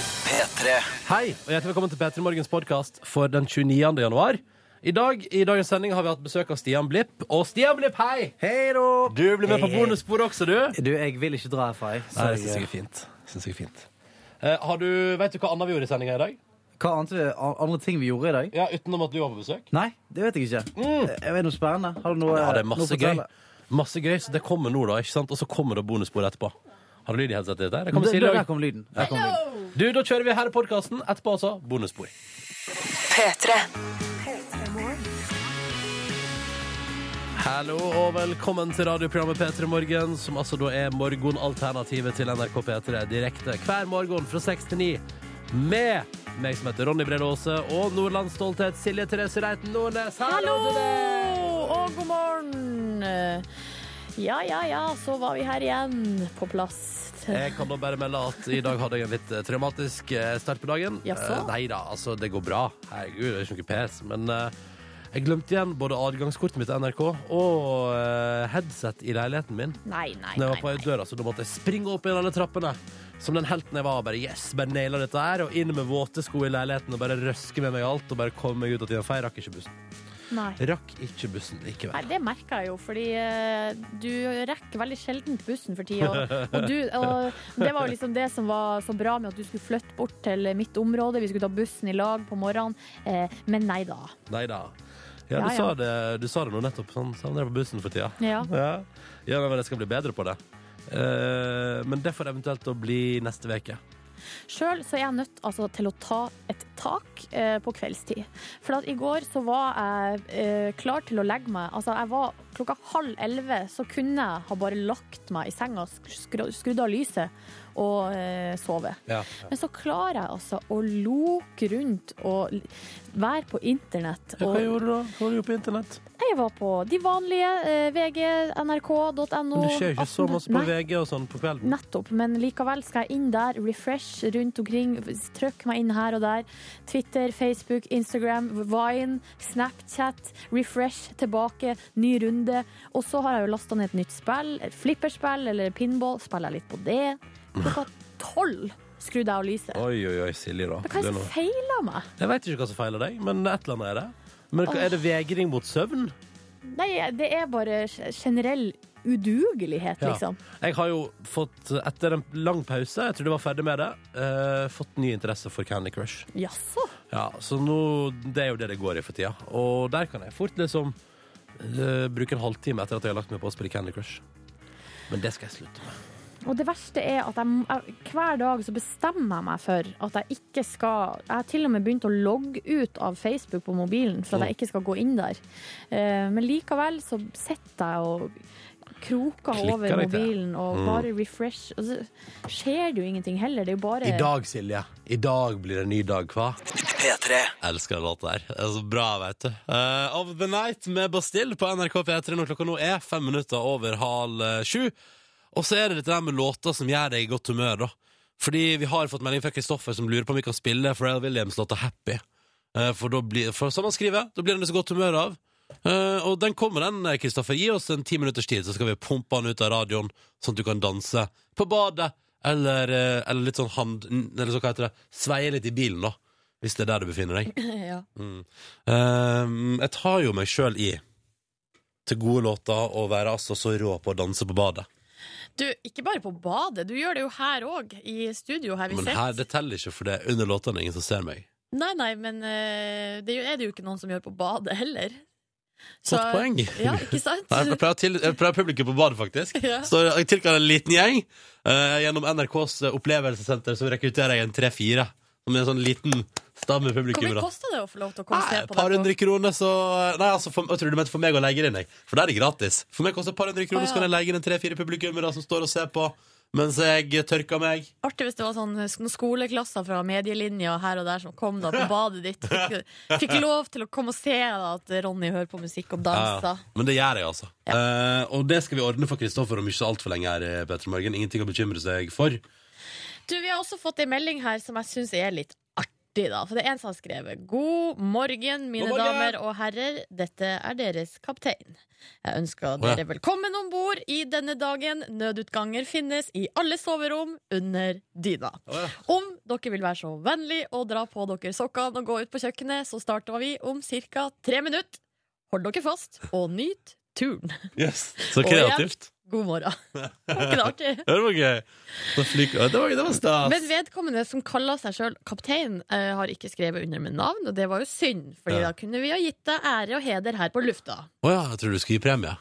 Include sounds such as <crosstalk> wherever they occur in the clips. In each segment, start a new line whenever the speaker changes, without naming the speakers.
P3.
Hei, og hjertelig velkommen til P3 Morgens podkast for den 29. januar. I dag i dagens sending har vi hatt besøk av Stian Blipp. Og Stian Blipp, hei!
Hei da!
Du blir med
Hei,
på
hei.
bonussporet også, du. Nei,
Du, jeg vil ikke dra herfra, jeg. Så
det syns jeg er fint. Synes jeg er fint. Eh, har du, vet du hva annet vi gjorde i sendinga i dag?
Hva annet vi, an- andre ting vi gjorde i dag?
Ja, Utenom at du var på besøk?
Nei, det vet jeg ikke.
Mm.
Jeg vet noe spennende. Har du noe
Ja, det er
noe å
masse gøy.
fortelle?
Masse gøy, Så det kommer nå, da. ikke sant? Og så kommer det bonusspor etterpå. Har du lyd i headsetet ditt? der? Det
Det-
kommer
det-
Silje
Der
også.
kom lyden. Der kom lyden.
Du, Da kjører vi her i podkasten. Etterpå altså bonusspor.
P3.
Hallo og velkommen til radioprogrammet P3 Morgen, som altså da er morgenalternativet til NRK P3 direkte hver morgen fra 6 til 9 med meg som heter Ronny Brede Aase og nordlandsstolthet Silje Therese Reiten Nordnes.
Hallo
Hallo til deg!
og god morgen. Ja, ja, ja, så var vi her igjen på plass.
Jeg kan da bare melde at i dag hadde jeg en litt eh, traumatisk eh, start på dagen.
Jaså?
nei da, altså det går bra. Herregud, det er ikke noe pes. Men eh, jeg glemte igjen både adgangskortet mitt til NRK og eh, headset i leiligheten min.
Nei, nei,
Når jeg
nei.
var på vei
nei.
i døra, så da måtte jeg springe opp igjen alle trappene. Som den helten jeg var. Bare yes, bare naila dette her. Og inn med våte sko i leiligheten og bare røske med meg alt. Og bare komme meg ut av tida. For jeg rakk ikke bussen.
Nei.
Rakk ikke bussen likevel.
Nei, det merker jeg jo, fordi eh, du rekker veldig sjelden bussen for tida. Og, og, du- og det var jo liksom det som var så bra med at du skulle flytte bort til mitt område. Vi skulle ta bussen i lag på morgenen. Eh, men nei da.
Nei da. Ja,
Ja,
du,
ja.
Sa det, du sa det nå nettopp. Sånn savner jeg på bussen for tida.
Ja.
Ja. ja, men jeg skal bli bedre på det. Eh, men det får eventuelt å bli neste uke.
Sjøl så er jeg nødt altså, til å ta et tak eh, på kveldstid. For at i går så var jeg eh, klar til å legge meg. Altså, jeg var klokka halv elleve, så kunne jeg ha bare lagt meg i senga, skru- skru- skrudd av lyset og eh, sove.
Ja.
Men så klarer jeg altså å loke rundt og l- være på internett.
Hva
Og
gjorde du da? Hva gjorde du på internett?
jeg var på de vanlige eh, VG, nrk.no.
Men det skjer jo ikke så
Aften-
masse på
Nei.
VG og sånn på kvelden.
Nettopp, men likevel skal jeg inn der, refresh rundt omkring, trykk meg inn her og der. Twitter, Facebook, Instagram, Vine, Snapchat, refresh, tilbake, ny runde. Og så har jeg jo lasta ned et nytt spill, et flipperspill eller pinball. Spiller jeg litt på det. Klokka tolv skrudde jeg av lyset.
Oi, oi, oi, Silje, da.
Hva
Det
er det
er noe-
som feiler meg?
Jeg veit ikke hva som feiler deg, men et eller annet er det. Men hva- Er det vegring mot søvn?
Nei, det er bare generell udugelighet,
Ja.
liksom.
Jeg har jo fått, etter en lang pause, jeg tror du var ferdig med det, eh, fått ny interesse for Candy Crush.
Jaså?
Ja, Så nå, det er jo det det går i for tida. Og der kan jeg fort liksom eh, bruke en halvtime etter at jeg har lagt meg på å spille Candy Crush. Men det skal jeg slutte med.
Og det verste er at jeg, jeg, hver dag så bestemmer jeg meg for at jeg ikke skal Jeg har til og med begynt å logge ut av Facebook på mobilen for at jeg ikke skal gå inn der. Eh, men likevel så sitter jeg og kroker
Klikker
over
deg til.
mobilen og bare refresh. Og så skjer det jo ingenting heller. Det er jo bare
I dag, Silje. I dag blir det en ny dag, hva?
P3.
Elsker den låta her. Det er så bra, veit du. Eh, of the Night med Bastille på NRK P3 når klokka nå er fem minutter over halv eh, sju. Og så er det dette der med låter som gjør deg i godt humør, da. Fordi vi har fått melding fra Kristoffer som lurer på om vi kan spille Pharrell Williams-låta Happy. Eh, for, da blir, for som han skriver, da blir han i så godt humør av. Eh, og den kommer, den, eh, Kristoffer. Gi oss en ti minutters tid, så skal vi pumpe han ut av radioen, sånn at du kan danse på badet. Eller, eh, eller litt sånn hand... Eller så hva heter det? Sveie litt i bilen, da. Hvis det er der du befinner
<laughs>
deg.
ja.
Mm. Ehm, jeg tar jo meg sjøl i til gode låter å være altså så rå på å danse på badet.
Du, ikke bare på badet. Du gjør det jo her òg, i studio her vi
Men her,
sitter.
det teller ikke, for det er under låtene ingen som ser meg.
Nei, nei, men eh, det er det jo ikke noen som gjør på badet heller.
Godt poeng.
Ja, ikke sant?
<laughs> Nei, jeg, pleier å til, jeg pleier publikum på badet, faktisk.
<laughs> Ja.
Så jeg tilkaller en liten gjeng. Eh, gjennom NRKs opplevelsessenter så rekrutterer jeg en tre-fire. Med en sånn liten stamme
Hvor mye
publikummere.
koster det å få lov til å komme og
Nei,
se
Et
på
par
det?
hundre kroner, så Nei, altså, for, jeg tror du mente for meg å legge det inn, jeg. For da er det gratis. For meg koster et par hundre kroner,
Å, ja.
så kan jeg legge inn en tre-fire publikummere som står og ser på mens jeg tørker meg.
på? Artig hvis det var sånn sk- noen skoleklasser fra medielinja her og der som kom da på badet
<laughs>
ditt. Fikk, fikk lov til å komme og se da, at Ronny hører på musikk og
Ja,
danser.
men det gjør jeg, altså. Eh, og det skal vi ordne for Kristoffer om ikke så altfor lenge her. eh, Petra Morgen. Ingenting å bekymre seg for.
Du, Vi har også fått en melding her som jeg syns er litt artig. da For det er en som har skrevet God morgen, mine
God morgen!
damer og herrer. Dette er deres kaptein. Jeg ønsker
ja.
dere velkommen om bord i denne dagen. Nødutganger finnes i alle soverom under dyna.
Å, ja.
Om dere vil være så vennlig og dra på dere sokkene og gå ut på kjøkkenet, så starter vi om ca. tre minutter. Hold dere fast, og nyt turen.
Yes. Så
Og
kreativt. <laughs>
God morgen. Var ikke det artig?
Det var gøy. Det var, flik- det var, det var stas.
Men vedkommende som kaller seg sjøl kaptein, eh, har ikke skrevet under med navn, og det var jo synd, Fordi
Ja.
da kunne vi ha gitt deg ære og heder her på lufta.
Å ja, jeg tror du skal gi premie.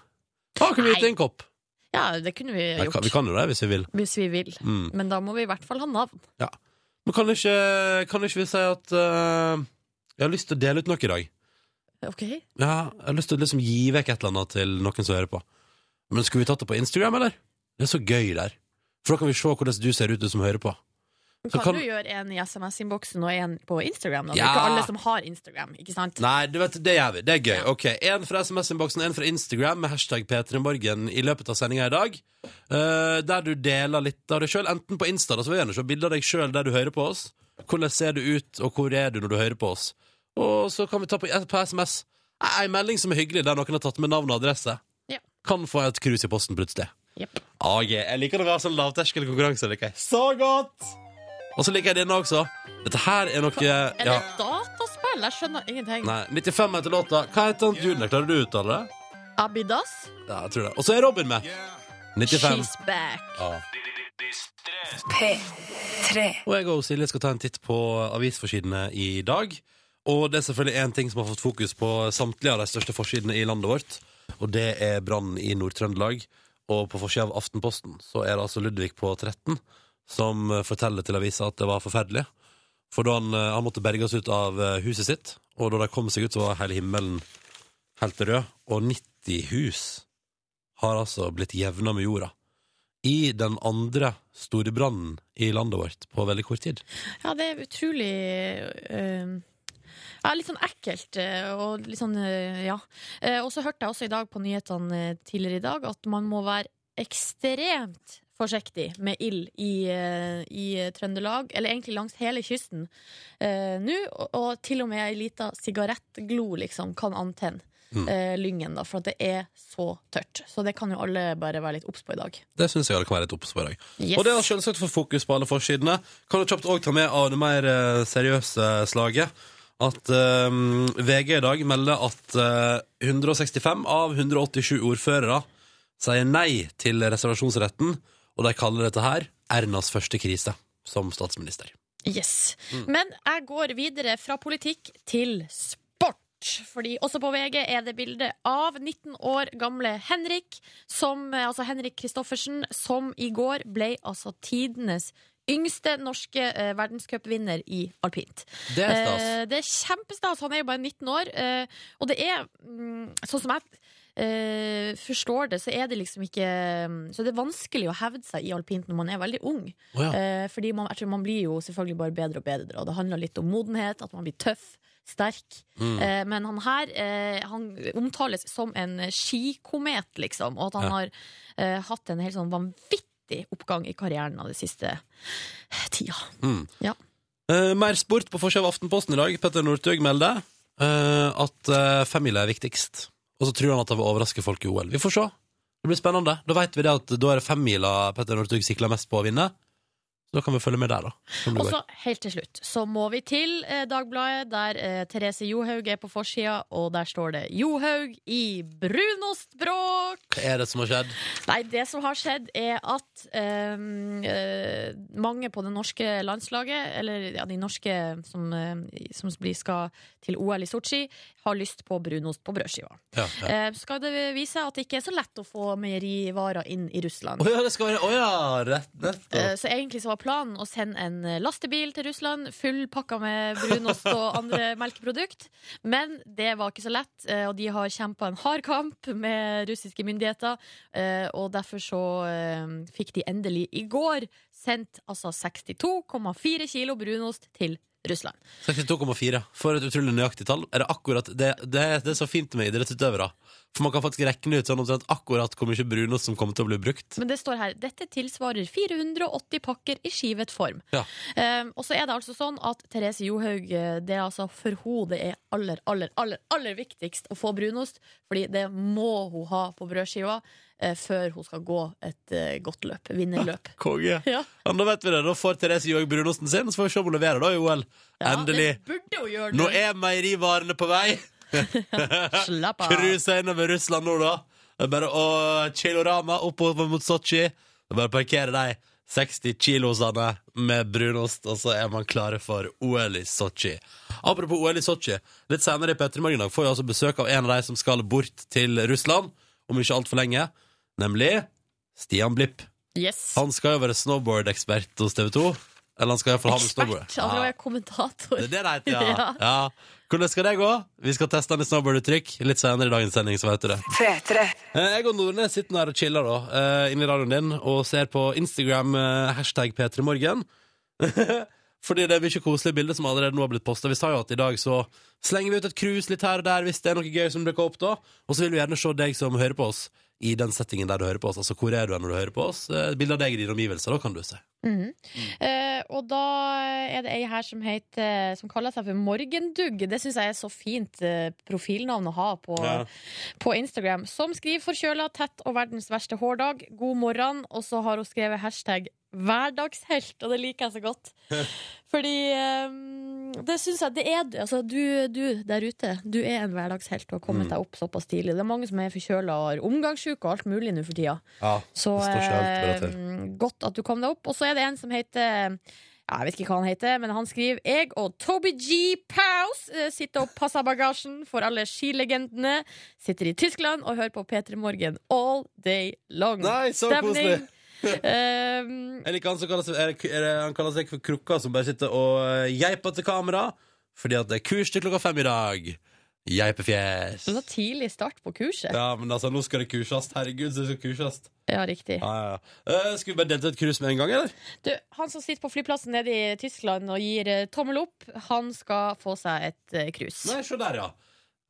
Da kan vi gi
Nei.
til en kopp.
Ja, det kunne vi
Nei, kan,
ha
vi
gjort.
kan jo det hvis vi vil.
Hvis vi vil.
Mm.
Men da må vi i hvert fall ha navn.
Men kan ikke, kan ikke vi si at eh, jeg har lyst til å dele ut noe i dag?
Ok?
Ja, jeg har lyst til å liksom gi vekk et eller annet til noen som hører på. Men skulle vi tatt det på Instagram, eller? Det er så gøy der. For da kan vi se hvordan du ser ut, du som hører på. Så
Kan,
kan-
du gjøre en i SMS-innboksen og en på Instagram? Da? Det
Ja.
er ikke alle som har Instagram, ikke sant?
Nei, du vet, det gjør vi. Det er gøy. Ok, En fra SMS-innboksen, en fra Instagram med hashtag P3morgen i løpet av sendinga i dag. eh, der du deler litt av deg sjøl, enten på Insta, da, så vil jeg gjerne se bilder av deg sjøl der du hører på oss. Hvordan ser du ut, og hvor er du når du hører på oss? Og så kan vi ta på, på SMS ei melding som er hyggelig, der noen har tatt med navn og adresse.
Ja.
Kan få et krus i posten plutselig.
Jepp.
Ah, yeah. Jeg liker det å være sånn lavterskelkonkurranse. liker jeg. Så godt! Og så liker jeg denne også. Dette her er noe
Er det et dataspill? Jeg skjønner ingenting.
Nei, 95 heter låta. Hva heter han duden? der? Klarer du å uttale det?
Abidas?
Ja, jeg tror det. Og så er Robin med. 95.
She's back.
Ja.
P3
Og jeg og Silje skal ta en titt på avisforsidene i dag. Og det er selvfølgelig én ting som har fått fokus på samtlige av de største forsidene i landet vårt. Og det er brannen i Nord-Trøndelag. Og på forsida av Aftenposten så er det altså Ludvig på 13 som forteller til avisa at det var forferdelig. For da han, eh, han måtte berges ut av eh, huset sitt, og da de kom seg ut, så var hele himmelen helt rød. Og 90 hus har altså blitt jevna med jorda. I den andre store brannen i landet vårt på veldig kort tid.
Ja, det er utrolig eh, ja, Litt sånn ekkelt eh, og litt sånn, eh, ja. Eh, og så hørte jeg også i dag på nyhetene eh, tidligere i dag at man må være ekstremt forsiktig med ild i, eh, i eh, Trøndelag, eller egentlig langs hele kysten eh, nå. Og, og til og med ei lita sigarettglo liksom, kan antenne.
Mm.
eh, lyngen da, For at det er så tørt. Så det kan jo alle bare være litt obs på i dag.
Det syns jeg alle kan være litt obs på i dag.
Yes.
Og det har selvsagt fått fokus på alle forsidene. Kan du kjapt òg ta med av det mer eh, seriøse slaget at eh, VG i dag melder at eh, 165 av 187 ordførere sier nei til reservasjonsretten, og de kaller dette her Ernas første krise som statsminister.
Yes. Men jeg går videre fra politikk til sport. Fordi også på VG er det bilde av 19 år gamle Henrik, som, altså Henrik Kristoffersen, som i går ble altså tidenes yngste norske eh, verdenscupvinner i alpint.
Det er stas.
Eh, det er kjempestas. Han er jo bare 19 år. Eh, og det er, mm, sånn som jeg eh, forstår det, så er det liksom ikke Så det er vanskelig å hevde seg i alpint når man er veldig ung.
Å ja.
Eh, fordi man, jeg tror man blir jo selvfølgelig bare bedre og bedre. Og det handler litt om modenhet, at man blir tøff, sterk.
Mm.
Eh, men han her eh, han omtales som en skikomet, liksom. Og at han
Ja.
har eh, hatt en helt sånn vanvittig oppgang i karrieren av det siste tida.
Mm.
Ja.
Eh, mer sport på forsida av Aftenposten i dag. Petter Northug melder eh, at uh, femmila er viktigst. Og så tror han at det vil overraske folk i OL. Vi får se. Det blir spennende. Da vet vi det at da er det femmila Petter Northug sikler mest på å vinne. Så da kan vi følge med der, da. Som det
Og
går.
så helt til slutt så må vi til eh, Dagbladet, der eh, Therese Johaug er på forsida, og der står det 'Johaug i brunostbråk'.
Hva er det som har skjedd?
Nei, det som har skjedd er at ehm, eh, mange på det norske landslaget, eller ja, de norske som, eh, som blir- skal til OL i Sotsji, har lyst på brunost på brødskiva.
Ja, ja.
Eh, skal det vise seg at det ikke er så lett å få meierivarer inn i Russland.
Å ja, det skal være Å ja, rett nettopp.
Eh, Så egentlig så var planen å sende en eh, lastebil til Russland, full pakka med brunost og andre melkeprodukt. Men det var ikke så lett, eh, og de har kjempa en hard kamp med russiske myndigheter. eh, Og derfor så eh, fikk de endelig i går sendt altså 62,4 kilo brunost til Russland.
62,4. For et utrolig nøyaktig tall. Er det akkurat Det, det, det er så fint med idrettsutøvere. For man kan faktisk regne ut sånn omtrent akkurat hvor mye brunost som kommer til å bli brukt.
Men det står her dette tilsvarer 480 pakker i skivet form.
Ja.
Ehm, og så er det altså sånn at Therese Johaug eh, det er altså for henne det er aller, aller, aller, aller viktigst å få brunost, fordi det må hun ha på brødskiva. eh, før hun skal gå et eh, godt løp. Vinnerløp.
Konge.
Ja.
<laughs> Ja, men da vet vi det. Da får Therese Johaug Brunosen sin, og så får vi se om hun leverer da i OL.
Ja,
Endelig.
Det burde hun gjøre
Nå er meierivarene på vei.
Slapp av.
Cruise innover Russland nå, da. Det er Bare å Chilorama oppover mot Sotsji. Det er Bare å parkere de 60 kilosene med brunost, og så er man klare for OL i Sotsji. Apropos OL i Sotsji. Litt senere i P3 Morgen i dag får vi altså besøk av en av de som skal bort til Russland om ikke altfor lenge, nemlig Stian Blipp.
Yes.
Han skal jo være snowboardekspert hos TV 2. Eller han skal iallfall ha med snowboard.
Ekspert. Han skal være kommentator.
Det er det det heter, ja.
<laughs> Ja.
ja. Hvordan skal det gå? Vi skal teste han i snowboarduttrykk litt senere i dagens sending. så vet du det. Eh, Jeg og Nordnes sitter her og chiller da, eh, inni radioen din og ser på Instagram eh, hashtag P3morgen. <laughs> Fordi det er mye koselige bilder som allerede nå har blitt posta. Vi sa jo at i dag så slenger vi ut et cruise litt her og der hvis det er noe gøy som dukker opp da. Og så vil vi gjerne se deg som hører på oss i den settingen der du hører på oss. Altså hvor er du når du hører på oss? Eh, Bilde av deg i dine omgivelser, da kan du se.
Mhm.
Mm.
Eh, og da er det ei her som, heter, som kaller seg for Morgendugg. Det syns jeg er så fint eh, profilnavn å ha på,
Ja.
på Instagram. Som skriver forkjøla, tett og verdens verste hårdag. God morgen. Og så har hun skrevet hashtag hverdagshelt, og det liker jeg så
<laughs>
godt. Fordi eh, det syns jeg det er du. Altså, du, du der ute, du er en hverdagshelt. Du har kommet
Mm.
deg opp såpass tidlig. Det er mange som er forkjøla og har omgangssjuke og alt mulig nå for tida.
Ja.
Så
Det står ikke helt bra
eh, godt at du kom deg opp. Og så er det en som heter ja, jeg vet ikke hva han heter, men han skriver Jeg og Toby G. Paus eh, sitter og passer bagasjen for alle skilegendene. Sitter i Tyskland og hører på P3 Morgen all day long.
Nei, så koselig!
<laughs> Ehm,
Jeg liker han som kaller seg, er, det- er det, han kaller seg for krukka, som bare sitter og eh, geiper til kamera. Fordi at det er kurs til klokka fem i dag.
så
Geipefjes.
tidlig start på kurset. Ja,
Ja, men altså, nå skal det kursast. Herregud, så det skal kursast.
riktig.
Ja, ja, ja. Eh, skal vi bare delte et krus med en gang, eller?
Du, han som sitter på flyplassen nede i Tyskland og gir eh, tommel opp, han skal få seg et eh, krus.
Nei, se der, ja.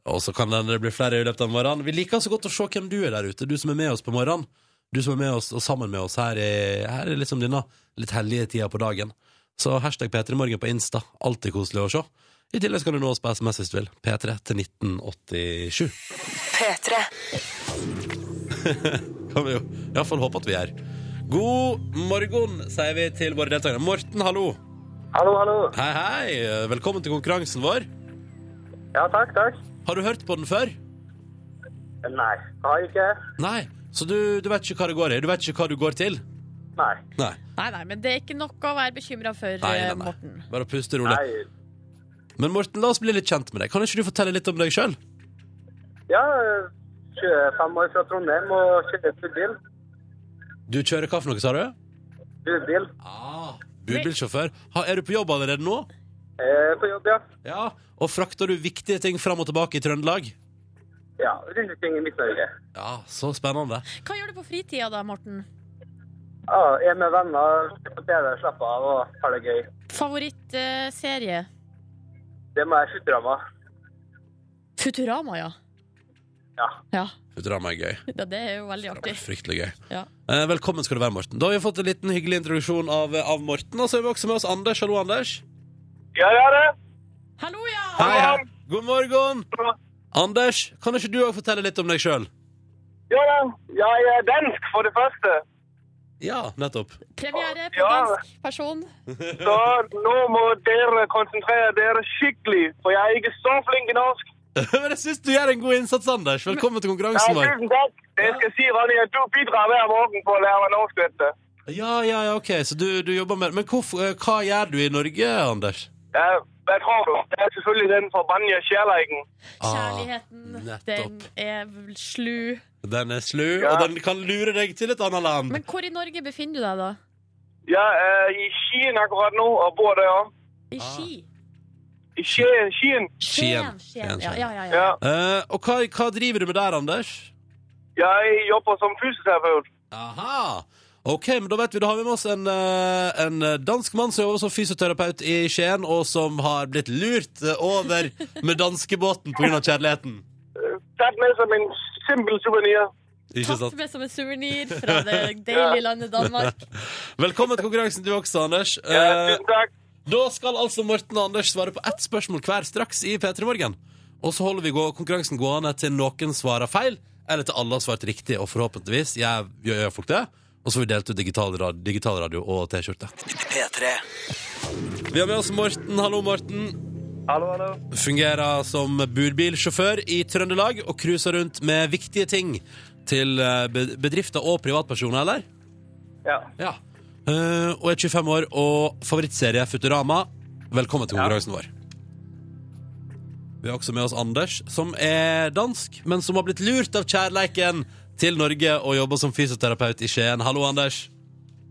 Og så kan det hende det blir flere i løpet av morgenen. Vi liker så godt å se hvem du er der ute, du som er med oss på morgenen. Du som er med oss og sammen med oss her i, her i liksom denne litt hellige tida på dagen. Så hashtag P3morgen på Insta. Alltid koselig å se. I tillegg kan du nå oss på SMS hvis du vil. P3 til 1987. <laughs> kan vi jo iallfall håpe at vi er. God morgen, sier vi til våre deltakere. Morten, hallo.
Hallo, hallo.
Hei, hei. Velkommen til konkurransen vår.
Ja, takk, takk.
Har du hørt på den før?
Nei, har ikke.
Nei. Så du, du vet ikke hva det går i? Du vet ikke hva du går til?
Nei.
Nei.
Nei, nei, men det er ikke nok å være bekymra for,
nei,
eh,
nei, nei.
Morten.
Bare puste rolig.
Nei.
Men Morten, la oss bli litt kjent med deg. Kan ikke du fortelle litt om deg sjøl?
Ja, 25 år fra Trondheim og kjører budbil.
Du kjører hva for noe, sa du?
Budbil.
Ah, Budbilsjåfør. Ha, er du på jobb allerede nå?
Eh, på jobb, ja.
Ja. Og frakter du viktige ting fram og tilbake i Trøndelag?
Ja, rundt omkring i Midt-Norge.
Ja, så spennende.
Hva gjør du på fritida da, Morten?
Ja, jeg er med venner, ser på TV, slapper av og har det gøy.
Favorittserie?
Det må jeg slutte av
Futurama, ja.
Ja.
Ja,
Futurama er gøy.
ja, det er jo veldig
Det
artig.
var fryktelig gøy.
Ja.
Eh, velkommen skal du være, Morten. Da har vi fått en liten hyggelig introduksjon av, av Morten. Og så er vi også med oss Anders. Hallo, Anders.
Ja, ja, det.
Hallo, ja!
hei. God morgen. Anders, kan ikke du òg fortelle litt om deg sjøl?
Ja, ja. Jeg er dansk, for det første.
Ja, nettopp. <laughs>
Premiere på
Ja.
dansk person.
Så nå må dere konsentrere dere skikkelig, for jeg er ikke så flink i norsk.
Men jeg syns du gjør en god innsats, Anders. Velkommen til konkurransen vår.
takk. Jeg skal si, Ronny, at du bidrar hver morgen på å lære meg norsk, vet du.
Ja, ja, ja, ok, så du, du jobber med Men hvorfor, eh, hva gjør du i Norge, Anders?
Ja, Hva tror du? Det er selvfølgelig den forbanna kjærleiken.
Kjærligheten,
nettopp.
den er vel slu.
Den er slu,
Ja.
og den kan lure deg til et annet land.
Men hvor i Norge befinner du deg, da?
Jeg er i Skien akkurat nå og bor der òg.
I Ski?
I Skien. Skien.
Skien. Skien,
Skien. Ja,
Skien.
ja, ja. ja.
Ja.
Eh, og hva, hva driver du med der, Anders?
Jeg jobber som fysioterapeut.
Aha! Ok, men da vet vi, da har vi med oss en, eh, en dansk mann som jobber som fysioterapeut i Skien, og som har blitt lurt eh, over med danskebåten pga. kjærligheten.
Tatt med som en simpel suvenir.
Ikke
Tatt
sant?
med som en suvenir fra det deilige landet Danmark.
Velkommen til konkurransen du også, Anders.
Ja,
Eh,
tusen takk.
da skal altså Morten og Anders svare på ett spørsmål hver straks i P3 Morgen. Og så holder vi gå konkurransen gående til noen svarer feil, Eller til alle har svart riktig, og forhåpentligvis jeg, gjør gjør folk det. Og så får vi delt ut digital radio, digital radio og T-skjorte. Vi har med oss Morten. Hallo, Morten.
Hallo, hallo.
Fungerer som budbilsjåfør i Trøndelag og cruiser rundt med viktige ting til eh, be- bedrifter og privatpersoner, eller?
Ja.
Ja. Eh, og er 25 år og favorittserie Futurama. Velkommen til konkurransen vår. Vi har også med oss Anders, som er dansk, men som har blitt lurt av kjærleiken til Norge og jobber som fysioterapeut i Skien. Hallo, Anders.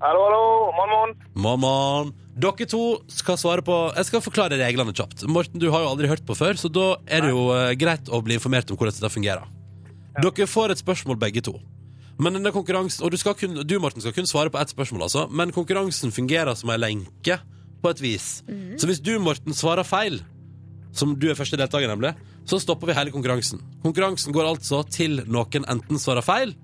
Hallo, hallo. Morgen, morgen.
Mammaen. Dere to skal svare på Jeg skal forklare reglene kjapt. Morten, du har jo aldri hørt på før, så da er det jo eh, greit å bli informert om hvordan dette fungerer. Dere får et spørsmål, begge to. Men denne konkurransen Og du, skal kun, du Morten, skal kun svare på ett spørsmål, altså. Men konkurransen fungerer som ei lenke, på et vis. Så hvis du, Morten, svarer feil, som du er første deltaker, nemlig, så stopper vi hele konkurransen. Konkurransen går altså til noen enten svarer feil,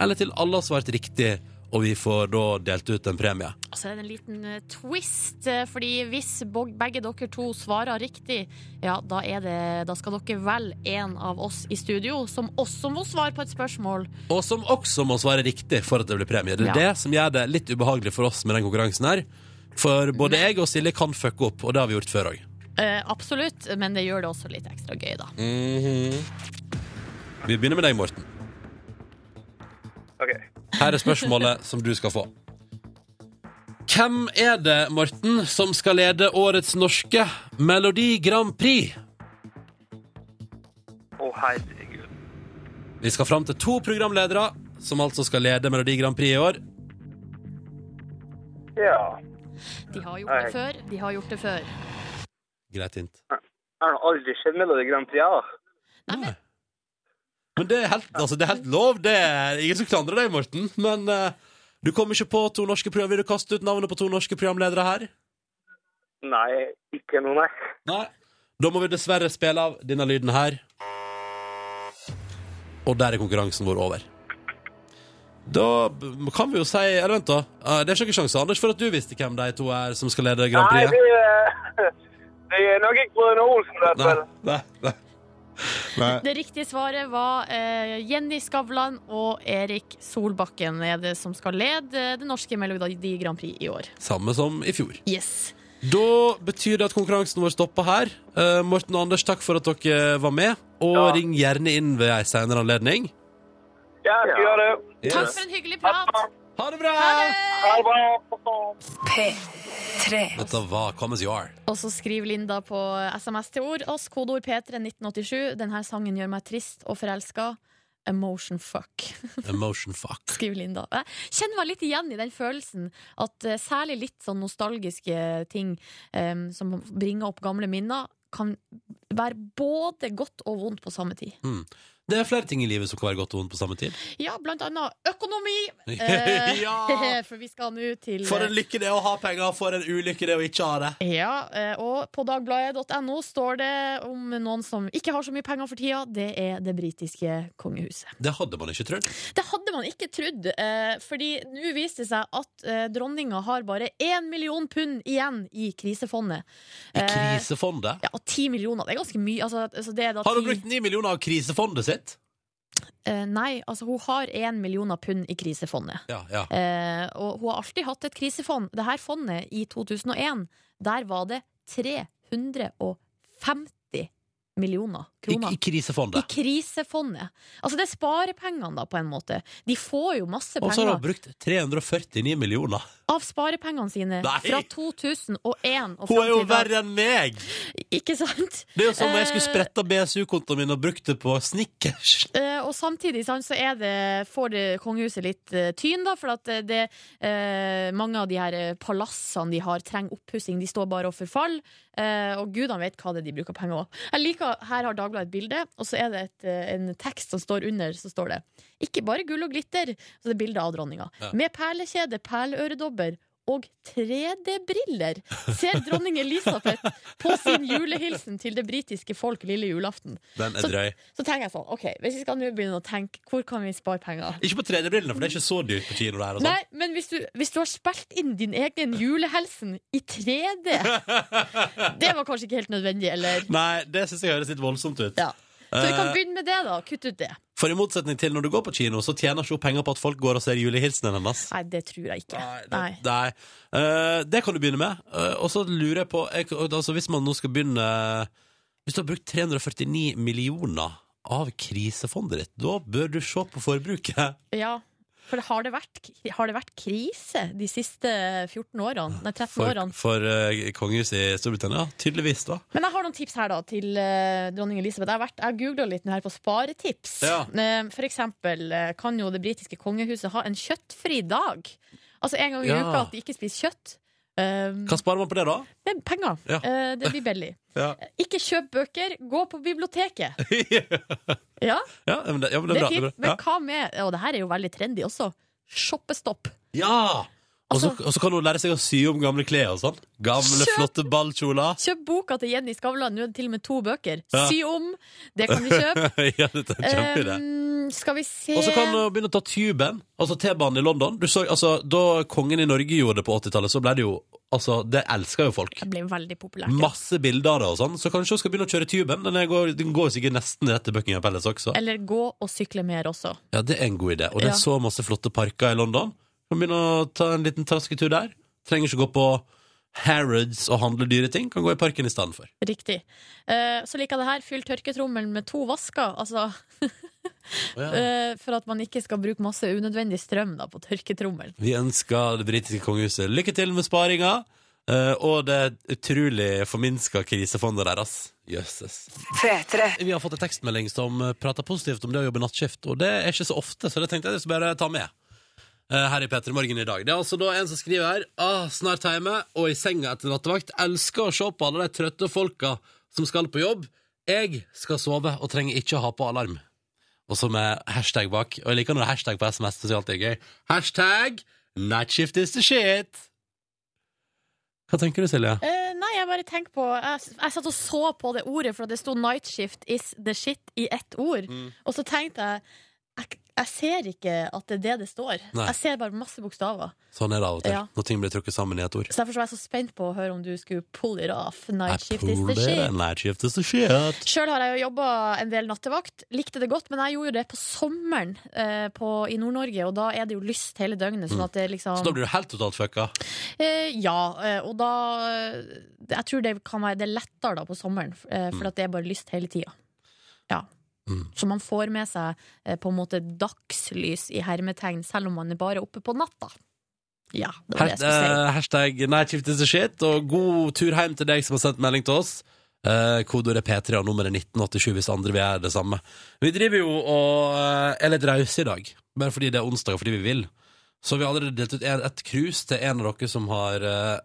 eller til alle har svart riktig, og vi får da delt ut en premie.
Og så er det en liten eh, twist, eh, fordi hvis bog- begge dere to svarer riktig, ja, da, er det, da skal dere velge en av oss i studio som også må svare på et spørsmål.
Og som også må svare riktig for at det blir premie. Det er
Ja.
det som gjør det litt ubehagelig for oss med den konkurransen her. For både jeg og Silje kan fucke opp, og det har vi gjort før òg.
Eh, absolutt, men det gjør det også litt ekstra gøy, da.
Mm. Vi begynner med deg, Morten.
Ok.
Her er spørsmålet som du skal få. Hvem er det, Morten, som skal lede årets norske Melodi Grand Prix?
Å, herregud.
Vi skal fram til to programledere som altså skal lede Melodi Grand Prix i år.
Ja.
De har gjort det før. De har gjort det før.
Greit hint.
Jeg har aldri sett Melodi Grand Prix, ja.
Nei, men
Men det er helt, altså, det er helt lov. Det er ingen som klandrer deg, Morten. Men eh, du kom ikke på to norske program. Vil du kaste ut navnet på to norske programledere her?
Nei, ikke noe, nei.
Nei. Da må vi dessverre spille av denne lyden her. Og der er konkurransen vår over. Da b- kan vi jo si Eller vent, da. Eh, Det er ikke noen sjanse, Anders, for at du visste hvem de to er som skal lede Grand
Nei,
Prix.
det er, <laughs> det er nok ikke Brødrene Olsen, i hvert
Nei,
fall.
nei, nei.
det riktige svaret var eh, Jenny Skavlan og Erik Solbakken er det som skal lede det norske Melodi Grand Prix i år.
Samme som i fjor.
Yes.
Da betyr det at konkurransen vår stopper her. Eh, Morten og Anders, takk for at dere var med. Og
Ja.
ring gjerne inn ved ei senere anledning.
Ja, vi gjør det.
Takk for en hyggelig prat.
Ha det bra!
Ha det bra.
Dette var Come As You Are.
Og så skriver Linda på SMS til ord oss, kodeord P3 1987. Denne sangen gjør meg trist og forelska. Emotion fuck,
Emotion fuck.
skriver Linda. Jeg kjenner meg litt igjen i den følelsen at eh, særlig litt sånn nostalgiske ting eh, som bringer opp gamle minner, kan være både godt og vondt på samme tid.
Det er flere ting i livet som kan være godt og vondt på samme tid.
Ja, blant annet økonomi! Eh,
<laughs> ja!
<laughs> For vi skal nå til
For en lykke det er å ha penger, for en ulykke det er å ikke ha det.
Ja, eh, og på dagbladet.no står det om noen som ikke har så mye penger for tida. Det er det britiske kongehuset.
Det hadde man ikke trodd.
Det hadde man ikke trodd, eh, fordi nå viste det seg at eh, dronninga har bare én million pund igjen i krisefondet.
I
Eh,
krisefondet.
Ja, og ti millioner, det er ganske mye. Altså, altså det er da
Har
ti-
hun brukt ni millioner av krisefondet sitt?
Eh, nei, altså hun har én million pund i krisefondet.
Ja, ja.
Eh, og hun har alltid hatt et krisefond. Det her fondet i 2001, der var det 350 millioner
I,
kroner.
I krisefondet.
I krisefondet. Altså det er sparepengene, da, på en måte. De får jo masse
Og så har
penger
hun brukt 349 millioner.
av sparepengene sine
Nei!
fra 2001 og fram
Hun er jo
til i dag.
verre enn meg!
Ikke sant?
Det er jo som om jeg skulle
Eh.
spretta BSU-kontoen min og brukt det på snickers.
Eh, og samtidig sant, så er det, får det kongehuset litt eh, tyn, da, for at eh, det, eh, mange av de her eh, palassene de har, trenger oppussing. De står bare og forfaller. Eh, og gudene vet hva det er de bruker penger på. Jeg liker, Her har Dagbladet et bilde, og så er det et, eh, en tekst som står under. Så står det 'Ikke bare gull og glitter', så det er bilde av dronninga.
Ja.
Med perlekjede, perleøredobber og 3D-briller ser dronning Elisabeth på sin julehilsen til det britiske folk lille julaften.
Den
Så-
er drøy.
Så tenker jeg sånn, ok, hvis vi skal nå begynne å tenke Hvor kan vi spare penger?
Ikke på 3D-brillene, for det er ikke så dyrt på kino. der og
Nei,
sånn.
men hvis du, hvis du har spilt inn din egen julehelsen i 3D
<laughs>
Det var kanskje ikke helt nødvendig, eller?
Nei, det syns jeg høres litt voldsomt ut.
Ja. Så vi kan
Eh,
begynne med det, da. Kutt ut det.
For i motsetning til når du går på kino, så tjener ikke hun penger på at folk går og ser julehilsenen hennes.
Nei, det tror jeg ikke.
Nei, det,
Nei.
nei. Eh, det kan du begynne med. Eh, og så lurer jeg på jeg, altså Hvis man nå skal begynne Hvis du har brukt 349 millioner av krisefondet ditt, da bør du se på forbruket.
Ja, for har det vært, har det vært krise de siste 14 årene? Nei, 13
For,
årene.
for eh, kongehuset i Storbritannia. Tydeligvis, da.
Men jeg har noen tips her da til eh, dronning Elisabeth. Jeg har, vært- jeg googla litt nå her på sparetips.
Ja.
Eh, for eksempel eh, kan jo det britiske kongehuset ha en kjøttfri dag. Altså en gang i
Ja.
uka at de ikke spiser kjøtt. Um,
Hva sparer man på det, da?
det er penger.
Ja.
Eh, det blir billig.
Ja.
Ikke kjøp bøker, gå på biblioteket. ja,
<laughs> ja, men <laughs> det, ja, men
det
det er
er
bra.
fint.
det
Men
er bra.
hva med Og det her er jo veldig trendy også. Shoppestopp.
Ja! ja. Og så- og så kan hun lære seg å sy om gamle klær og sånn. Gamle,
Altså- Kjøp-
flotte ballkjoler. <laughs>
Kjøp boka til Jenny Skavlan. Nå er det til og med to bøker.
Ja.
Sy om. Det kan vi kjøpe.
ja, dette er en <laughs> kjempeidé.
Um, skal vi se
Og så kan du begynne å ta tuben, altså T-banen i London. Du så, altså, da kongen i Norge gjorde det på 80-tallet, så ble det jo Altså, det elska jo folk.
Det ble veldig populært. ja.
Masse bilder av det og sånn. Så kanskje hun skal begynne å kjøre tuben. Den er- går, den går sikkert nesten rett til Buckingham Palace også.
Eller gå og sykle mer også.
Ja, det er en god idé. Og det er
Ja.
så masse flotte parker i London. Kan begynne å ta en liten trasketur der. Trenger ikke gå på Harrods og handle dyre ting. Kan gå i parken i stedet for.
Riktig. Eh, så liker jeg det her. Fyll tørketrommelen med to vasker. Altså, eh, for at man ikke skal bruke masse unødvendig strøm da, på tørketrommelen.
Vi ønsker det britiske kongehuset lykke til med sparinga. eh, og det utrolig forminska krisefondet deres. Jøsses. Vi har fått en tekstmelding som eh, prater positivt om det å jobbe nattskift, og det er ikke så ofte, så det tenkte jeg jeg skulle bare ta med. eh, Her i P3 Morgen i dag. Det er altså da en som skriver her ah, Snart hjemme og i senga etter nattevakt. Elsker å se på alle de trøtte folka som skal på jobb. Jeg skal sove og trenger ikke å ha på alarm. Og så med hashtag bak. Og jeg liker når det er hashtag på SMS, det synes jeg alltid er gøy. Hashtag nightshift is the shit. Hva tenker du, Silje?
Eh, nei, jeg bare tenker på jeg, jeg satt og så på det ordet, for at det sto 'night shift is the shit' i ett ord.
Mm.
Og så tenkte jeg jeg, jeg ser ikke at det er det det står.
Nei.
Jeg ser bare masse bokstaver.
Sånn er det av og til,
Ja.
når ting blir trukket sammen i et ord.
Så derfor så var jeg så spent på å høre om du skulle pull it off.
Jeg
Night shift is the
puller
shit.
en Nightshift is the shit.
Sjøl har jeg jo jobba en del nattevakt. Likte det godt, men jeg gjorde det på sommeren eh, på, i Nord-Norge, og da er det jo lyst hele døgnet. Sånn at det liksom
Mm. Så da blir du helt totalt fucka.
eh, Ja, eh, og da eh, Jeg tror det kan være det er lettere da på sommeren, eh, for at det er bare lyst hele tida. Ja.
Mm.
Så man får med seg eh, på en måte dagslys i hermetegn, selv om man er bare oppe på natta. Ja, det var det jeg skulle si.
Eh, Hashtag Nightshift is the shit, og god tur hjem til deg som har sendt melding til oss. Eh, Kodeordet P3 og nummeret 1987 hvis andre vil gjøre det samme. Vi driver jo og eh, er litt rause i dag, bare fordi det er onsdag og fordi vi vil. Så vi har allerede delt ut en- et krus til en av dere som har eh,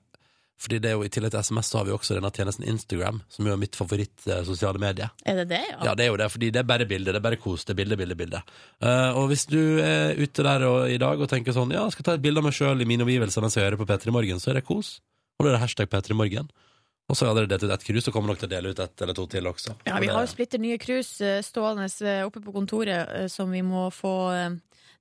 Fordi det er jo i tillegg til SMS, så har vi også denne tjenesten Instagram, som jo er mitt favoritt eh, sosiale medie.
Er det det,
Ja, det er jo det, fordi det er bare bilder, det er bare kos, det er bilde, bilde, bilde. Eh, og hvis du er ute der og, i dag og tenker sånn, ja, jeg skal ta et bilde av meg selv i mine omgivelser mens jeg hører på P3 Morgen, så er det kos. Og da er det hashtag P3 Morgen. Og så har jeg allerede delt ut ett krus, så kommer nok til å dele ut ett eller to til også.
Ja, vi
Og
har jo
det-
splitter nye krus eh, stående eh, oppe på kontoret eh, som vi må få eh,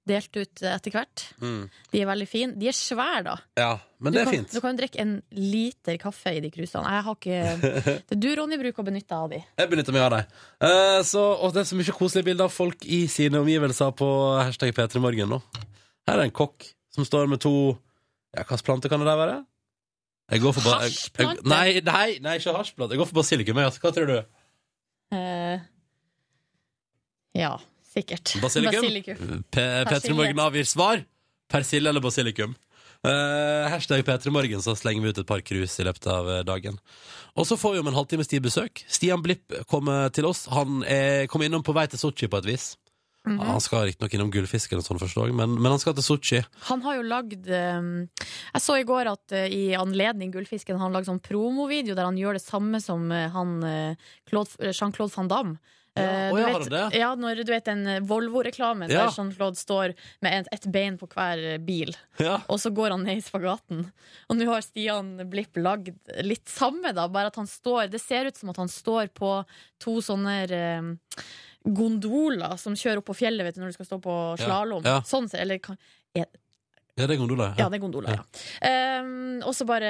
delt ut eh, etter hvert.
Mm.
De er veldig fine. De er svære, da.
Ja, men det er
du kan,
fint.
Du kan jo drikke en liter kaffe i de krusene. Jeg har
<laughs>
ikke Det er du, Ronny, bruker å benytte deg av de.
Jeg benytter meg av deg. Eh, så, og det er så mye koselige bilder av folk i sine omgivelser på hashtag P3morgen nå. Her er en kokk som står med to Ja, hvilken plante kan det der være? Jeg går for ba- jeg- jeg-
Hasjplante?
Nei, nei, nei, ikke hasjplante. Jeg går for basilikum. jeg, Altså. Hva tror du?
Eh, ja, sikkert.
Basilikum?
Basilikum.
P3 Morgen avgir svar. Persille eller basilikum? Eh, hashtag P3 Morgen, så slenger vi ut et par krus i løpet av eh, dagen. Og så får vi om en halvtimes tid besøk. Stian Blipp kommer til oss. Han er, kommer innom på vei til Sotsji på et vis.
Mhm.
Han skal riktignok innom Gullfisken, og sånn forstår jeg, men, men han skal til Sotsji.
Han har jo lagd eh, Jeg så i går at eh, i anledning Gullfisken har han lagd sånn promovideo der han gjør det samme som eh, han eh, Claude- Jean-Claude van Damme. Eh,
Ja, å, ja,
du vet-
har han det?
Ja, når du vet den eh, Volvo-reklamen
Ja.
der Jean-Claude står med et, et bein på hver eh, bil,
Ja.
og så går han ned i spagaten. Og nå har Stian Blipp lagd litt samme, da, bare at han står Det ser ut som at han står på to sånne eh, gondoler som kjører opp på fjellet vet du, når du skal stå på
Ja,
slalåm.
ja.
Sånn, ser- eller kan-
ja, det er gondola.
ja, det er gondola, ja. Ehm, og så bare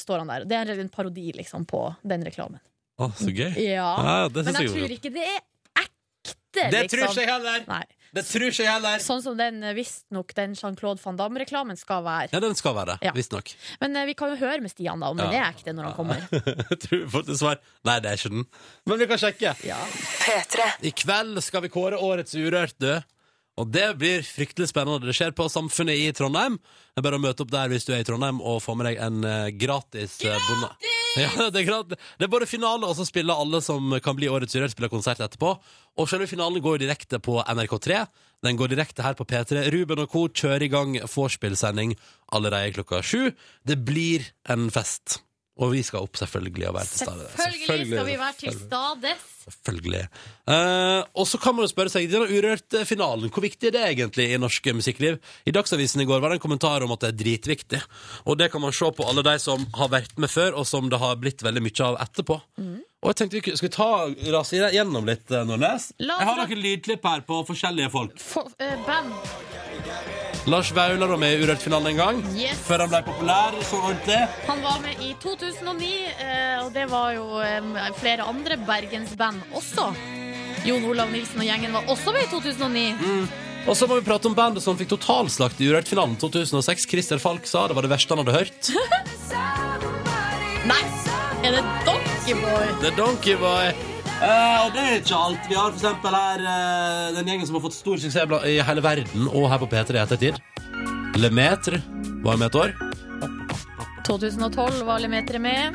står han der. Det er en parodi liksom, på den reklamen.
Å, så gøy.
Ja.
Ja, det
Men
synes
jeg
jeg
tror
var
ikke det er etter,
Det tror
liksom.
ikke jeg heller!
Nei.
Det tror ikke jeg heller!
Sånn som den eh, visstnok den Jean-Claude van Damme-reklamen skal være.
Ja, den skal være det,
Ja.
visstnok. <laughs>
Men eh, vi kan jo høre med Stian da om den
Ja.
er ekte når han kommer.
Jeg tror vi får til svar Nei, det er ikke den. Men vi kan sjekke. I kveld skal vi kåre årets Urørt, du. Og det blir fryktelig spennende. Det skjer på Samfunnet i Trondheim. Det er bare å møte opp der hvis du er i Trondheim, og få med deg en eh, gratis Gratis! <laughs> Ja, det, er gratis. det er både finale, og så spiller alle som kan bli Årets Urørt, spiller konsert etterpå. Og selve finalen går direkte på NRK3. Den går direkte her på P3. Ruben og co. kjører i gang vorspiel-sending allerede klokka sju. Det blir en fest. Og vi skal opp, selvfølgelig, og være til stede.
Selvfølgelig skal vi være til stades.
Selvfølgelig. Eh, og så kan man jo spørre seg, denne urørte finalen, hvor viktig er det egentlig i norsk musikkliv? I Dagsavisen i går var det en kommentar om at det er dritviktig. Og det kan man se på alle de som har vært med før, og som det har blitt veldig mye av etterpå. Og jeg tenkte vi kunne- Skal vi ta rase i- gjennom litt, eh, Nordnes? Jeg
La oss
har
dra-
noen lydklipp her på forskjellige folk.
For, eh, band.
Lars Vaular var med i Urørt-finalen en gang.
Yes.
Før han ble populær så ordentlig.
Han var med i 2009, eh, og det var jo eh, flere andre bergensband også. Jon Olav Nilsen og gjengen var også med i 2009.
Og så må vi prate om bandet som fikk totalslakt i Urørt-finalen 2006. Christer Falk sa det var det verste han hadde hørt.
Nei, er det Donkeyboy?
The Donkey Boy. Eh, og det er ikke alt. Vi har for eksempel her eh, den gjengen som har fått stor suksess bla- i hele verden, og her på P3 i ettertid. Lemaitre var med et år.
2012 var Lemetere med.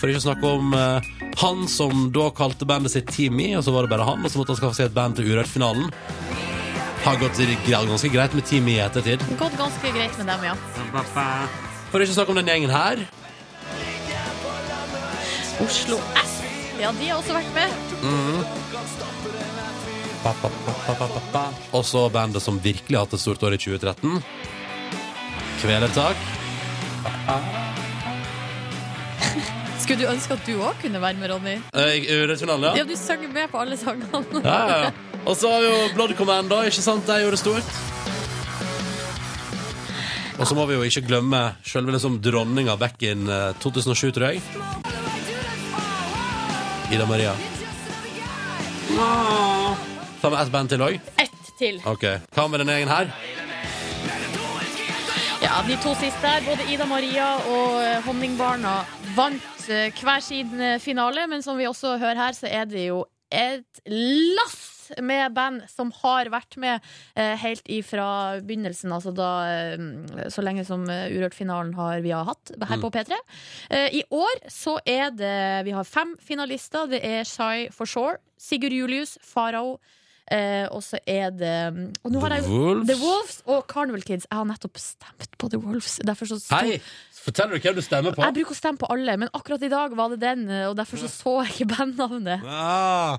For ikke å snakke om eh, han som da kalte bandet sitt Team Me, og så var det bare han, og så måtte han skaffe seg et band til Urørt-finalen. Har gått gre- ganske greit med Team Me i ettertid.
Gått ganske greit med dem, ja.
For ikke å snakke om den gjengen her.
Oslo S. Ja, de har også vært med.
Og så bandet som virkelig har hatt et stort år i 2013. Kvelertak.
Skulle du ønske at du òg kunne være med, Ronny?
Eh, i Urørt-finalen, ja.
Ja, du sang med på alle sangene.
Ja, ja, ja. Og så har vi jo Blood Commando, ikke sant? De gjorde det stort. Og så må vi jo ikke glemme selve liksom dronninga back in eh, 2007, tror jeg. Ida Maria. Ta med ett band til òg.
<laughs> Ett til.
Ok. Hva med denne gjengen her?
Ja, de to siste her, både Ida Maria og eh, Honningbarna, vant eh, hver sin eh, finale. Men som vi også hører her, så er det jo et lass med band som har vært med eh, helt ifra begynnelsen, altså da eh, Så lenge som eh, Urørt-finalen har vi har hatt her på P3. Eh, I år så er det Vi har fem finalister. Det er Shai for Shore, Sigurd Julius, Farao, eh, og så er det Og nå har jeg jo
Wolves.
The Wolves og Carnival Kids. Jeg har nettopp stemt på The Wolves. Derfor så sto-
Hei! Forteller du hvem du stemmer på?
Jeg bruker å stemme på alle, men akkurat i dag var det den, og derfor så, så jeg ikke bandnavnet.
Ah.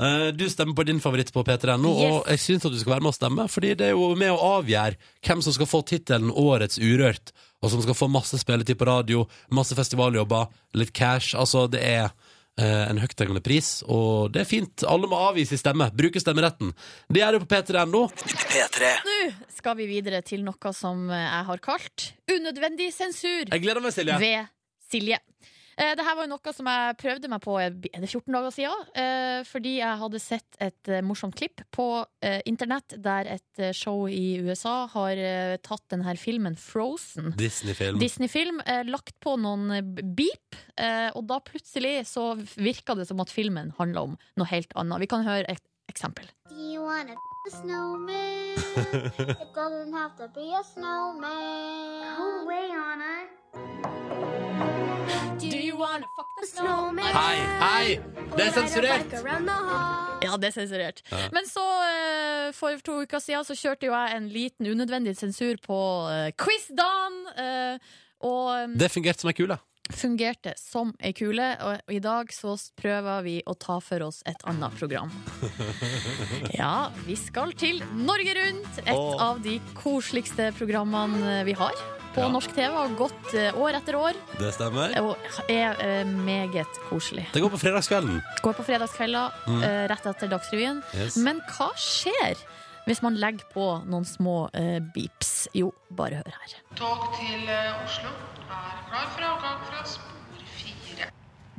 Eh, Du stemmer på din favoritt på p3.no,
Yes.
og jeg syns at du skal være med å stemme, fordi det er jo med å avgjøre hvem som skal få tittelen Årets Urørt, og som skal få masse spilletid på radio, masse festivaljobber, litt cash. Altså, det er eh, en høyttenkende pris, og det er fint. Alle må avgi sin stemme. Bruke stemmeretten. Det gjør du på p3.no.
Nå skal vi videre til noe som jeg har kalt unødvendig sensur
Jeg gleder meg, Silje.
ved Silje. Eh, Det her var jo noe som jeg prøvde meg på eh, er det 14 dager siden. eh, Fordi jeg hadde sett et eh, morsomt klipp på eh, internett der et eh, show i USA har eh, tatt denne filmen Frozen.
Disney-film.
Disney-film, eh, lagt på noen eh, beep, eh, og da plutselig så virka det som at filmen handla om noe helt annet. Vi kan høre et eksempel.
Do you wanna be a
<laughs>
snowman? it doesn't have to be a snowman. Go away, Anna.
Hei, hei! Det er sensurert!
Ja, det er sensurert. Men så, eh, for to uker siden, så kjørte jo jeg en liten unødvendig sensur på eh, Quiz-Dan. eh, Og
Det fungerte som ei kule.
fungerte som ei kule, og i dag så prøver vi å ta for oss et annet
<laughs>
program. Ja, vi skal til Norge Rundt, et
Åh.
av de koseligste programmene eh, vi har på
Ja.
norsk TV, har gått eh, år etter år,
Det stemmer.
og er eh, meget koselig.
Det går på fredagskvelden.
Går på fredagskvelder,
Mm.
eh, rett etter Dagsrevyen.
Yes.
Men hva skjer hvis man legger på noen små eh, beeps? Jo, bare hør her.
Tog til eh, Oslo er klar for avgang fra spor 4.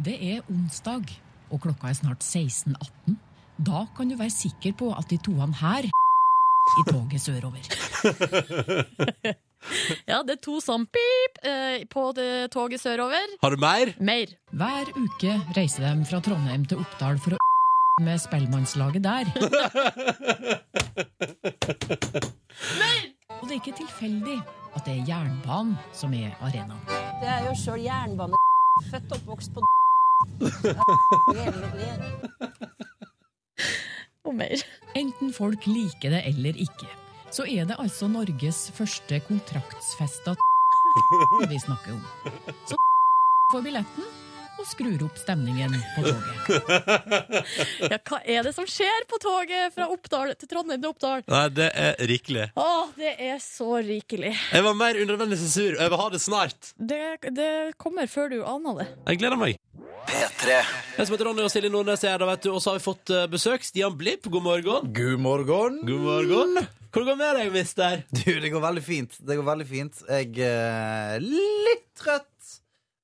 Det er onsdag, og klokka er snart 16.18. Da kan du være sikker på at de toene her i toget sørover.
Ja, det er to sånn pip eh, på det toget sørover.
Har du mer?
Mer.
Hver uke reiser de fra Trondheim til Oppdal for å <laughs> med Spellemannslaget
<laughs>
der. Og det er ikke tilfeldig at det er jernbanen som er arenaen.
Det er jo sjøl jernbane <laughs> Født oppvokst på
<laughs> Og mer.
Enten folk liker det eller ikke, så er det altså Norges første kontraktsfesta <laughs> vi snakker om. Så <laughs> får billetten og skrur opp stemningen på toget.
<laughs> Ja, hva er det som skjer på toget fra Oppdal til Trondheim til Oppdal?
Nei, det er rikelig.
Å, det er så rikelig.
Jeg var mer unødvendig så sur. Jeg vil ha det snart.
Det, det kommer før du aner det.
Jeg gleder meg. Jeg som heter Ronny og Silje Nordnes er her, da, vet du. Og så har vi fått eh, besøk. Stian Blipp, god morgen.
God morgen.
God morgen. Hvordan går det med deg, mister?
Du, det går veldig fint. Det går veldig fint. Jeg er litt trøtt,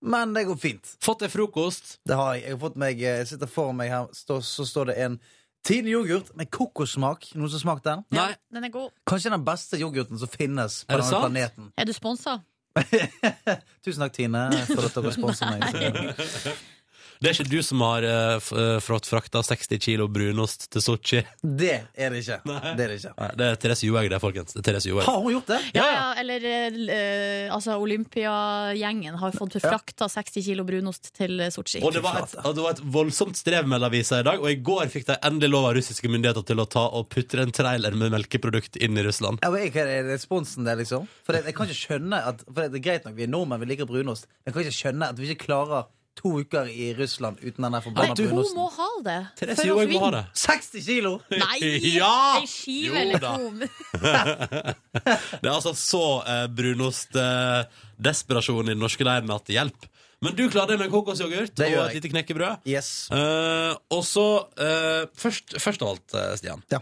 men det går fint.
Fått deg frokost?
Det har jeg. Jeg har fått meg, eh, jeg sitter foran meg her, stå, så står det en Tine yoghurt med kokossmak. Noen som har smakt den?
Nei.
Den er god.
Kanskje den beste yoghurten som finnes på
Er det
denne
sant?
planeten.
Er du sponsa?
Tusen takk, Tine, for at dere
<laughs>
sponser meg.
Det er ikke du som har eh, f- eh, fått frakta 60 kilo brunost til Sotsji.
Det er det ikke. Det er det ikke.
Nei, Det er Therese Johaug der, folkens. Det er Therese Johaug.
Har hun gjort det?
Ja, ja, eller eh, altså, Olympiagjengen har fått frakta 60 kilo brunost til Sotsji.
Og det var, et, og det var et voldsomt strev med avisa i dag, og i går fikk de endelig lov av russiske myndigheter til å ta og putte en trailer med melkeprodukt inn i Russland.
Ja, men jeg, er det responsen der, liksom? For jeg, jeg kan ikke skjønne at For det er greit nok, vi er nordmenn, vi liker brunost. Men jeg kan ikke skjønne at vi ikke klarer to uker i Russland uten den der
Nei,
forbanna
hun må
brunosten.
ha det.
Therese Johaug må ha det.
60 kilo!
<laughs>
Nei!
Ja!
Ei skive
Jo
eller
da.
to. <laughs>
Det er altså så eh, brunost-desperasjon i den norske leiren at det hjelper. Men du klarer det med kokosyoghurt
Det
og
gjør
et
jeg.
lite knekkebrød.
Yes.
Eh, og så eh, først, først av alt, eh, Stian.
Ja.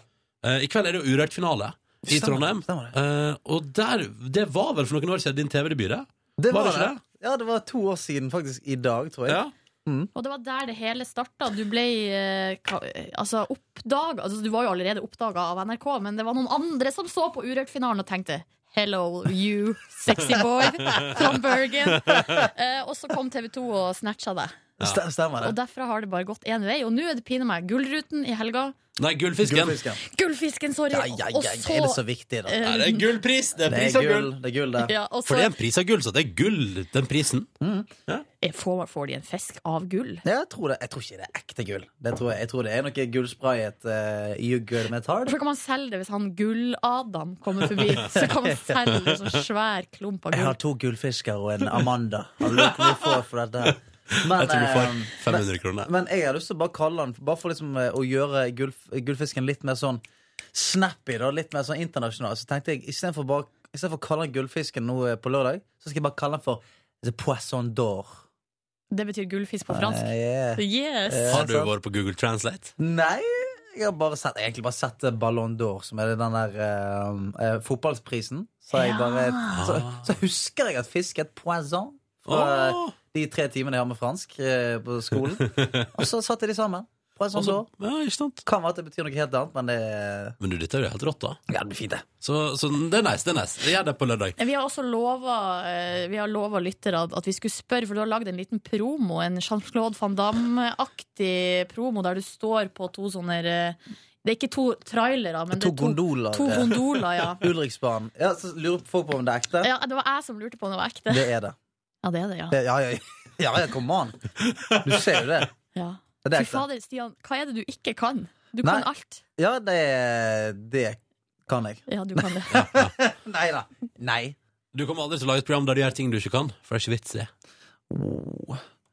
Eh, I kveld er det jo Urørt-finale i
Stemmer,
Trondheim.
stemmer det.
Eh, og der, det var vel for noen år siden din TV-debut, det?
Det
Var
var,
det ikke
det. Ja, det var to år siden faktisk i dag, tror jeg.
Ja.
Og det var der det hele starta. Du ble eh, ka- altså, oppdaga altså, Du var jo allerede oppdaga av NRK, men det var noen andre som så på Urørt-finalen og tenkte Hello, you sexy boy from Bergen.
<laughs>
Eh, og så kom TV 2 og snatcha deg.
Stem- Stemmer
Og
det.
derfra har det bare gått én vei. Og nå er det pinadø meg Gullruten i helga.
Nei, Gullfisken.
Gullfisken.
Gullfisken, sorry!
Ja, ja, ja, ja. Er
Og
det
så
så viktig, da?
Nei, det er gullpris! Eh, Det er
Det
pris
er
av gull.
gull, det er gull der.
ja, og
For det
så
er en pris av gull, så det er gull, den prisen.
Eh, får, får de en fisk av gull.
Ja, jeg tror, det. jeg tror ikke det er ekte gull. Det tror jeg, jeg tror det er noe gullsprayet uh, You good metard.
Så kan man selge det hvis han Gull-Adam kommer forbi.
<laughs>
Så kan man selge en sånn svær klump av
Jeg
gull.
har to gullfisker og en Amanda. Har du lyst til å få for dette? her? Men,
Jeg tror du får
eh,
500 kroner.
Men jeg har lyst til å bare kalle den Bare for liksom eh, å gjøre gullf gullfisken litt mer sånn snappy, da, litt mer sånn internasjonal. Så tenkte jeg istedenfor bare- istedenfor å kalle den gullfisken nå eh, på lørdag, så skal jeg bare kalle den for The Poisson d'Or.
Det betyr gullfisk på fransk.
Eh, yeah.
Yes!
Eh,
Har du
sant?
vært på Google Translate?
Nei, jeg har bare sett, jeg har egentlig bare sett eh, Ballon d'Or, som er den der eh, eh, fotballprisen. Så, jeg
Ja.
bare, så, så husker jeg at fisk er et poisson. Fra,
Åh!
de tre timene jeg har med fransk eh, på <laughs> skolen. Og så satte jeg de sammen. På en sånn
Altså,
år.
ja, ikke sant?
Kan være at det betyr noe helt annet, men det,
Men du, dette er jo helt rått, da.
ja, det blir fint, det.
Så, så det er nice. det er nice. Jeg gjør det på lørdag.
Vi har også lova, eh, vi har lova lyttere at- at vi skulle spørre, for du har lagd en liten promo. En Jean-Claude van Damme-aktig promo der du står på to sånne eh, Det er ikke to trailere, men det
To
er to,
gondoler.
to
eh,
gondoler.
<laughs>
Ja.
Ulriksbanen. Ja, så lurer folk på om det er ekte.
ja, Det var jeg som lurte på om det var ekte.
Det er det.
Ja, det er det, ja.
Det- Ja, ja, ja, ja kom an. Du ser jo det.
ja.
Det
Fy
er ekte.
fader, Stian, hva er det du ikke kan? Du
Nei.
kan alt.
Ja, det, det kan jeg.
Ja, du kan det.
Nei da. Nei.
Du kommer aldri til å lage et program der du gjør ting du ikke kan. For det er ikke vits i.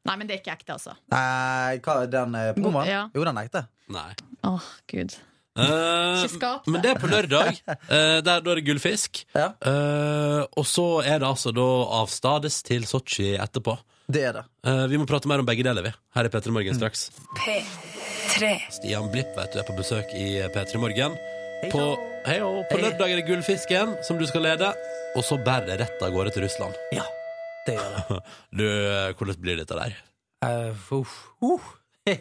Nei, men det er ikke ekte, altså.
Nei, hva er den eh, promoen?
Ja.
Jo, den er ekte.
Nei.
Å, gud.
Eh,
Ikke skap det.
men det er på lørdag. Eh, der, da er det gullfisk.
Ja.
Eh, og så er det altså da avstades til Sotsji etterpå.
Det er det.
Eh, vi må prate mer om begge deler, vi. Her er P3 Morgen straks. Stian Blipp vet du er på besøk i eh, P3 Morgen. På, hei og, på
Hei.
lørdag er det Gullfisken som du skal lede, og så bærer det rett av gårde til Russland.
Ja, det gjør det.
Du, eh, hvordan blir dette der?
Eh, uff. Uh. <laughs>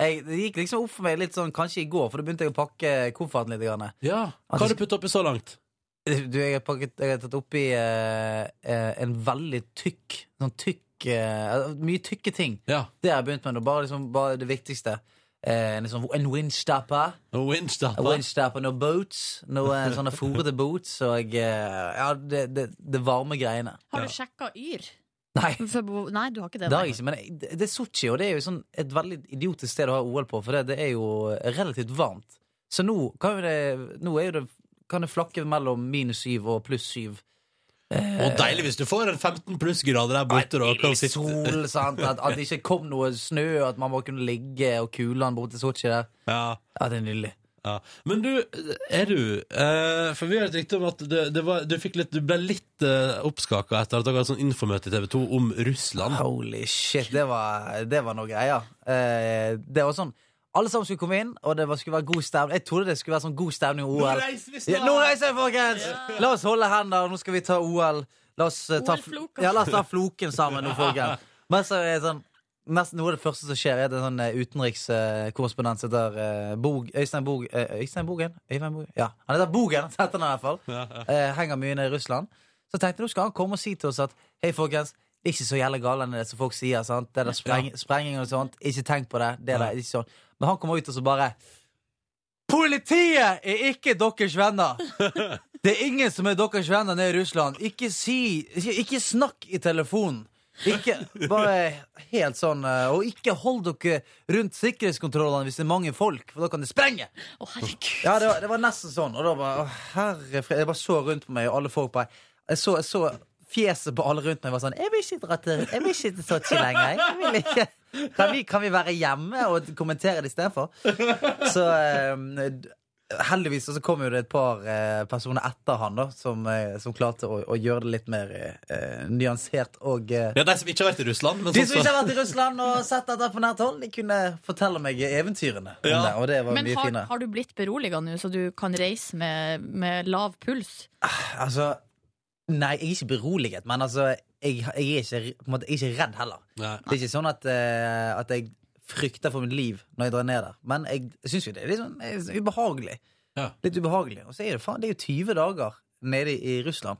Jeg, det gikk liksom opp for meg litt sånn kanskje i går, for da begynte jeg å pakke kofferten litt. Grann.
Ja, Hva har du putta oppi så langt?
Du, jeg har, pakket, jeg har tatt oppi eh, eh, en veldig tykk Sånn tykk eh, Mye tykke ting. Det har jeg begynt med nå. Bare, liksom, bare det viktigste. Eh, en liksom, en windstopper.
Windstopper.
En windstopper noen boots. Noen sånne fòrete boots og eh, Ja, det, det, det varme greiene.
Har du sjekka Yr?
Nei.
For bo- nei, du har ikke det?
Det har
nei.
jeg ikke, men jeg- det det er Sotsji, og det er jo sånn et veldig idiotisk sted å ha OL på, for det, det er jo relativt varmt. Så nå kan jo det, nå er jo det, kan det flakke mellom minus syv og pluss syv.
Og deilig hvis du får en 15 pluss grader der borte. Da, kan du sitte-
Sol, sant? At, at det ikke kom noe snø, at man bare kunne ligge og kulene borte til Sotsji der.
Ja.
det er nydelig.
Ja. Men du, er du eh, For vi har et rykte om at det, det var, du, fikk litt, du ble litt eh, oppskaka etter at dere hadde sånn infomøte i TV 2 om Russland.
Holy shit, det var, det var noe greier. Eh, det var sånn alle sammen skulle komme inn, og det var, skulle være god stemning. Jeg trodde det skulle være sånn god stemning om OL.
Nå reiser vi snart!
Ja, nå reiser vi, folkens! La oss holde hender, nå skal vi ta OL. La oss, eh, ta,
OL-floka.
ja, la oss ta floken sammen nå, folkens. Men så er det sånn Nesten noe av det første som skjer, er det en sånn utenrikskorrespondent som heter eh, Bog, Øystein Bog, eh, Øystein Bogen? Øyvind Bogen? Ja. Han heter Bogen, <laughs> heter han i hvert fall. Eh, henger mye ned i Russland. Så tenkte jeg, nå skal han komme og si til oss at Hei folkens, det er ikke så jævla gale enn det som folk sier. Sant? Det der spreng, Sprenging og sånt. Ikke tenk på det. det der, er ikke sånn. Men han kommer ut og så bare Politiet er ikke deres venner! <laughs> Det er ingen som er deres venner nede i Russland. Ikke si Ikke, ikke snakk i telefonen. Ikke, bare helt sånn eh, Og ikke hold dere rundt sikkerhetskontrollene hvis det er mange folk, for da kan det sprenge! Ja, det var, det var nesten sånn. Og da bare, å, herre fred, Jeg bare så rundt på meg, og alle folk bare Jeg så, jeg så fjeset på alle rundt meg var sånn Jeg vil ikke dra til, jeg vil ikke til Sotsji lenger. Jeg vil ikke. Kan, vi, kan vi være hjemme og kommentere det istedenfor? Så eh, heldigvis så kom jo det et par eh, personer etter han da som, eh, som klarte å, å gjøre det litt mer eh, nyansert og eh,
Ja, De som ikke har vært i Russland. Men
de
sånn
som
så-
ikke har vært i Russland og sett dette på nært hold, de kunne fortelle meg eventyrene. om
Ja.
Det, og det var
Men
mye
har,
finere.
har du blitt beroliga nå, så du kan reise med, med lav puls?
Altså, nei, jeg er ikke beroliget, men altså, jeg, jeg, er, ikke, på en måte, jeg er ikke redd heller. Det er ikke sånn at, eh, at jeg frykter for mitt liv når jeg drar ned der, men jeg syns jo det er litt sånn eh, ubehagelig. Litt ubehagelig. Og så er det faen, det er jo 20 dager nede i Russland.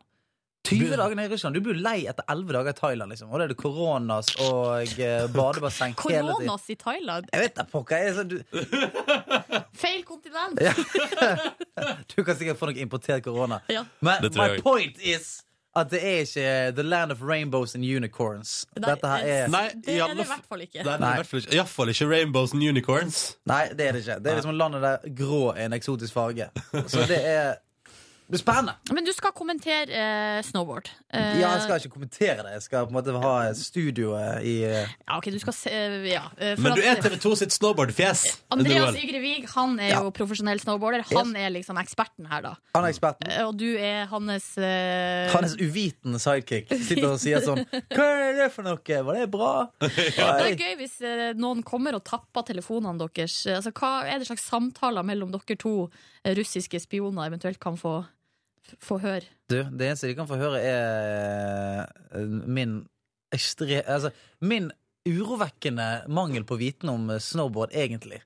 20 dager nede i Russland, Du blir jo lei etter 11 dager i Thailand, liksom. Og da er det koronas og eh,
<laughs>
badebasseng hele tiden.
Koronas i Thailand?
Jeg vet da pokker. jeg er sånn- du-
Feil kontinent!
Ja. Du kan sikkert få noe importert korona.
<laughs> Ja.
Men
Det tror
my
jeg.
point is at det er ikke the land of rainbows and unicorns.
Nei,
Dette her er
Nei, i alle
det i
fall-
hvert fall
Nei,
ikke.
det er i hvert fall ikke- i hvert fall ikke Rainbows and Unicorns.
Nei, det er det ikke. Det er liksom landet der grå er en eksotisk farge. Så det er Det er spennende.
Men du skal kommentere eh, snowboard. Eh,
Ja, jeg skal ikke kommentere det. Jeg skal på en måte ha studioet i
ja, ok, du skal se eh, ja. eh, for
Men du
at-
er TV2 sitt snowboardfjes.
Andreas
Du er-
Ygre Wiig han er jo profesjonell snowboarder. Han er liksom eksperten her, da.
Han er eksperten.
Eh, Og du er hans eh,
Hans uvitende sidekick sitter og sier sånn Hva er det for noe? Var det bra?
<laughs> Det
Nei.
er gøy hvis eh, noen kommer og tapper telefonene deres. Eh, Altså, hva er det slags samtaler mellom dere to eh, russiske spioner eventuelt kan få, få høre?
Du, det eneste de kan få høre, er eh, min ekstre... Altså, min urovekkende mangel på viten om eh, snowboard, egentlig.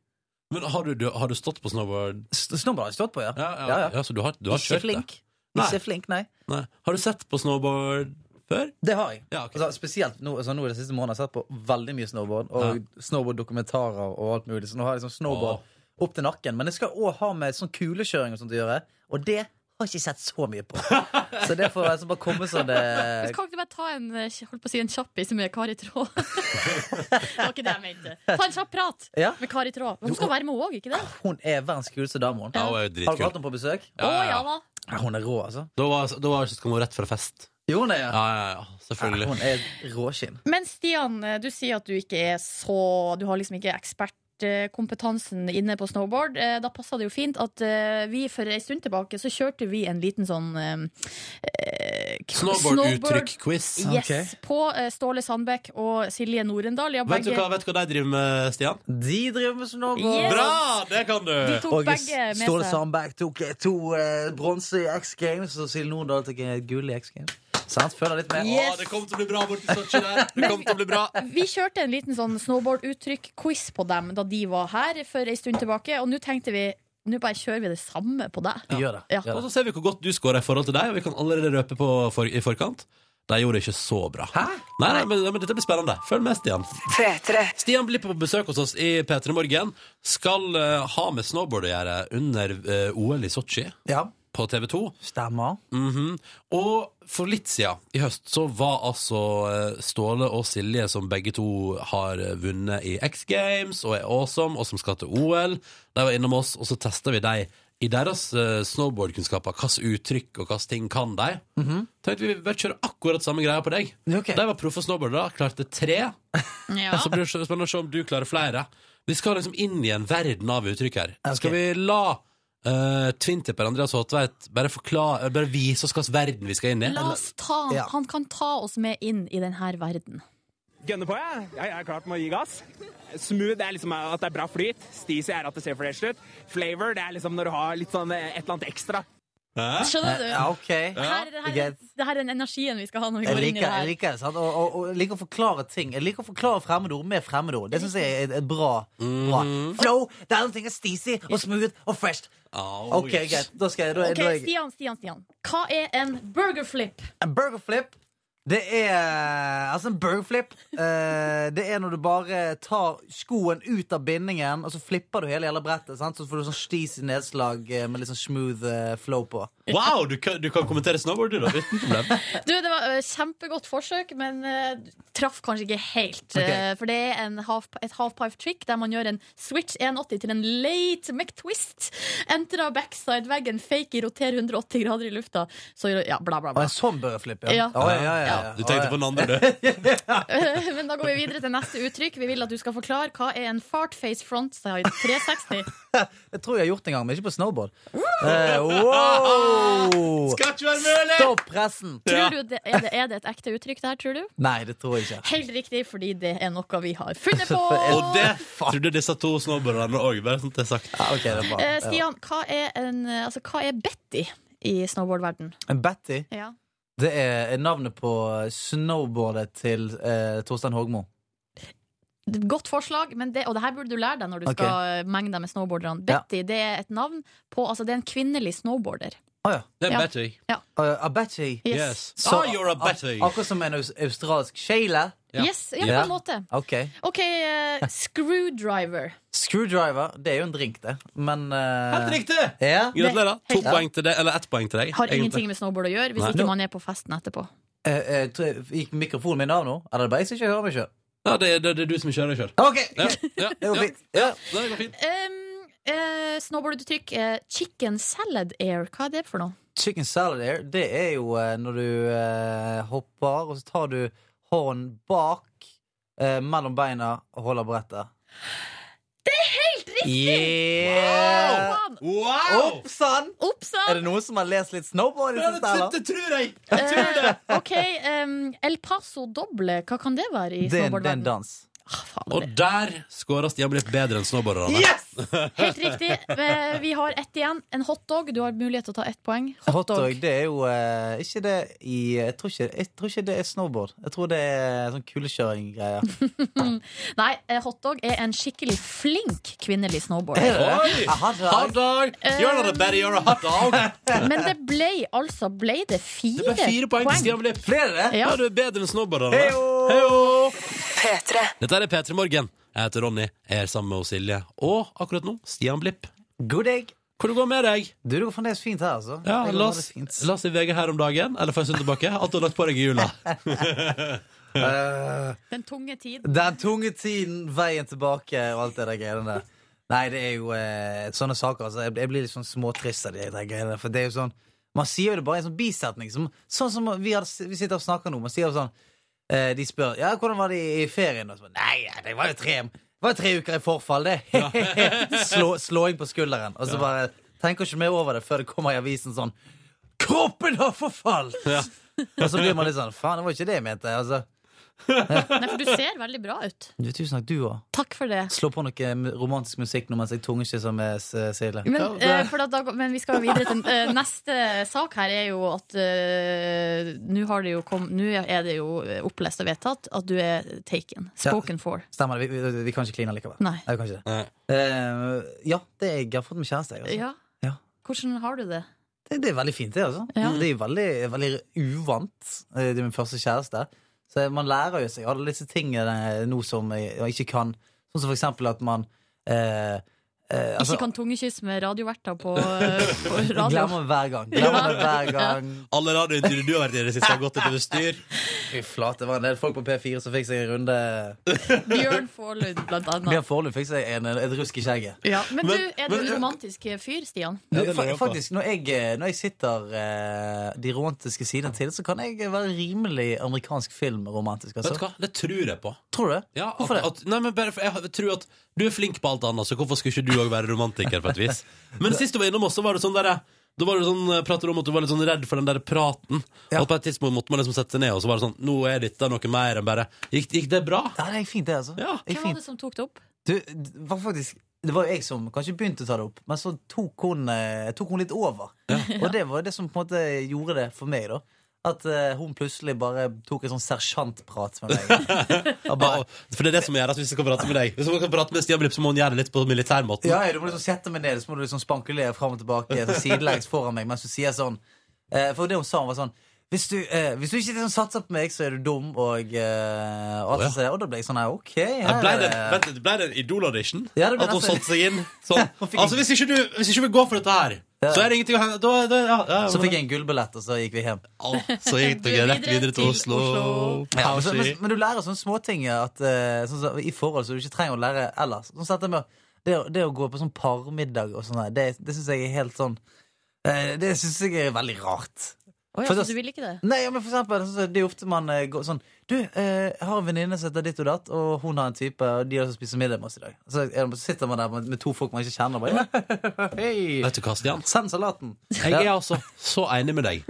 Men har du, du, har du stått på snowboard?
Snowboard har jeg stått på, ja.
Ja,
Ja, ja.
ja, så du har, du har
Ikke
kjørt det?
flink.
Nei.
Ikke flink, nei.
Nei. Har du sett på snowboard før?
Det har jeg.
Ja, ok.
altså, spesielt nå, altså, nå i det siste måneden har jeg sett på veldig mye snowboard, og snowboard-dokumentarer og alt mulig. Så nå har jeg liksom snowboard opp til nakken. Men det skal òg ha med sånn kulekjøring og sånt å gjøre, og det har jeg ikke sett så mye
<laughs>
på. så det får altså bare komme som det
Men Kan ikke du bare ta en, eh, holdt på å si en kjappis med Kari <laughs> Tråd? det var ikke det jeg mente. Ta en kjapp prat
Ja.
med Kari Tråd. Hun skal være med òg, ikke det?
Hun er verdens kuleste dame. Hun.
Ja, hun er jo dritkul.
Har dere hatt henne på besøk?
Å ja da.
Ja, hun er rå, altså.
Da var, da var så kom hun rett fra fest.
Jo, hun er ja.
Ja, ja, ja, selvfølgelig.
Hun er råskinn.
Men Stian, eh, du sier at du ikke er så Du har liksom ikke ekspertkompetansen inne på snowboard. Eh, Da passer det jo fint at eh, vi for ei stund tilbake så kjørte vi en liten sånn eh, k-
Snowboard-uttrykk-quiz.
snowboard- Yes. På eh, Ståle Sandbekk og Silje Norendal. Ja,
Vet du
begge-
hva, vet du hva de driver med, Stian?
De driver med sånn snowboard.
Yes.
Bra! Det kan du!
De tok
Og
begge med
Ståle
seg.
Sandberg tok eh, to eh, bronse i X Games, og Silje Nordahl tok et gull i X Games. Sant? Føler litt med.
Å,
Yes.
det kommer til å bli bra borti Sotsji
<laughs>
der. Det kommer til å bli bra.
Vi kjørte en liten sånn snowboarduttrykk-quiz på dem da de var her for ei stund tilbake, og nå tenkte vi nå bare kjører vi det samme på deg.
Gjør det.
Ja.
Gjør
Og
det.
så ser vi hvor godt du scorer i forhold til deg, og vi kan allerede røpe på for, i forkant. De gjorde det ikke så bra. Hæ? Nei, nei, men, men dette blir spennende. Følg med, Stian. Stian blir på besøk hos oss i P3 Morgen. Skal eh, ha med snowboard å gjøre under eh, OL i Sotsji
Ja.
på TV 2.
Stemmer.
Mhm. Og for litt siden i høst så var altså eh, Ståle og Silje, som begge to har eh, vunnet i X Games og er awesome, og som skal til OL, de var innom oss, og så testa vi dem i deres eh, snowboardkunnskaper. Hvilke uttrykk og hvilke ting kan de? Tenkte vi bare kjøre akkurat samme greia på deg.
Ok.
De var proffe snowboardere, klarte tre.
Ja.
Så blir det så spennende å se om du klarer flere. Vi skal liksom inn i en verden av uttrykk her. Skal vi la uh, twintipper Andreas Håtveit bare, forklare- bare vise oss hvilken verden vi skal inn i?
La oss ta han.
Ja.
Han kan ta oss med inn i denne verden.
Gønner på, jeg. Jeg er klar til å gi gass. Smooth det er liksom at det er bra flyt. Steezy er at det ser fresh ut. Flavor det er liksom når du har litt sånn eh, et eller annet ekstra.
Hæ?
Skjønner du?
Ja, OK. Jeg
Her, her,
Greit.
det her er den energien vi skal ha når vi går inn i
liker,
det
jeg
her.
liker det. sant? Og, og, og jeg liker å forklare ting. Jeg liker å forklare fremmedord med fremmedord. Det syns jeg er et- et bra. bra. Flow, det er noen ting er steezy og smooth og fresh.
Au,
OK,
yes.
greit. Da skal jeg, da,
Ok,
da er jeg
Stian, Stian, Stian. Hva er en burger flip?
En burger flip det er Altså, en burger flip eh, Det er når du bare tar skoen ut av bindingen, og så flipper du hele jævla brettet. Sant? Så får du sånn stis i nedslag eh, med litt sånn smooth eh, flow på.
Wow, du kan, du kan kommentere snowboard, du, da. Uten problem.
Du, Det var eh, kjempegodt forsøk, men eh, du traff kanskje ikke helt. eh, For det er en half, et halfpipe trick der man gjør en switch 180 til en late McTwist. Entrer backside-veggen, fake i, roter 180 grader i lufta. Så gjør- ja, bla, bla,
Og
bla.
en sånn burger flip, ja.
Ja.
Å, ja, ja, ja,
Du tenkte på den
<laughs>
andre, du.
<laughs> Men da går vi videre til neste uttrykk. Vi vil at du skal forklare hva er en fartface frontside 360.
Det tror jeg jeg har gjort en gang, men ikke på snowboard. Eh, wow!
Skal ikke være mulig!
Stopp pressen!
<laughs> Ja.
Tror du det, er, det, er det et ekte uttrykk der, tror du?
Nei, det tror jeg ikke.
Helt riktig, fordi det er noe vi har funnet
<laughs>
på.
Og det trodde disse to snowboarderne òg, bare sånn at det er sagt.
Ja, ok, det er bra.
Eh, Stian, hva er, en, eh, altså, hva er Betty i snowboardverden?
En Betty,
Ja.
det er navnet på snowboardet til eh, Torstein Hågmo.
Godt forslag, men det, og det her burde du lære deg når du
Ok.
skal eh, menge deg med snowboarderne.
Ja.
Betty det er et navn på Altså, det er en kvinnelig snowboarder.
Det er
Ja.
Betty.
Uh, Abachi.
Yes.
Yes.
Ah, you're a Betty.
ak- Akkurat som en aus australsk shale.
Ja.
Yes, ja, på
Ja.
en måte.
Ok.
OK, eh, screwdriver.
Screwdriver, det er jo en drink, det. Men eh,
Helt riktig!
Ja.
Gratulerer. To
Ja.
poeng til deg, eller ett poeng til deg.
Har
egentlig.
ingenting med snowboard å gjøre, hvis
Nei.
ikke man er på festen etterpå.
Eh, eh, tror jeg- gikk mikrofonen min av nå? Eller er det bare jeg som ikke hører meg sjøl?
Ja, det, er- det, det er du som kjører sjøl.
OK!
Ja, ja,
<laughs> Det
ja.
går fint. Ja.
Det går fint.
Um, eh, snowboarduttrykk eh, chicken salad air. Hva er det for noe?
Chicken salad air, det er jo eh, når du eh, hopper, og så tar du hånden bak eh, mellom beina og holder brettet. Det er helt riktig! Yeah!
Wow!
Opp sann!
Ops
Eh, Er det noen som har lest litt snowboard i det
Ja,
siste, eller?
det, det tror jeg!
Eh, <laughs> OK, um, El Paso doble. Hva kan det være
Det er
i
en- det er en
snowboardverden?
dans.
Ah, faen,
Og
det-
der skåra Stian blitt bedre enn snowboarderne.
Helt riktig. Eh, Vi har ett igjen. En hotdog. Du har mulighet til å ta ett poeng.
Hotdog, det er jo eh, ikke det i jeg tror ikke, jeg tror ikke det er snowboard. Jeg tror det er sånn kulekjøringgreier.
Nei, eh, hotdog er en skikkelig flink kvinnelig snowboarder.
Oi!
Jeg hadde
Hot
det.
dog! You're not a Betty, you're a hot dog!
Eh,
Men det ble altså ble det fire,
Det ble fire poeng til Stian Blipp.
Flere det?
Ja.
Ja, du er bedre enn snowboarderne.
Heyo!
Dette er P3 Morgen. Jeg heter Ronny, jeg er sammen med Silje. Og akkurat nå Stian Blipp.
God dag.
Hvor det går med deg?
Du, det går fremdeles fint her, altså.
Ja,
Det går
la oss,
veldig fint.
la oss i VG her om dagen, eller for en stund tilbake, at du har lagt på deg i
<laughs>
jula.
Eh,
Den tunge tiden.
den tunge tiden, veien tilbake og alt det der greiene der. Nei, det er jo eh, sånne saker. Altså. Jeg, jeg blir litt sånn småtrist av de der greiene. For det er jo sånn Man sier jo det bare i en sånn bisetning. Som, sånn som vi, har, vi sitter og snakker nå. Man sier jo sånn eh, De spør ja, hvordan var det i ferien. Og så, bare, Nei, ja, det var jo tre det var jo tre uker i forfall, det. <laughs> Slå, slåing på skulderen. Og så bare tenker ikke mer over det før det kommer i avisen sånn Kroppen har forfalt! Og så blir man litt sånn Faen, det var ikke det jeg mente. Altså,
Nei, for du ser veldig bra ut.
Du, tusen takk, du òg.
Takk for det.
Slå på noe m- romantisk musikk nå mens jeg tungekyssa med S- Silje.
Men, eh, for da- da, men vi skal videre til eh, neste sak her er jo at eh, nå har det jo kom- Nå er det jo opplest og vedtatt at du er taken. Spoken for.
Stemmer det. Vi, vi, vi kan ikke kline likevel.
Nei.
vi kan ikke det. Eh, ja, det er, jeg har fått meg kjæreste. Jeg, altså.
Ja.
Ja.
Hvordan har du det?
det, det er veldig fint, det. altså
Ja.
Det er jo veldig, veldig uvant. eh, Det er min første kjæreste. Så man lærer jo seg alle disse tingene eh, nå som jeg jeg ikke kan. Sånn som for eksempel at man eh, eh, altså,
Ikke kan tungekysse med radioverter på, eh, på radio.
Glemmer hver gang. Glemmer det hver gang.
Alle radiointervjuer du har vært i det siste, har gått utover styr.
Fy flate, det var en del folk på P4 som fikk seg en runde
Bjørn Forlund, blant
Bjørn
annet.
Forlund fikk seg en, et rusk i skjegget.
Ja. Men du, er du
men-
en romantisk fyr, Stian?
Du, fa- faktisk, når jeg, når jeg sitter eh, de romantiske sidene til, så kan jeg være rimelig amerikansk filmromantisk. Altså.
Vet du hva? Det tror jeg på.
Tror du det?
Ja, at, at, nei, men bare, for jeg tror at du er flink på alt annet, så hvorfor skulle ikke du òg være romantiker? på et vis
<laughs>
Men sist du var innom oss, så var det sånn derre da var det sånn, eh, prater om at du var litt sånn redd for den der praten. Og på et tidspunkt måtte man liksom sette seg ned, og så var det sånn Nå er dette noe mer enn bare Gikk, gikk det bra?
Ja, det gikk fint, det, altså.
Ja.
Det gikk
Hvem var
fint.
det som tok det opp?
Du, det var faktisk det var jo jeg som kanskje begynte å ta det opp, men så tok hun, eh, tok hun litt over. <laughs> Og det var det som på en måte gjorde det for meg, da. At eh, hun plutselig bare tok en sånn sersjantprat med meg. Og bare,
For det er det som gjør at hvis jeg kan prate med deg Hvis man kan prate med Stian Blipp, så må han gjøre det litt på militærmåten.
Ja, ja, du må liksom sette meg ned, så må du liksom spankulere fram og tilbake så sidelengs foran meg mens du sier sånn eh, For det hun sa, hun var sånn hvis du, eh, hvis du ikke liksom satser på meg, så er du dum, og eh, og alt det der. Og da ble jeg sånn her, OK.
Ja,
Her,
Ble det,
er-
vent litt, ble det en Idol-audition?
Ja, det ble
at hun
nesten-
satte seg
<laughs>
inn sånn? Altså, hvis ikke, du, hvis ikke vi går for dette her, så er det ingenting å hente da, da, ja, ja,
Så fikk jeg en gullbillett, og så gikk vi hjem.
<laughs> Så gikk dere rett videre til Oslo.
Ja, men, så-
Pausi.
men, men du lærer sånne småting at, eh, sånn, som- i forhold som du ikke trenger å lære ellers. Sånn sett det med å- det, å- det å gå på sånn parmiddag og sånn der, det, det syns jeg er helt sånn eh, Det syns jeg er veldig rart. For
Å ja,
da-
så Altså, du vil ikke det?
Nei, ja, men for eksempel, sånn som det er ofte man eh, går sånn Du, eh, jeg har en venninne som heter ditt og datt, og hun har en type, og de har også spist middag med oss i dag. Så er det- sitter man der med, med to folk man ikke kjenner, og
<laughs>
bare ja, hei,
Vet du hva, Stian?
send salaten.
Jeg er altså så enig med deg.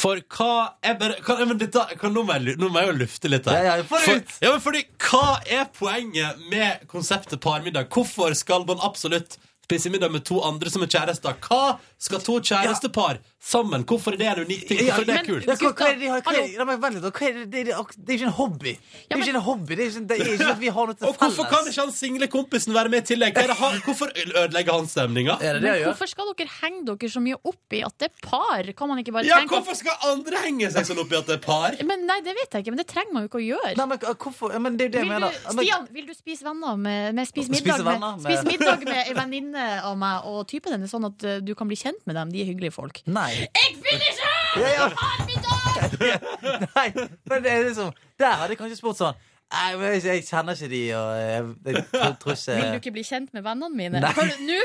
For hva er bare, hva, men dette, hva, nå, må jeg, lu- nå må jeg jo lufte litt her.
Ja, ja, få det ut!
ja, men fordi, hva er poenget med konseptet parmiddag? Hvorfor skal man absolutt spise middag med to andre som er kjærester? Hva skal to kjærestepar sammen? Hvorfor er det en unik ting? Hvorfor er det
men-
kult?
Ja, hva, hva er det de har, hva er, det- ja, men, vent litt, hva er det, det, er- det er jo ikke en hobby. Det er jo ikke en hobby, det er ikke, det er ikke at vi har noe til
Og hvorfor kan ikke han single kompisen være med i tillegg? Hva er det <laughs> han, hvorfor ødelegger han stemninga?
Men hvorfor skal dere henge dere så mye opp i at det er par? Kan man ikke bare
Ja,
tenke at-
hvorfor skal andre henge seg sånn opp i at det er par?
Men nei, det vet jeg ikke, men det trenger man jo ikke å gjøre.
Nei, men hvorfor? Ja, men det er jo det jeg
vil
mener.
du,
Ja, men-
Stian, vil du spise venner med, med spise
Spise
middag med,
venner med-
spise middag med en venninne av meg og typen hennes, sånn at eh, du kan bli kjent med dem? De er hyggelige folk.
Nei.
Jeg vil ikke!
Ja, ja. <laughs> Nei, men det er liksom Der hadde jeg kanskje spurt sånn Nei, men jeg, jeg kjenner ikke de, og jeg, jeg tror, tror ikke
Vil du ikke bli kjent med vennene mine?
Nei.
Hør, nå,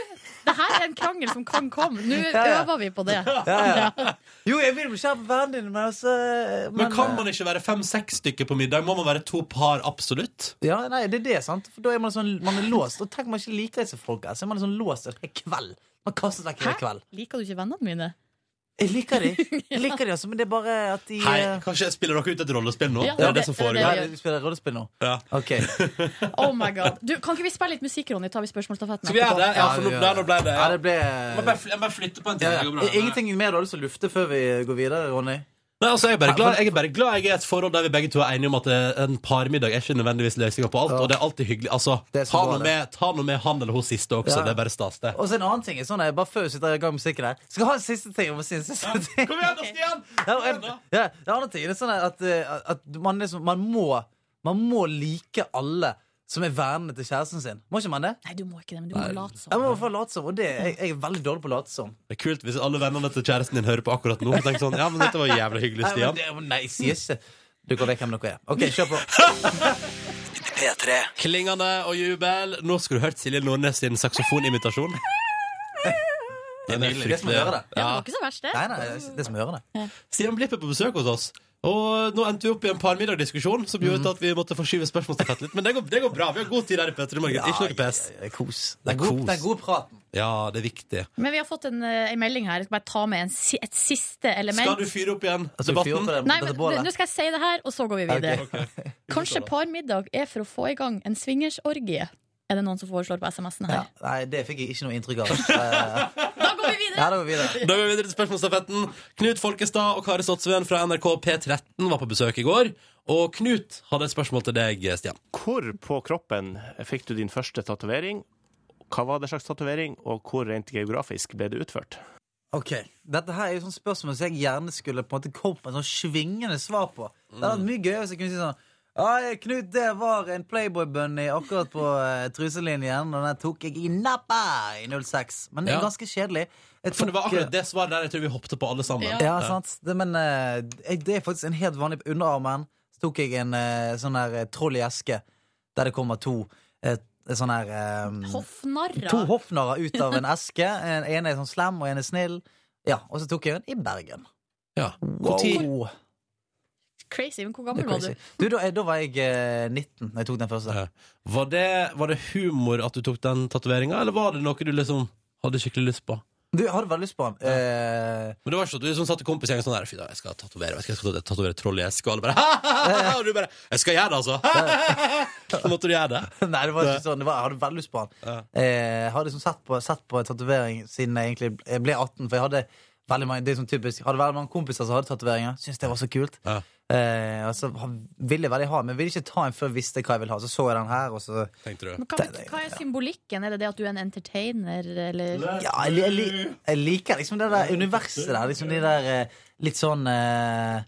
det her er en krangel som kan komme. Nå
Ja, ja.
øver vi på det.
ja, ja. Jo, jeg vil bli kjent med vennene dine, men altså
Men eh, kan man ikke være fem-seks stykker på middag? Må man være to par absolutt?
ja, nei, det er det, sant? For da er man sånn, man er låst. Og tenk man ikke liker disse folka. Så er man sånn låst en hel kveld. Man kaster vekk en hel kveld.
Liker du ikke vennene mine?
Jeg liker de. Jeg liker de, altså, men det er bare at de
Hei,
eh,
kanskje jeg spiller dere ut et rollespill nå?
Ja,
det er det
det-
som
det er det vi
foregår.
Nei, du spiller rollespill nå?
Ja.
Ok.
Oh my god. Du, kan ikke vi spille litt musikk, Ronny? Tar vi spørsmålstafetten
Skal vi gjøre det? Ja, for nå der nå ble det.
Ja,
Ja.
det ble
Jeg må bare fly- Jeg må bare flytte på en ting.
ja,
det går bra.
ja. Ingenting mer du har lyst til å lufte før vi går videre, Ronny?
Nei, altså, jeg, er bare glad, jeg er bare glad jeg er i et forhold der vi begge to er enige om at eh, en parmiddag er ikke nødvendigvis løsninga på alt. Og det er alltid hyggelig. Altså,
Det er så
ta,
bra,
noe
det.
med, ta noe med han eller hun siste også.
Ja.
Det er bare stas, det.
Og så en annen ting er sånn, jeg bare før vi sitter i gang med musikken her Skal jeg ha en siste ting? Jeg må si en siste ting
Kom igjen da, Stian!
ja, og en- ja, Det andre ting er sånn at, eh, at man, liksom, man, må, man må like alle som er vennene til kjæresten sin Må ikke man det?
Nei, du må ikke det, men du må late som.
Jeg må i hvert fall late som, og det, jeg, jeg er veldig dårlig på å late som
Det er kult hvis alle vennene til kjæresten din hører på akkurat nå. Og tenker sånn, ja, men dette var jævlig hyggelig,
Nei, men
Stian.
det- Nei, jeg sier ikke Du går vekk hvem dere er Ok, kjør på
Klingende og jubel. Nå skulle du hørt Silje Nordnes sin saksofonimitasjon.
Det er nydelig. Det er som å høre det.
Ja, det
Ja.
var ikke så verst, det.
Nei, nei, det er- det er som å høre det
Stian Blipp er på besøk hos oss. Og nå endte vi opp i en parmiddagdiskusjon som gjorde
Mhm.
at vi måtte forskyve spørsmålstafetten litt. Men det går, det går bra. Vi har god tid her i Petter i morgen. Ikke noe pes.
Det er kos
Det er
Den gode,
kos.
den gode praten
Ja, det er viktig.
Men vi har fått en, eh, en melding her. Jeg skal bare ta med en, si- et siste element.
Skal du fyre opp igjen
du fyrer Altså, opp
debatten?
på det-
Nei, men nå- Nå skal jeg si det her, og så går vi videre.
Ok, ok.
Kanskje parmiddag er for å få i gang en swingersorgie? Er det noen som foreslår på SMS-en her?
Nei, det fikk jeg ikke noe inntrykk av. Eh, Ja, da går vi videre.
Da går vi videre til spørsmålsstafetten. Knut Folkestad og Kari Sottsveen fra NRK P13 var på besøk i går. Og Knut hadde et spørsmål til deg, Stian.
Hvor på kroppen fikk du din første tatovering? Hva var det slags tatovering, og hvor rent geografisk ble det utført?
Ok, Dette her er jo sånn spørsmål som jeg gjerne skulle på en måte kommet med et sånn svingende svar på. Det hadde vært mye gøyere hvis jeg kunne si sånn Ja, Knut, det var en Playboy-bunny akkurat på eh, truselinjen, og den tok jeg i nappa i 06. Men det er
Ja.
ganske kjedelig. Jeg
For det var
tok,
akkurat det svaret der jeg tror vi hoppet på alle sammen.
Ja, sant. Det, men eh, jeg- det er faktisk en helt vanlig På underarmen så tok jeg en eh, sånn her eh, troll i eske, der det kommer to uh, sånne her eh,
Hoffnarra.
To hoffnarrer ut av en eske. En ene er sånn slem, og en er snill. Ja, Og så tok jeg den i Bergen.
Ja.
Wow.
Crazy, men hvor
Det
gammel
er
var
crazy.
du?
Du, da, da var jeg eh, 19 da jeg tok den første.
Var det, var det humor at du tok den tatoveringa, eller var det noe du liksom hadde skikkelig lyst på?
Du jeg hadde veldig lyst på den. Eh, <laughs>
Men det var ikke sånn at du liksom satt i kompisgjengen sånn der Fy da, jeg skal tatovere jeg skal tatovere et troll i eske, og alle bare <laughs> «Hahaha», Og du bare Jeg skal gjøre det, altså! <laughs> Så måtte du gjøre det.
Nei, det var ikke sånn. Det var, jeg hadde veldig lyst på den. Eh, jeg hadde liksom sett på, sett på tatovering siden jeg egentlig ble- jeg ble 18, for jeg hadde veldig mange, det er sånn typisk, jeg hadde veldig mange kompiser som hadde tatoveringer. Syntes det var så kult. Eh, og så ha- ville jeg veldig ha, men jeg ville ikke ta en før jeg visste hva jeg ville ha. Så så jeg den her, og så
Men hva, hva er symbolikken? Er det det at du er en entertainer, eller?
<laughs> Ja, jeg, li- jeg, li- jeg liker liksom det der universet der. Liksom de der eh, litt sånn eh,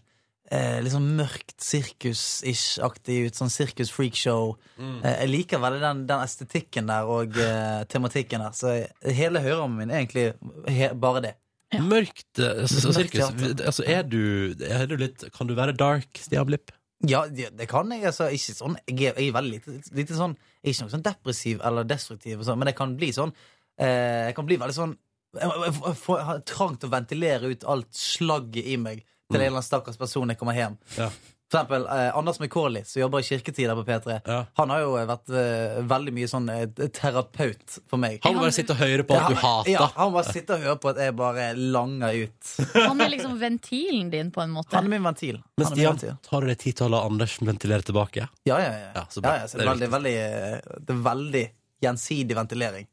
eh, Litt sånn mørkt sirkus-ish-aktig ut. Sånn sirkus-freakshow.
Mm.
Eh, jeg liker veldig den, den estetikken der og eh, tematikken der. Så jeg, hele høyrearmen min er egentlig he, bare det.
Mørkt eh, altså,
Mørkt
sirkus.
teater.
Altså, er du, er du litt Kan du være dark, Stian Blipp?
Ja, det, det kan jeg. Altså, ikke sånn, jeg, er, jeg er veldig lite, lite sånn Jeg er ikke noe sånn depressiv eller destruktiv, og sånn, men jeg kan bli sånn eh, Jeg kan bli veldig sånn Jeg, jeg, jeg, får- jeg har trang til å ventilere ut alt slagget i meg til en eller annen stakkars person jeg kommer hjem.
Mm. Ja.
For eksempel eh, Anders McCauley, som jobber i kirketid her på P3. Han har jo eh, vært eh, veldig mye sånn eh, terapeut for meg.
Han må bare sitte og høre på at du hater.
Ja, han må bare sitte og høre på at jeg bare langer ut.
<laughs>
Han er liksom ventilen din, på en måte.
Han er min ventil.
Men
Han er min
Stian,
ventil.
tar du deg tid til å la Anders ventilere tilbake?
Ja, ja, ja.
så
ja,
bra.
ja så det, er veldig, veldig, eh, det er veldig gjensidig ventilering.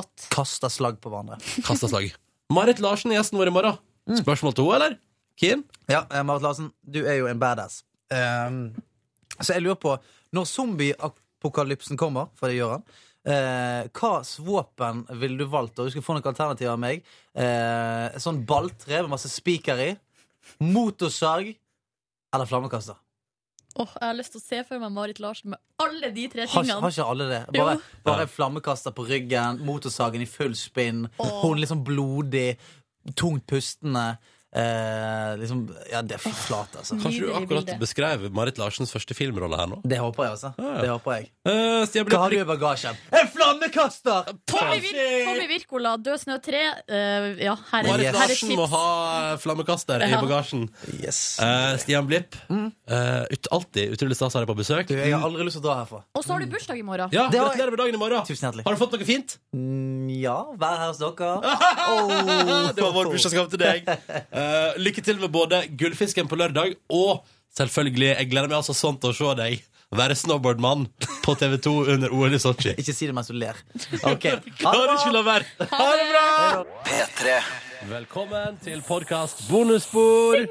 Godt.
Kaster slag på hverandre.
Kasta Mm. <laughs> slag. Marit Larsen er gjesten vår i morgen.
Mm.
Spørsmål til henne, eller? Kim?
Ja, eh, Marit Larsen, du er jo en badass. Ehm, så jeg lurer på, når zombieapokalypsen kommer, for det gjør han, eh, hva slags våpen ville du valgt? Og du skal få noen alternativer av meg. Eh, sånn balltre med masse spiker i. Motorsag. Eller flammekaster.
Åh, jeg har lyst til å se for meg Marit Larsen med alle de tre
Har,
tingene.
ikke- har ikke alle det?
Jo.
Bare, bare en flammekaster på ryggen, motorsagen i full spinn, hun liksom blodig, tungt pustende. Eh, liksom, ja, det er flat, altså.
Kanskje du akkurat beskrev Marit Larsens første filmrolle her nå?
Det håper jeg, altså. Det håper jeg.
Blipp-
Hva har du i bagasjen? En flammekaster!
Tommy, Vir Tommy Virkola, Død snø 3. eh, ja, her er,
Marit
her er
Larsen må
tips.
ha flammekaster i
Ja.
bagasjen. Eh, Stian Blipp, eh, ut, alltid utrolig stas å ha deg på besøk.
Mm. jeg har aldri lyst til å dra herfra.
Og så har du bursdag i morgen.
Mm. Ja, Gratulerer med dagen i morgen!
Tusen hjertelig. Mm,
Har du fått noe fint?
Ja, vær her hos dere.
<laughs>
<laughs> Det var vår bursdagsgave til deg. Eh, lykke til med både Gullfisken på lørdag og selvfølgelig Jeg gleder meg altså sånn til å se deg være snowboardmann på TV2 under OL i Sotsji.
Ikke si det mens
<laughs>
du ler. Ok.
Klarer ikke la være. Ha det bra!
P3.
Velkommen til podkast bonusspor.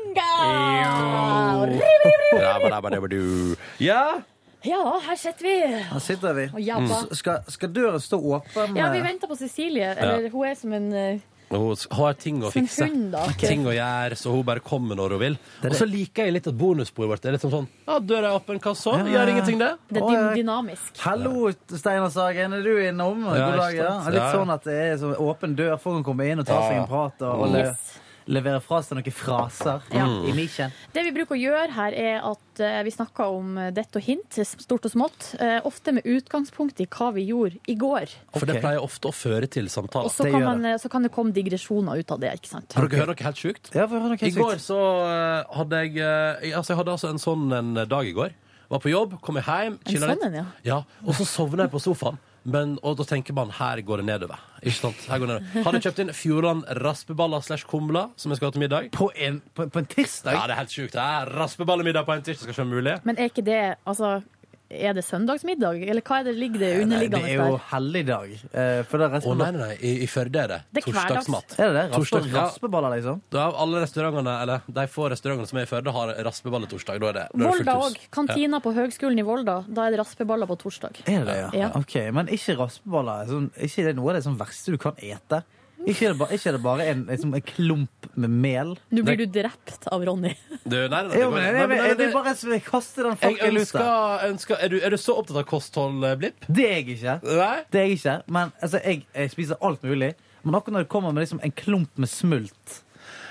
Jo. Ja?
Ja, her sitter vi.
Her sitter vi.
Og jabba.
S- Skal, skal døren stå åpen?
Ja, vi venter på Cecilie. Eller
Ja.
hun er som en eh,
Hun s- har ting å
Som en
fikse.
hund, da.
Ting å gjøre, så hun bare kommer når hun vil. Og så liker jeg litt at bonussporet vårt er litt sånn sånn Ja, døra er åpen, hva så? Gjør ingenting, det.
Det er
Oi.
dyn- dynamisk.
Hallo, Steinar Sagen, er du innom?
Ja,
God dag,
ikke
ja.
sant?
Litt
Ja, ja.
sånn at det er sånn åpen dør. Folk kan komme inn og ta seg en prat og, og le
Yes.
levere fra seg noen fraser
Ja.
Mm.
i mikken.
Det vi bruker å gjøre her, er at eh, vi snakker om eh, dette og hint, stort og smått. eh, ofte med utgangspunkt i hva vi gjorde i går.
For det pleier ofte å føre til samtaler.
Og så kan, man, eh, så kan det komme digresjoner ut av det, ikke sant?
Har dere hørt noe helt sjukt?
Ja, får jeg høre noe
I
helt
går
sykt?
så eh, hadde jeg eh, jeg- Altså, jeg hadde altså en sånn en dag i går. Var på jobb, kom jeg hjem,
En
chilla
sånn en,
litt. Ja, og så sovna jeg på sofaen. Men, og da tenker man her går det nedover. Ikke sant? Her går det nedover. Hadde kjøpt inn Fjordland raspeballer slash kumler, som jeg skal ha til middag.
På en, tirsdag?
Ja, det er helt sjukt. Det er Raspeballemiddag på en tirsdag skal ikke være mulig.
Men er ikke det altså, Er det søndagsmiddag, eller hva er det ligger det
Nei, det
underliggende
er jo
der?
helligdag. eh, For det er
Å, nei, nei, nei. I, i Førde er det.
Det er hverdags.
Torsdagsmat.
Er det det? Raspe,
Torsdag- ja.
raspeballer, liksom?
Da er alle restaurantene, eller de få restaurantene som er i Førde, har raspeballetorsdag. Da er det, da er det fullt
Volda
hus.
òg. Kantina på Høgskolen i Volda. Da er det raspeballer på torsdag.
Er det, ja?
Ja.
Ok, Men ikke raspeballer. Sånn, ikke det er noe av det sånn verste du kan ete? Ikke er det, ba, ikke er det bare en, liksom en klump med mel?
Nå blir du drept av Ronny.
Ja. Du, nei, nei, nei, det
Jo,
går ikke.
men jeg,
Nei,
jeg,
men, nei,
jeg,
det-
vil bare s- kaste den
Jeg
fucking
ønsker,
luta.
ønsker er, du, er du så opptatt av kosthold, eh, Blipp?
Det er jeg ikke. Det er jeg ikke. Men altså, jeg, jeg spiser alt mulig. Men akkurat når det kommer med liksom en klump med smult,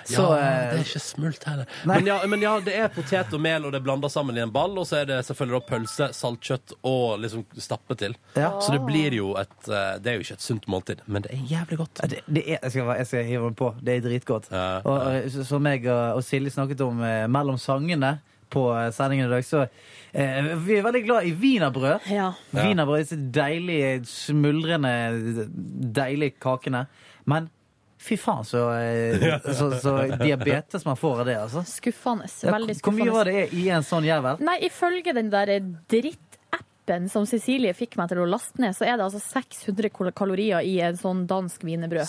så eh,
det er ikke smult heller. Men ja, men ja, det er potet og mel, og det er blanda sammen i en ball. Og så er det selvfølgelig da pølse, saltkjøtt og liksom stappe til.
Ja.
Så det blir jo et eh, Det er jo ikke et sunt måltid, men det er jævlig godt.
Ja, Det, det er, jeg, skal, være- jeg skal hive den på. Det er dritgodt. Og, og eh, så- Som jeg og og Silje snakket om eh, mellom sangene på eh, sendingen i dag, så eh, vi er veldig glad i wienerbrød.
Ja.
Wienerbrød, disse deilige, smuldrende, deilige kakene. Men fy faen, så, eh, så, så diabetes man får av det, altså.
Skuffende.
Ja,
Veldig
Hvor mye
skuffende.
var det i en sånn jævel?
Nei, ifølge den der drittappen som Cecilie fikk meg til å laste ned, så er det altså 600 kal- kalorier i en sånn dansk wienerbrød.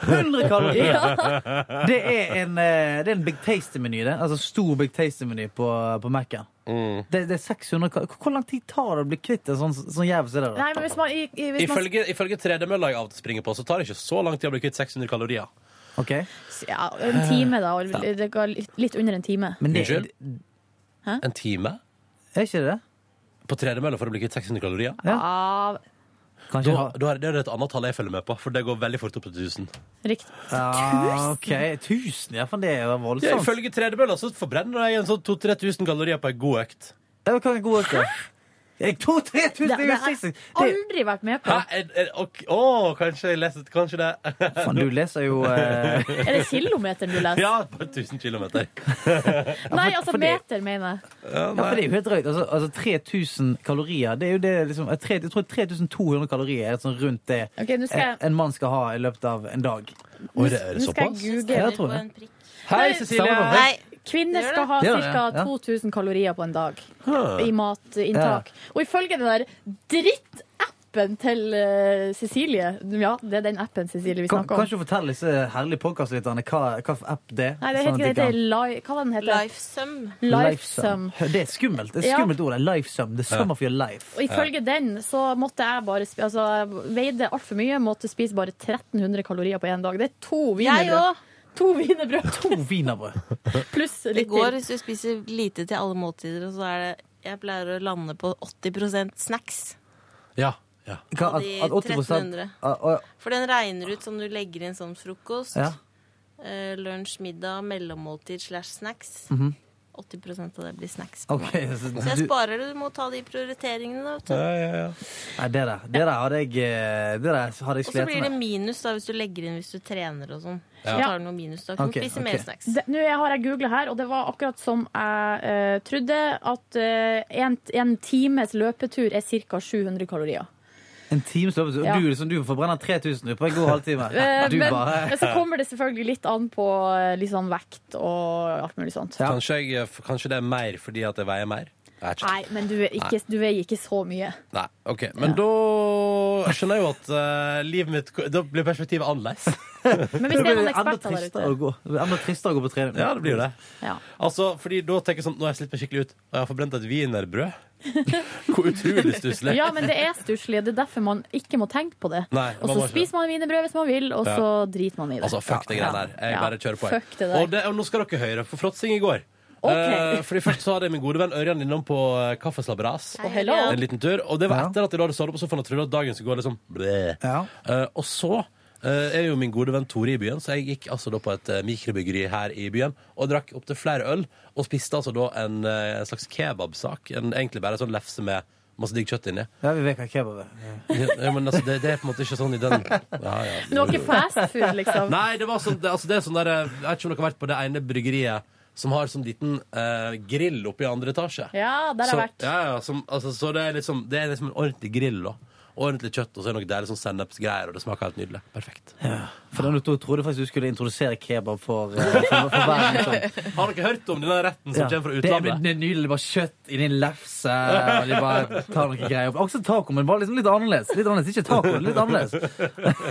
100 kalorier!
Ja.
Det er en, eh, det er en Big Tasty-meny, det. Altså stor Big Tasty-meny på, på Mac-en.
Mm.
Det, det er 600 kalorier. Hvor lang tid tar det å bli kvitt en sånn, sånn jævel som det
Nei,
der?
men hvis man, i, i, hvis man
Ifølge, ifølge tredemølla jeg av og til springer på, så tar det ikke så lang tid å bli kvitt 600 kalorier.
Ok.
ja, En time, da. og Det går litt- litt under en time.
Unnskyld?
Hæ?
En time?
Er ikke det?
På tredemølla for å bli kvitt 600 kalorier?
Ja,
Kanskje
Da, da er det det er et annet tall jeg følger med på, for det går veldig fort opp til 1000.
riktig.
Ja, ok, 1000? Ja, for det er jo
Ja,
voldsomt.
ifølge tredemølla så forbrenner jeg en sånn 2000-3000 kalorier på ei god økt.
Det var en god økt. da. Jeg- to- tre tusen,
Det,
det er
det
jo
har jeg
60. Det-
aldri vært med på.
Hæ? Er, er, ok, å, kanskje jeg leser Kanskje det
Faen, du leser jo eh,
Er det kilometeren du
<laughs>
leser?
Ja, bare 1000 kilometer.
Nei, altså meter, mener jeg.
Ja,
Ja, for det
nei.
er jo helt drøyt. Altså, altså 3000 kalorier, det er jo det liksom eh, tre- Jeg tror 3200 kalorier er sånn rundt det
Ok, nå skal jeg-
en- en mann skal ha i løpet av en dag.
Oi, det er det
Nå skal jeg
såpass?
google.
Ja, jeg tror det.
Hei,
Nei,
Cecilie!
samme
Nei, kvinner skal ha
Det gjør det,
ca.
ja.
2000 kalorier på en dag
Huh.
i matinntak. Og ifølge den der drittappen til eh, Cecilie Ja, det er den appen Cecilie vi
Kan,
snakker om.
kanskje du fortelle disse herlige podkastlytterne hva, hva for app det er?
Nei, det
sånn at de
heter ikke det.
kan-
det er li hva var den heter
Lifesum.
Lifesum.
Lifesum. Det er skummelt. Det er
Ja.
skummelt ord. det er Lifesum. The sum of your life.
Og ifølge den så måtte jeg bare spi- Altså, jeg veide altfor mye, måtte spise bare 1300 kalorier på én dag. Det er to
Jeg
wienerbrød.
òg.
To wienerbrød
To wienerbrød.
pluss
Det
litt
går
til.
hvis du spiser lite til alle måltider, og så er det Jeg pleier å lande på 80 snacks.
Ja, ja.
Hva,
Av
at,
de
at 80
1300.
Ah, ah,
For den regner ut som du legger inn sånn frokost,
Ja.
eh, lunsj, middag, mellommåltid slash snacks. 80 av det blir snacks. på
Mhm. OK.
meg.
Så
Så jeg
du,
sparer det. Du må ta de prioriteringene. da, vet du.
Ja, ja, ja.
nei, det der, det der hadde jeg eh, Det der hadde jeg
Og så
slitt
blir det
med.
minus da hvis du legger inn hvis du trener og sånn. Så
Ja.
tar du noen minus da. Kan
Ok,
du spise
ok.
mer snacks.
Det- Nå har jeg googla her, og det var akkurat som jeg eh, trodde, at eh, en, en times løpetur er ca. 700 kalorier.
En times løpetur.
Ja.
Du, liksom, du forbrenner 3000 du, på en god halvtime.
Eh,
Du
men,
bare
men så kommer det selvfølgelig litt an på eh, litt sånn vekt og alt mulig sånt.
Ja.
Kanskje, jeg, eh, kanskje det er mer fordi at jeg veier mer? Jeg vet ikke.
Nei, men du, er ikke, du veier ikke så mye.
Nei, ok. Men da jeg skjønner jeg jo at eh, livet mitt Da blir perspektivet annerledes.
Men
Da
hvis det
blir
er
det enda
noen eksperter der
tristere
ute
å gå- det blir enda tristere å gå på
<laughs>
trening.
Ja, det blir jo det.
ja.
Altså, fordi da tenker jeg sånn Nå har jeg slitt meg skikkelig ut, og jeg har forbrent et
<laughs>
wienerbrød. Hvor utrolig stusslig.
ja, men det er stusslig. og Det er derfor man ikke må tenke på det.
Nei,
Og
man må
så
ikke.
spiser man wienerbrød hvis man vil, og
Ja.
så driter man i det.
Altså, fuck det greiene der. Jeg
Ja.
bare kjører på. jeg.
Fuck det der.
Og, det, og nå skal dere høre på fråtsing i går.
Ok.
Eh, fordi Først så hadde jeg min gode venn Ørjan innom på eh, Kaffeslabberas.
Og hello.
En liten tur. Og det var etter at jeg da hadde stått opp, og så fant jeg trodde at dagen skulle gå liksom bleh.
Ja.
Eh, og så eh, er jo min gode venn Tore i byen, så jeg gikk altså da på et eh, mikrobryggeri her i byen og drakk opptil flere øl, og spiste altså da en, eh, en slags kebabsak. En, egentlig bare en sånn lefse med masse digg kjøtt inni.
Ja, vi vet hva kebab er. Ja.
Ja, men altså, det, det er på en måte ikke sånn i den ja, ja.
Men det var ikke fast food, liksom.
Nei, det var sånn, det, altså det er sånn der, Jeg vet ikke om dere har vært på det ene bryggeriet som har sånn liten eh, grill oppe i andre etasje.
Ja, der har
så,
jeg vært.
sånn, Ja, ja, som, altså, så det er liksom, det er liksom en ordentlig grill, da. ordentlig kjøtt, og så er det noe deilig sånn sennepsgreier, og det smaker helt nydelig. Perfekt.
For den du trodde faktisk du skulle introdusere kebab for, eh, for, for <laughs> verden. Sånn.
Har dere hørt om denne retten som
Ja.
kommer fra
Det er-
utlandet?
Det er nydelig. det er Bare kjøtt i din lefse. Og de bare tar noen greier opp. Også taco, men bare liksom litt annerledes. Litt annerledes, Ikke taco, litt <laughs> annerledes.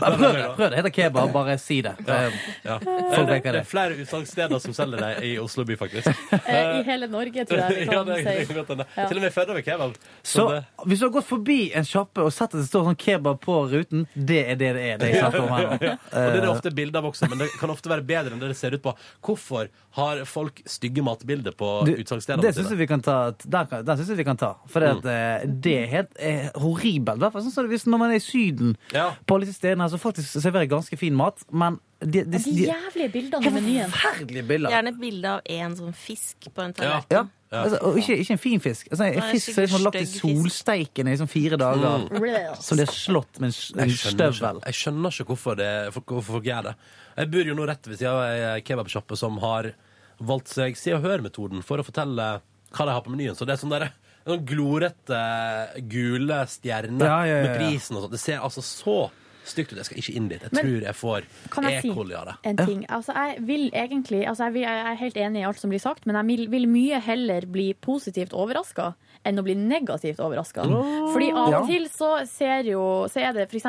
Nei, prøv det. prøv det. Heter kebab, bare si det. Eh,
Ja.
<laughs>
Ja.
Folk
Det, det
liker det.
er flere utsalgssteder som selger det i Oslo by, faktisk.
Eh, I hele Norge, tror jeg
<laughs>
vi
ja,
kan
det, det,
si.
det, det.
Ja.
Til og med født over kebab. Så,
Så
det,
hvis du har gått forbi en sjappe og sett at det står sånn kebab på ruten, det er det det er. Det jeg snakker om her nå.
Ja,
<laughs>
ja. Og det er det
Eh.
ofte bilder av også, men det kan ofte være bedre enn det det ser ut på. Hvorfor har folk stygge matbilder på
Du,
utsalgsstedene
Det syns jeg vi kan ta. Den, kan, den synes jeg vi kan ta. For det, at,
Mm.
eh, det er helt eh, horribelt. Hvertfall sånn som det hvis når man er i Syden. På alle disse stedene her, så faktisk serverer ganske fin mat, men de, de,
De
de,
jævlige bildene i menyen.
Forferdelige bilder.
Gjerne et bilde av en sånn fisk på en
Ja.
tallerken.
Ja. Altså, og ikke, ikke en fin fisk. Altså, en
Nei,
fisk som er liksom
skikkelig
lagt i
stygg fisk.
solsteiken i liksom fire dager,
Mm. Real.
som blir slått med en, s- en
Jeg skjønner,
støvel.
ikke, jeg skjønner ikke hvorfor, det, folk- hvorfor folk gjør det. Jeg bor jo nå rett ved siden av ei kebabsjappe som har valgt seg Se og Hør-metoden for å fortelle hva de har på menyen. Så det er sånn derre Sånn glorete gule stjerner
Ja, ja, ja,
med
ja.
prisen og sånn. Det ser altså så stygt ut. Jeg skal ikke inn dit. Jeg
Men-
tror jeg får
Kan jeg si
e-coli E. av det.
en ting? Altså, jeg vil egentlig altså, jeg, vil, jeg er helt enig i alt som blir sagt, men jeg vil, vil mye heller bli positivt overraska enn å bli negativt overraska.
Mm.
Fordi av og
Ja.
til så, ser jo, så er det f.eks.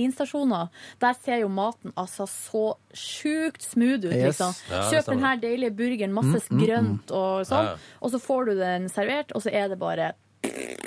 bensinstasjoner. Der ser jo maten altså så sjukt smooth ut.
Yes.
Liksom.
Ja, det
Kjøp
stemmer.
den her deilige burgeren, masse
Mm, mm, mm.
grønt og sånn,
Ja, ja.
og så får du den servert, og så er det bare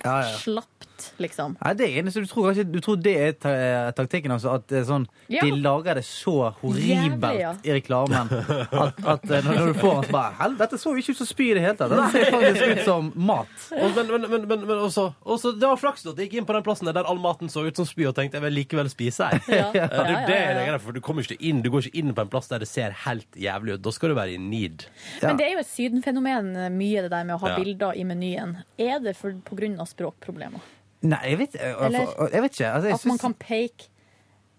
Ja, ja.
slapt, liksom.
Nei, det er enig, så du tror, kanskje, du tror det er ta taktikken, altså? At det er sånn,
Ja.
de lager det så horribelt
Jævlig, ja.
i reklamen at, at eh, når, når du får den, så bare Hell, dette så jo ikke ut som spy i det hele tatt. Det ser faktisk ut som mat.
Og, men, men, men, men, men også, også, det var flaks at jeg gikk inn på den plassen der all maten så ut som spy, og tenkte jeg vil likevel spise her. <laughs>
Ja.
Det er jo
Ja, ja,
det
ja,
jeg
ja.
reagerer på, for du kommer ikke inn, du går ikke inn på en plass der det ser helt jævlig ut. Da skal du være i need.
<laughs> Men det er jo et sydenfenomen eh, mye det der med å ha
Ja.
bilder i menyen. Er det for, på grunn av språkproblemer?
Nei, jeg vet, jeg,
Eller
jeg vet ikke. Altså, jeg
At man
syns-
kan peke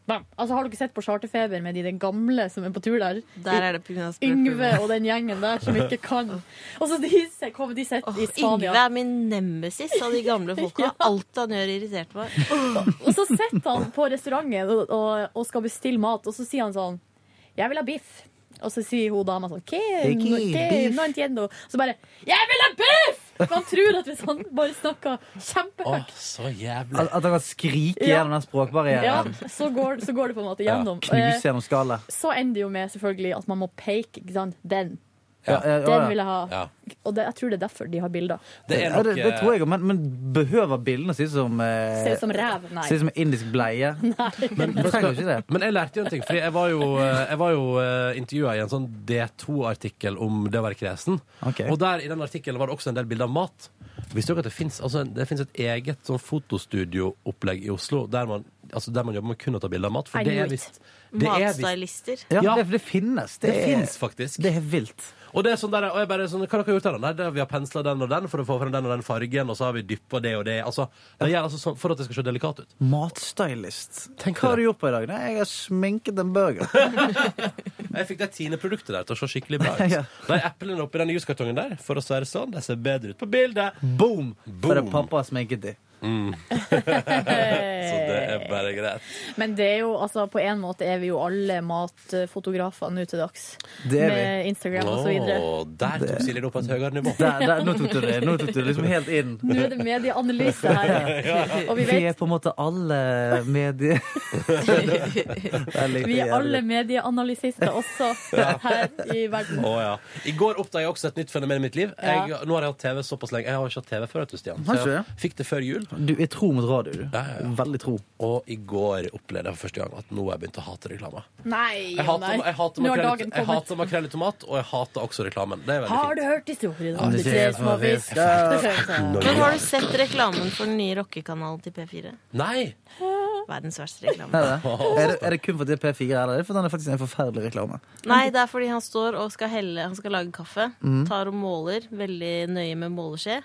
Bam. Altså, Har du ikke sett på Charterfeber med de, de gamle som er på tur der?
Der er det på grunn av
Yngve og den gjengen der som ikke kan. Og så de, se- kommer de sett i Spania.
Yngve er min nemesis av de gamle folka. Alt han gjør, irriterte meg.
Og så sitter han på restauranten og, og, og skal bestille mat, og så sier han sånn Jeg vil ha biff. Og så sier hun dama sånn «Que no,
Ok,
que
biff.
no entiendo. Og så bare Jeg vil ha biff! For han tror at hvis han bare snakker kjempehøyt,
Så jævlig.
At, at han kan skrike
Ja.
gjennom den
ja,
språkbarrieren.
så, går, så går det på en måte
Ja.
gjennom. Eh,
Knuse gjennom skallet.
så ender det jo med selvfølgelig at man må peke. Ikke sant? Den.
Ja, ja, ja, ja.
Den vil jeg ha.
Ja.
Og det, jeg tror det er derfor de har bilder.
Det,
er nok,
det, det
eh,
tror jeg, men, men behøver bildene å se ut som eh,
Se ut som ræv, nei.
Se ut som indisk bleie? Men, det trenger jo ikke det.
Men jeg lærte jo en ting, fordi jeg var jo, jeg var jo eh, intervjuet i en sånn D2-artikkel om det å være kresen. Og der i den artikkelen var det også en del bilder av mat. Visste dere at det finnes, altså, det finnes et eget sånn fotostudio-opplegg i Oslo der man, altså, der man jobber med kun å ta bilder av mat?
I
For det
knew
er
it.
visst det er visst-
Matstylister.
Ja, Det, det finnes.
Det,
er-
finnes faktisk.
Det er vilt.
Og det er sånn der, og jeg bare sånn, hva har dere gjort her da? Nei, det, vi har penslet den og den for å få frem den og den fargen, og så har vi dyppet det og det. Altså, det gjør altså sånn for at det skal se delikat ut.
Matstylist. Hva har du gjort på i dag? Nei, jeg har sminket en burger.
Jeg fikk de Tine-produktet der til å se skikkelig
<laughs>
bra ut.
Ja.
De eplene oppi den juskartongen der, for å svære sånn, de ser bedre ut på bildet.
<laughs> Boom!
Boom.
For det er pappa som sminket de.
Mm. <laughs> så det er bare greit.
Eh, Men det er jo, altså, på en måte er vi jo alle matfotografer nå til dags.
Det er vi.
Med Instagram og så videre.
Åh, der tok Silje det opp på et høyere nivå.
Der, der, nå tok du det Nå tok du det liksom helt inn.
Nå er det medieanalyse
<laughs>
her. Og vi
er
vet
på en måte alle medier.
vi er alle medieanalysister også her i verden.
Å, ja. I går oppdaget jeg også et nytt fenomen i mitt liv.
Ja.
Jeg, nå har jeg hatt TV såpass lenge. Jeg har ikke hatt TV før, vet du, Stian.
Har
Så
ikke
jeg fikk det før jul.
Du er tro mot radio, du. Veldig tro.
Og i går opplevde jeg for første gang at nå har jeg begynt å hate reklame.
Nei
Jeg
og nei.
hater, jeg hater,
Nå har
makrell,
dagen
jeg
kommet.
hater makrell i tomat, og jeg hater også reklamen. Det er veldig
Har
fint.
du hørt historien om
Ja,
de
det
tre
ser
små
små fisk.
fiskene?
Norge.
Men har du sett reklamen for den nye rockekanalen til P4?
Nei!
Verdens verste reklame.
Er det, er det, er det kun fordi det er P4, eller er det fordi den er faktisk en forferdelig reklame?
Nei, det er fordi han står og skal helle Han skal lage kaffe.
Mhm.
Tar og måler, veldig nøye med måleskje.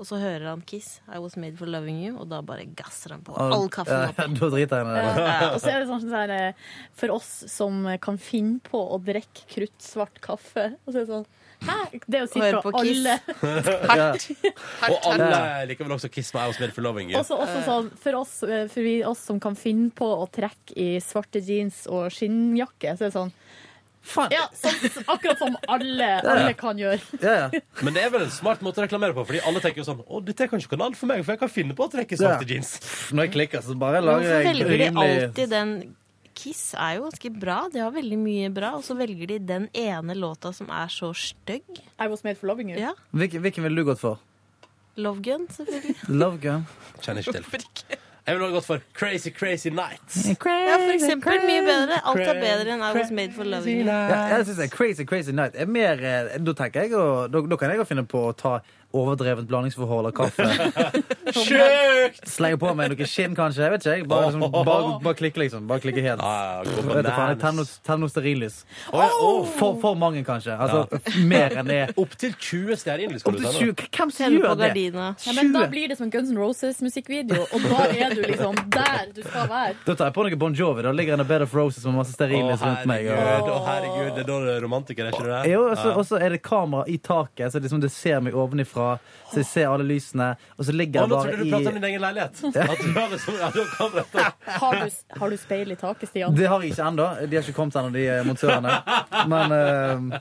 Og så hører han Kiss, 'I was made for loving you', og da bare gasser han på all kaffen
Ja,
oppi.
Da driter jeg i det.
Ja, og så er det sånn sånn her, eh, For oss som kan finne på å drikke kruttsvart kaffe og så er det sånn, Hæ? Det er jo
Hør
sikkert
på Kiss.
alle.
Hardt. Og alle liker vel også Kiss meg og Smell for loving.
Også, også sånn, for, oss, eh, for vi, oss som kan finne på å trekke i svarte jeans og skinnjakke, så er det sånn Ja, sånn, akkurat som alle,
ja.
alle kan gjøre.
Men det er vel en smart måte å reklamere på, Fordi alle tenker jo sånn Å, dette er kanskje ikke kanal for meg, for jeg kan finne på å trekke svarte jeans.
Når jeg klikker, så bare lager
Hvorfor
jeg
velger de
rimelig
alltid den Kiss er jo ganske bra, de har veldig mye bra, og så velger de den ene låta som er så stygg.
I was made for loving you.
Ja.
hvilken, hvilken ville du gått for?
Love Gun, selvfølgelig.
Love Gun?
Kjenner ikke til. Jeg ville også gått for Crazy Crazy Nights.
ja, for eksempel. Mye bedre. Alt er
Crazy,
bedre enn I Was Made for Loving You.
Ja, jeg synes det er Crazy Crazy Night er mer eh, Da tenker jeg å- da, da kan jeg jo finne på å ta overdrevent blandingsforhold av kaffe.
<laughs> Sjukt!
Slenge på meg noe skinn, kanskje. Jeg vet ikke, jeg. Bare, liksom, bare, bare klikke, liksom. Bare klikke helt.
gå
Vet du faen, jeg tenner noe- tenner noe stearinlys. For, for mange, kanskje. Altså, Mer enn
<laughs>
det.
Opptil 20 stearinlys.
Opp til 20. Hvem som
Tenne
gjør
på
det?
gardina.
Ja, men da blir det som en Guns N' Roses-musikkvideo, og da er du liksom der du skal være.
Da tar jeg på noe Bon Jovi. Da ligger det en Bed of Roses med masse
Å,
stearinlys rundt meg.
herregud, å, herregud, det er da du er romantiker, er ikke det?
Jo, altså, og så- og så er det kamera i taket, så liksom det ser meg ovenifra. Så jeg ser alle lysene. Og så
Å,
ligger jeg
nå trodde
bare
du pratet om
i
din egen leilighet. At du hadde sånn, ja, du kan rett
Har du, har du speil i taket, Stian?
Det har jeg ikke ennå. De har ikke kommet ennå, de eh, montørene. Men eh,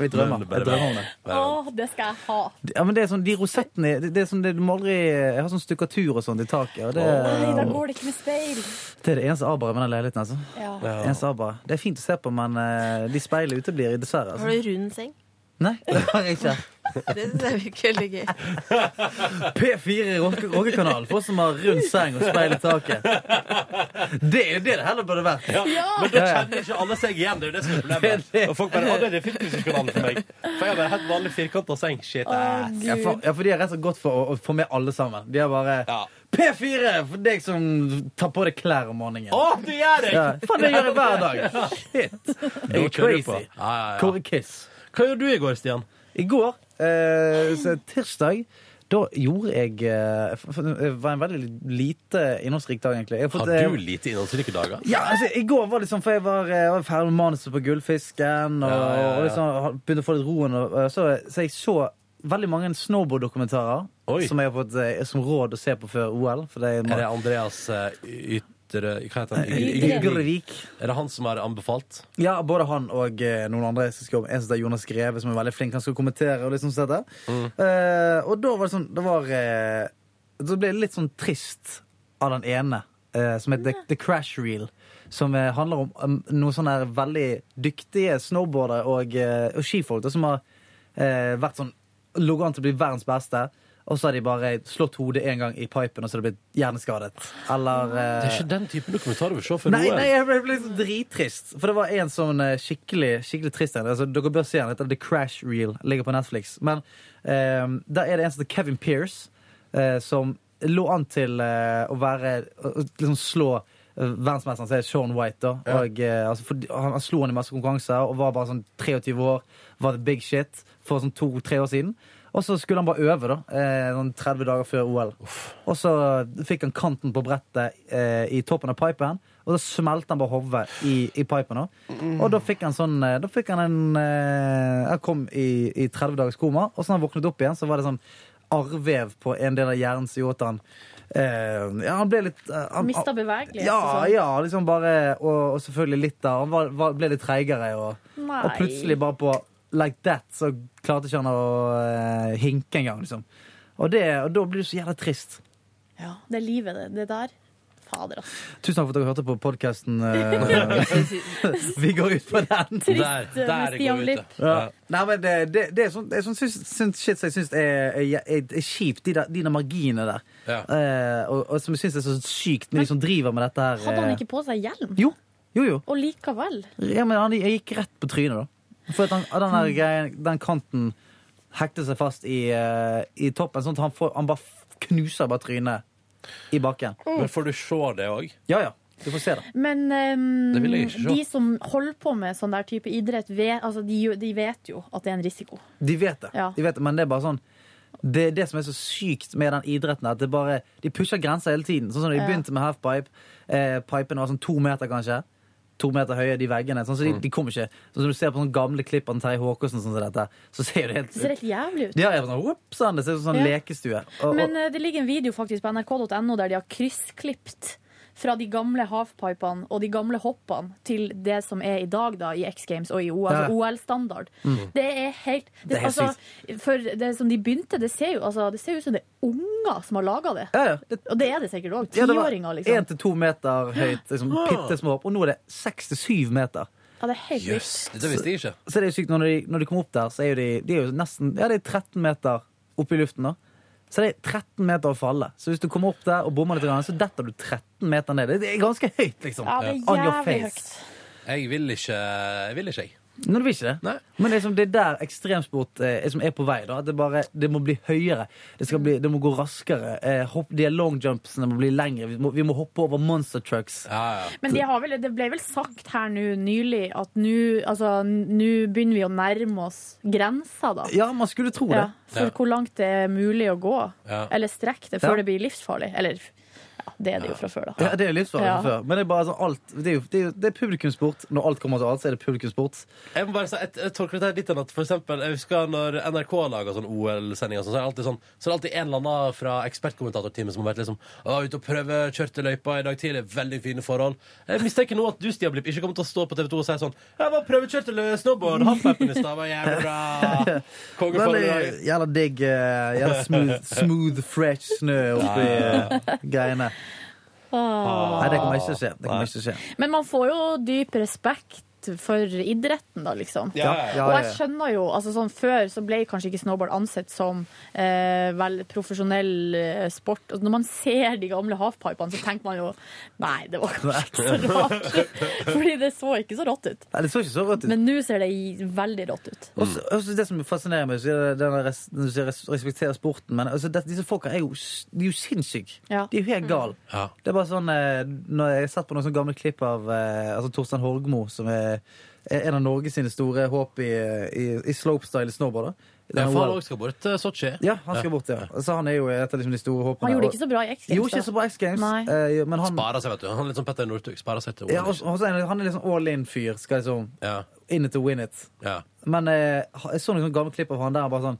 vi drømmer. Jeg drømmer om det.
Å, det skal jeg ha.
Ja, men det er sånn, De rosettene det det er sånn, det, du må aldri, Jeg har sånn stukkatur og sånt i taket. Og det,
Nei, da går det ikke med speil.
det er det eneste aberet med den leiligheten. altså
Ja.
eneste abberet. Det er fint å se på, men eh, de speilene uteblir, dessverre.
Har
Altså.
du rund seng?
Nei, det har jeg ikke.
Det synes jeg virker veldig gøy.
P4 rock- rockekanal for oss som har rund seng og speil i <laughs> taket. Det er jo det det heller burde vært.
Ja, Men da kjenner ikke alle seg igjen. Det er jo det som er problemet. Og folk bare, å, det er definitivt ikke kanalen for meg. For jeg har bare helt vanlig firkanta seng. Shit, eh. ass.
Ja, for, ja, for de er rett og slett godt for å, å få med alle sammen. De er bare P4 for deg som tar på deg klær om morgenen.
Å, du gjør det!
Ja, faen, det gjør jeg hver dag.
Da
Jeg er
kjører du
crazy.
på. Ja, ja, ja.
Kåre Kiss.
Hva gjorde du i går, Stian?
I går, eh, så tirsdag, da gjorde jeg eh, f- f- Det var en veldig lite innholdsrik dag, egentlig. Jeg fått,
Har
eh,
du lite innholdsrike dager?
Ja, altså, I går var det sånn, for jeg var, eh, jeg var ferdig med manuset på Gullfisken. Og,
Ja, ja, ja.
og liksom, ha- begynte å få litt roen. Og, eh, så, så jeg så veldig mange snowboard-dokumentarer
Oi.
som jeg har fått eh, som råd å se på før OL. For det
Er det Andreas eh, Ytre... Hva heter han?
Ytre- Ytrevik.
Er det han som har anbefalt?
Ja, både han og eh, noen andre. Jeg skal jobbe. En som heter Jonas Greve, som er veldig flink. Han skal kommentere. Og liksom sånt der. Eh, og da var det sånn Det var eh, Så ble det litt sånn trist av den ene, eh, som heter The, The Crash Reel. Som eh, handler om um, noen sånne her veldig dyktige snowboardere og, eh, og skifolk da, som har eh, vært sånn Ligget an til å bli verdens beste. Og så har de bare slått hodet én gang i pipen, og så har de blitt hjerneskadet. Eller eh,
Det er ikke den typen dokumentarer vi ser for
Nei,
OL.
nei, jeg ble ble liksom drittrist. For det var en sånn eh, skikkelig skikkelig trist en. Altså, dere bør se den. Heter The Crash Reel. Ligger på Netflix. Men eh, der er det en som heter Kevin Pierce, eh, som lå an til eh, å være å, å liksom slå eh, verdensmesteren, som er Sean White. da og, eh, altså, for, han, han slo han i masse konkurranser og var bare sånn 23 år. Var the big shit for sånn to-tre år siden. Og så skulle han bare øve, da. Eh, noen 30 dager før OL. Og så fikk han kanten på brettet eh, i toppen av pipen, og da smelte han bare hodet i, i pipen. Da. Og da fikk han sånn eh, Da fikk han en eh, Han kom i, i 30 dagers koma, og så da han våknet opp igjen, så var det sånn arrvev på en del av hjernen som gjorde at han eh, Ja, han ble litt eh, <laughs> han-
Mista bevegelighet.
ja,
og sånn.
ja, liksom bare Og, og selvfølgelig litt da. Han var, var, ble litt treigere. Og,
Nei.
og plutselig bare på like that, så klarte ikke han å eh, hinke engang, liksom. Og, det, og da blir du så jævla trist.
Ja, det er livet, det, det der. Fader, ass.
Tusen takk for at dere hørte på podkasten.
<laughs>
vi går ut på den.
Trist, Der- eh, med der går Stian vi ut, Blipp.
Ja. Nei, men det, det, det er sånn, det er sånn syns- syns- shit som jeg syns er, er, er, er kjipt, de der, de der marginene der. Eh, og, og som jeg syns er så sykt med de som driver med dette her.
Hadde
eh,
han ikke på seg hjelm?
Jo, jo, jo.
Og likevel.
Ja, men han jeg gikk rett på trynet, da. For at han, den,
Mm.
der greien, den kanten hekte seg fast i, eh, i toppen, sånn at han, får, han bare f- knuser bare trynet i bakken.
Men får du se det òg?
Ja, ja. Du får se det.
Men ehm,
Det vil jeg ikke se.
de som holder på med sånn der type idrett, vet, altså, de, de vet jo at det er en risiko.
De vet det.
Ja.
De vet det men det er bare sånn det er det som er så sykt med den idretten. At det bare, de pusher grenser hele tiden. Sånn som De
Ja.
begynte med halfpipe. Eh, pipen var sånn to meter, kanskje. to meter høye, de veggene. Sånn, så de, de kom ikke. Sånn som du ser på sånne gamle klipp av Terje Håkonsen, sånn som dette, så ser det helt
Det ser helt jævlig ut.
Ja, jeg var sånn, «Whoop», sånn, det ser ut som sånn
Ja.
lekestue. Og,
Men eh, det ligger en video faktisk på nrk.no der de har kryssklipt fra de gamle halfpipene og de gamle hoppene til det som er i dag da, i X Games og i OL,
Ja.
altså OL-standard.
Mm.
Det er helt det,
Det er helt
altså, For det som de begynte, det ser jo altså, det ser ut som det er unger som har laga det. Og det er det sikkert òg.
og, ja, det var
Tiåringer, liksom.
Én til to meter høyt, liksom,
Ja.
pittesmå hopp, og nå er det seks til syv meter.
Ja, det er helt vilt.
Dette visste jeg ikke.
Så, så det er jo sykt, når de, når de kommer opp der, så er jo de, de er jo nesten Ja, det er 13 meter opp i luften nå. Så det er 13 meter å falle. Så hvis du kommer opp der og bommer litt, grann, så detter du 13 meter ned. Det er ganske høyt, liksom.
Ja, det er
On your
jævlig
face.
høyt. Jeg vil ikke, jeg vil ikke, jeg.
Nei, du vil ikke det? Men liksom, det er der ekstremsport eh, som er på vei. da, at Det, bare, det må bli høyere. Det, skal bli, det må gå raskere. Eh, hopp, de long jumpsene må bli lengre. Vi må, vi må hoppe over monster trucks.
Men de har vel, det ble vel sagt her nå nylig at nå altså, nå begynner vi å nærme oss grensa, da.
Ja, man skulle tro det.
Ja, for
Ja.
hvor langt det er mulig å gå,
Ja.
eller strekke det,
Ja.
før det blir livsfarlig. Eller ja, det er det jo fra før, da.
Ja, det er livsfarlig
Ja.
fra før. Men det er bare altså, alt det er, jo, det, er jo, det er publikumssport. Når alt kommer til alt, så er det publikumssport.
Jeg må bare si, jeg, jeg tolker dette her litt enn at for eksempel, jeg husker når NRK lager sånn OL-sendinger, så, er det alltid sånn, så er det alltid en eller annen fra ekspertkommentatorteamet som har vært liksom, å, ute og prøve, kjørte løypa i dag tidlig, veldig fine forhold. Jeg mistenker nå at du, Stian Blipp, ikke kommer til å stå på TV 2 og si sånn, jeg var prøvekjørte lø- snowboard, halfpappen i stad, var jævlig
<laughs>
bra. Kongeforhold i dag.
Veldig Jævla digg. eh, Jævla smooth,
<laughs>
smooth fresh snø oppi
Ja.
eh, greiene. Nei, det kommer ikke til å skje. Det kommer ikke til å skje.
Ah. Men man får jo dyp respekt. For idretten, da, liksom.
Ja, ja, ja.
Og jeg skjønner jo altså sånn Før så ble kanskje ikke snowboard ansett som eh, vel, profesjonell eh, sport. Og når man ser de gamle halfpipene, så tenker man jo Nei, det var kanskje ikke
<laughs>
så rart. Fordi det så ikke så rått ut.
Nei, det så ikke så rått ut.
Men nå ser det i- veldig rått ut.
Også, også det som fascinerer meg, så er det den der res, når du sier res, respektere sporten, men altså, det, disse folka er jo, s- de er jo sinnssyke. De er jo helt gale.
Mm.
Det er bare sånn, eh, når jeg har sett på noen sånne gamle klipp av eh, altså Torstein Horgmo, som er, er en av Norges sine store håp i, i, i slopestyle snowboard. da.
Ja,
Den
for
OL.
han også skal bort til Sochi.
Ja, han skal bort, ja. Så han er jo et av liksom, de store håpene.
Han gjorde det ikke så bra i X Games.
Gjorde ikke
da.
så bra i X Games.
Nei.
Eh, men han,
Sparer seg, vet du. Han er litt som Petter Northug, sparer seg til OL.
ja, også, også, er han- han er liksom all in-fyr. Skal liksom
Ja.
in it to win it.
Ja.
Men eh, jeg så noen sånne gamle klipp av han der han bare sånn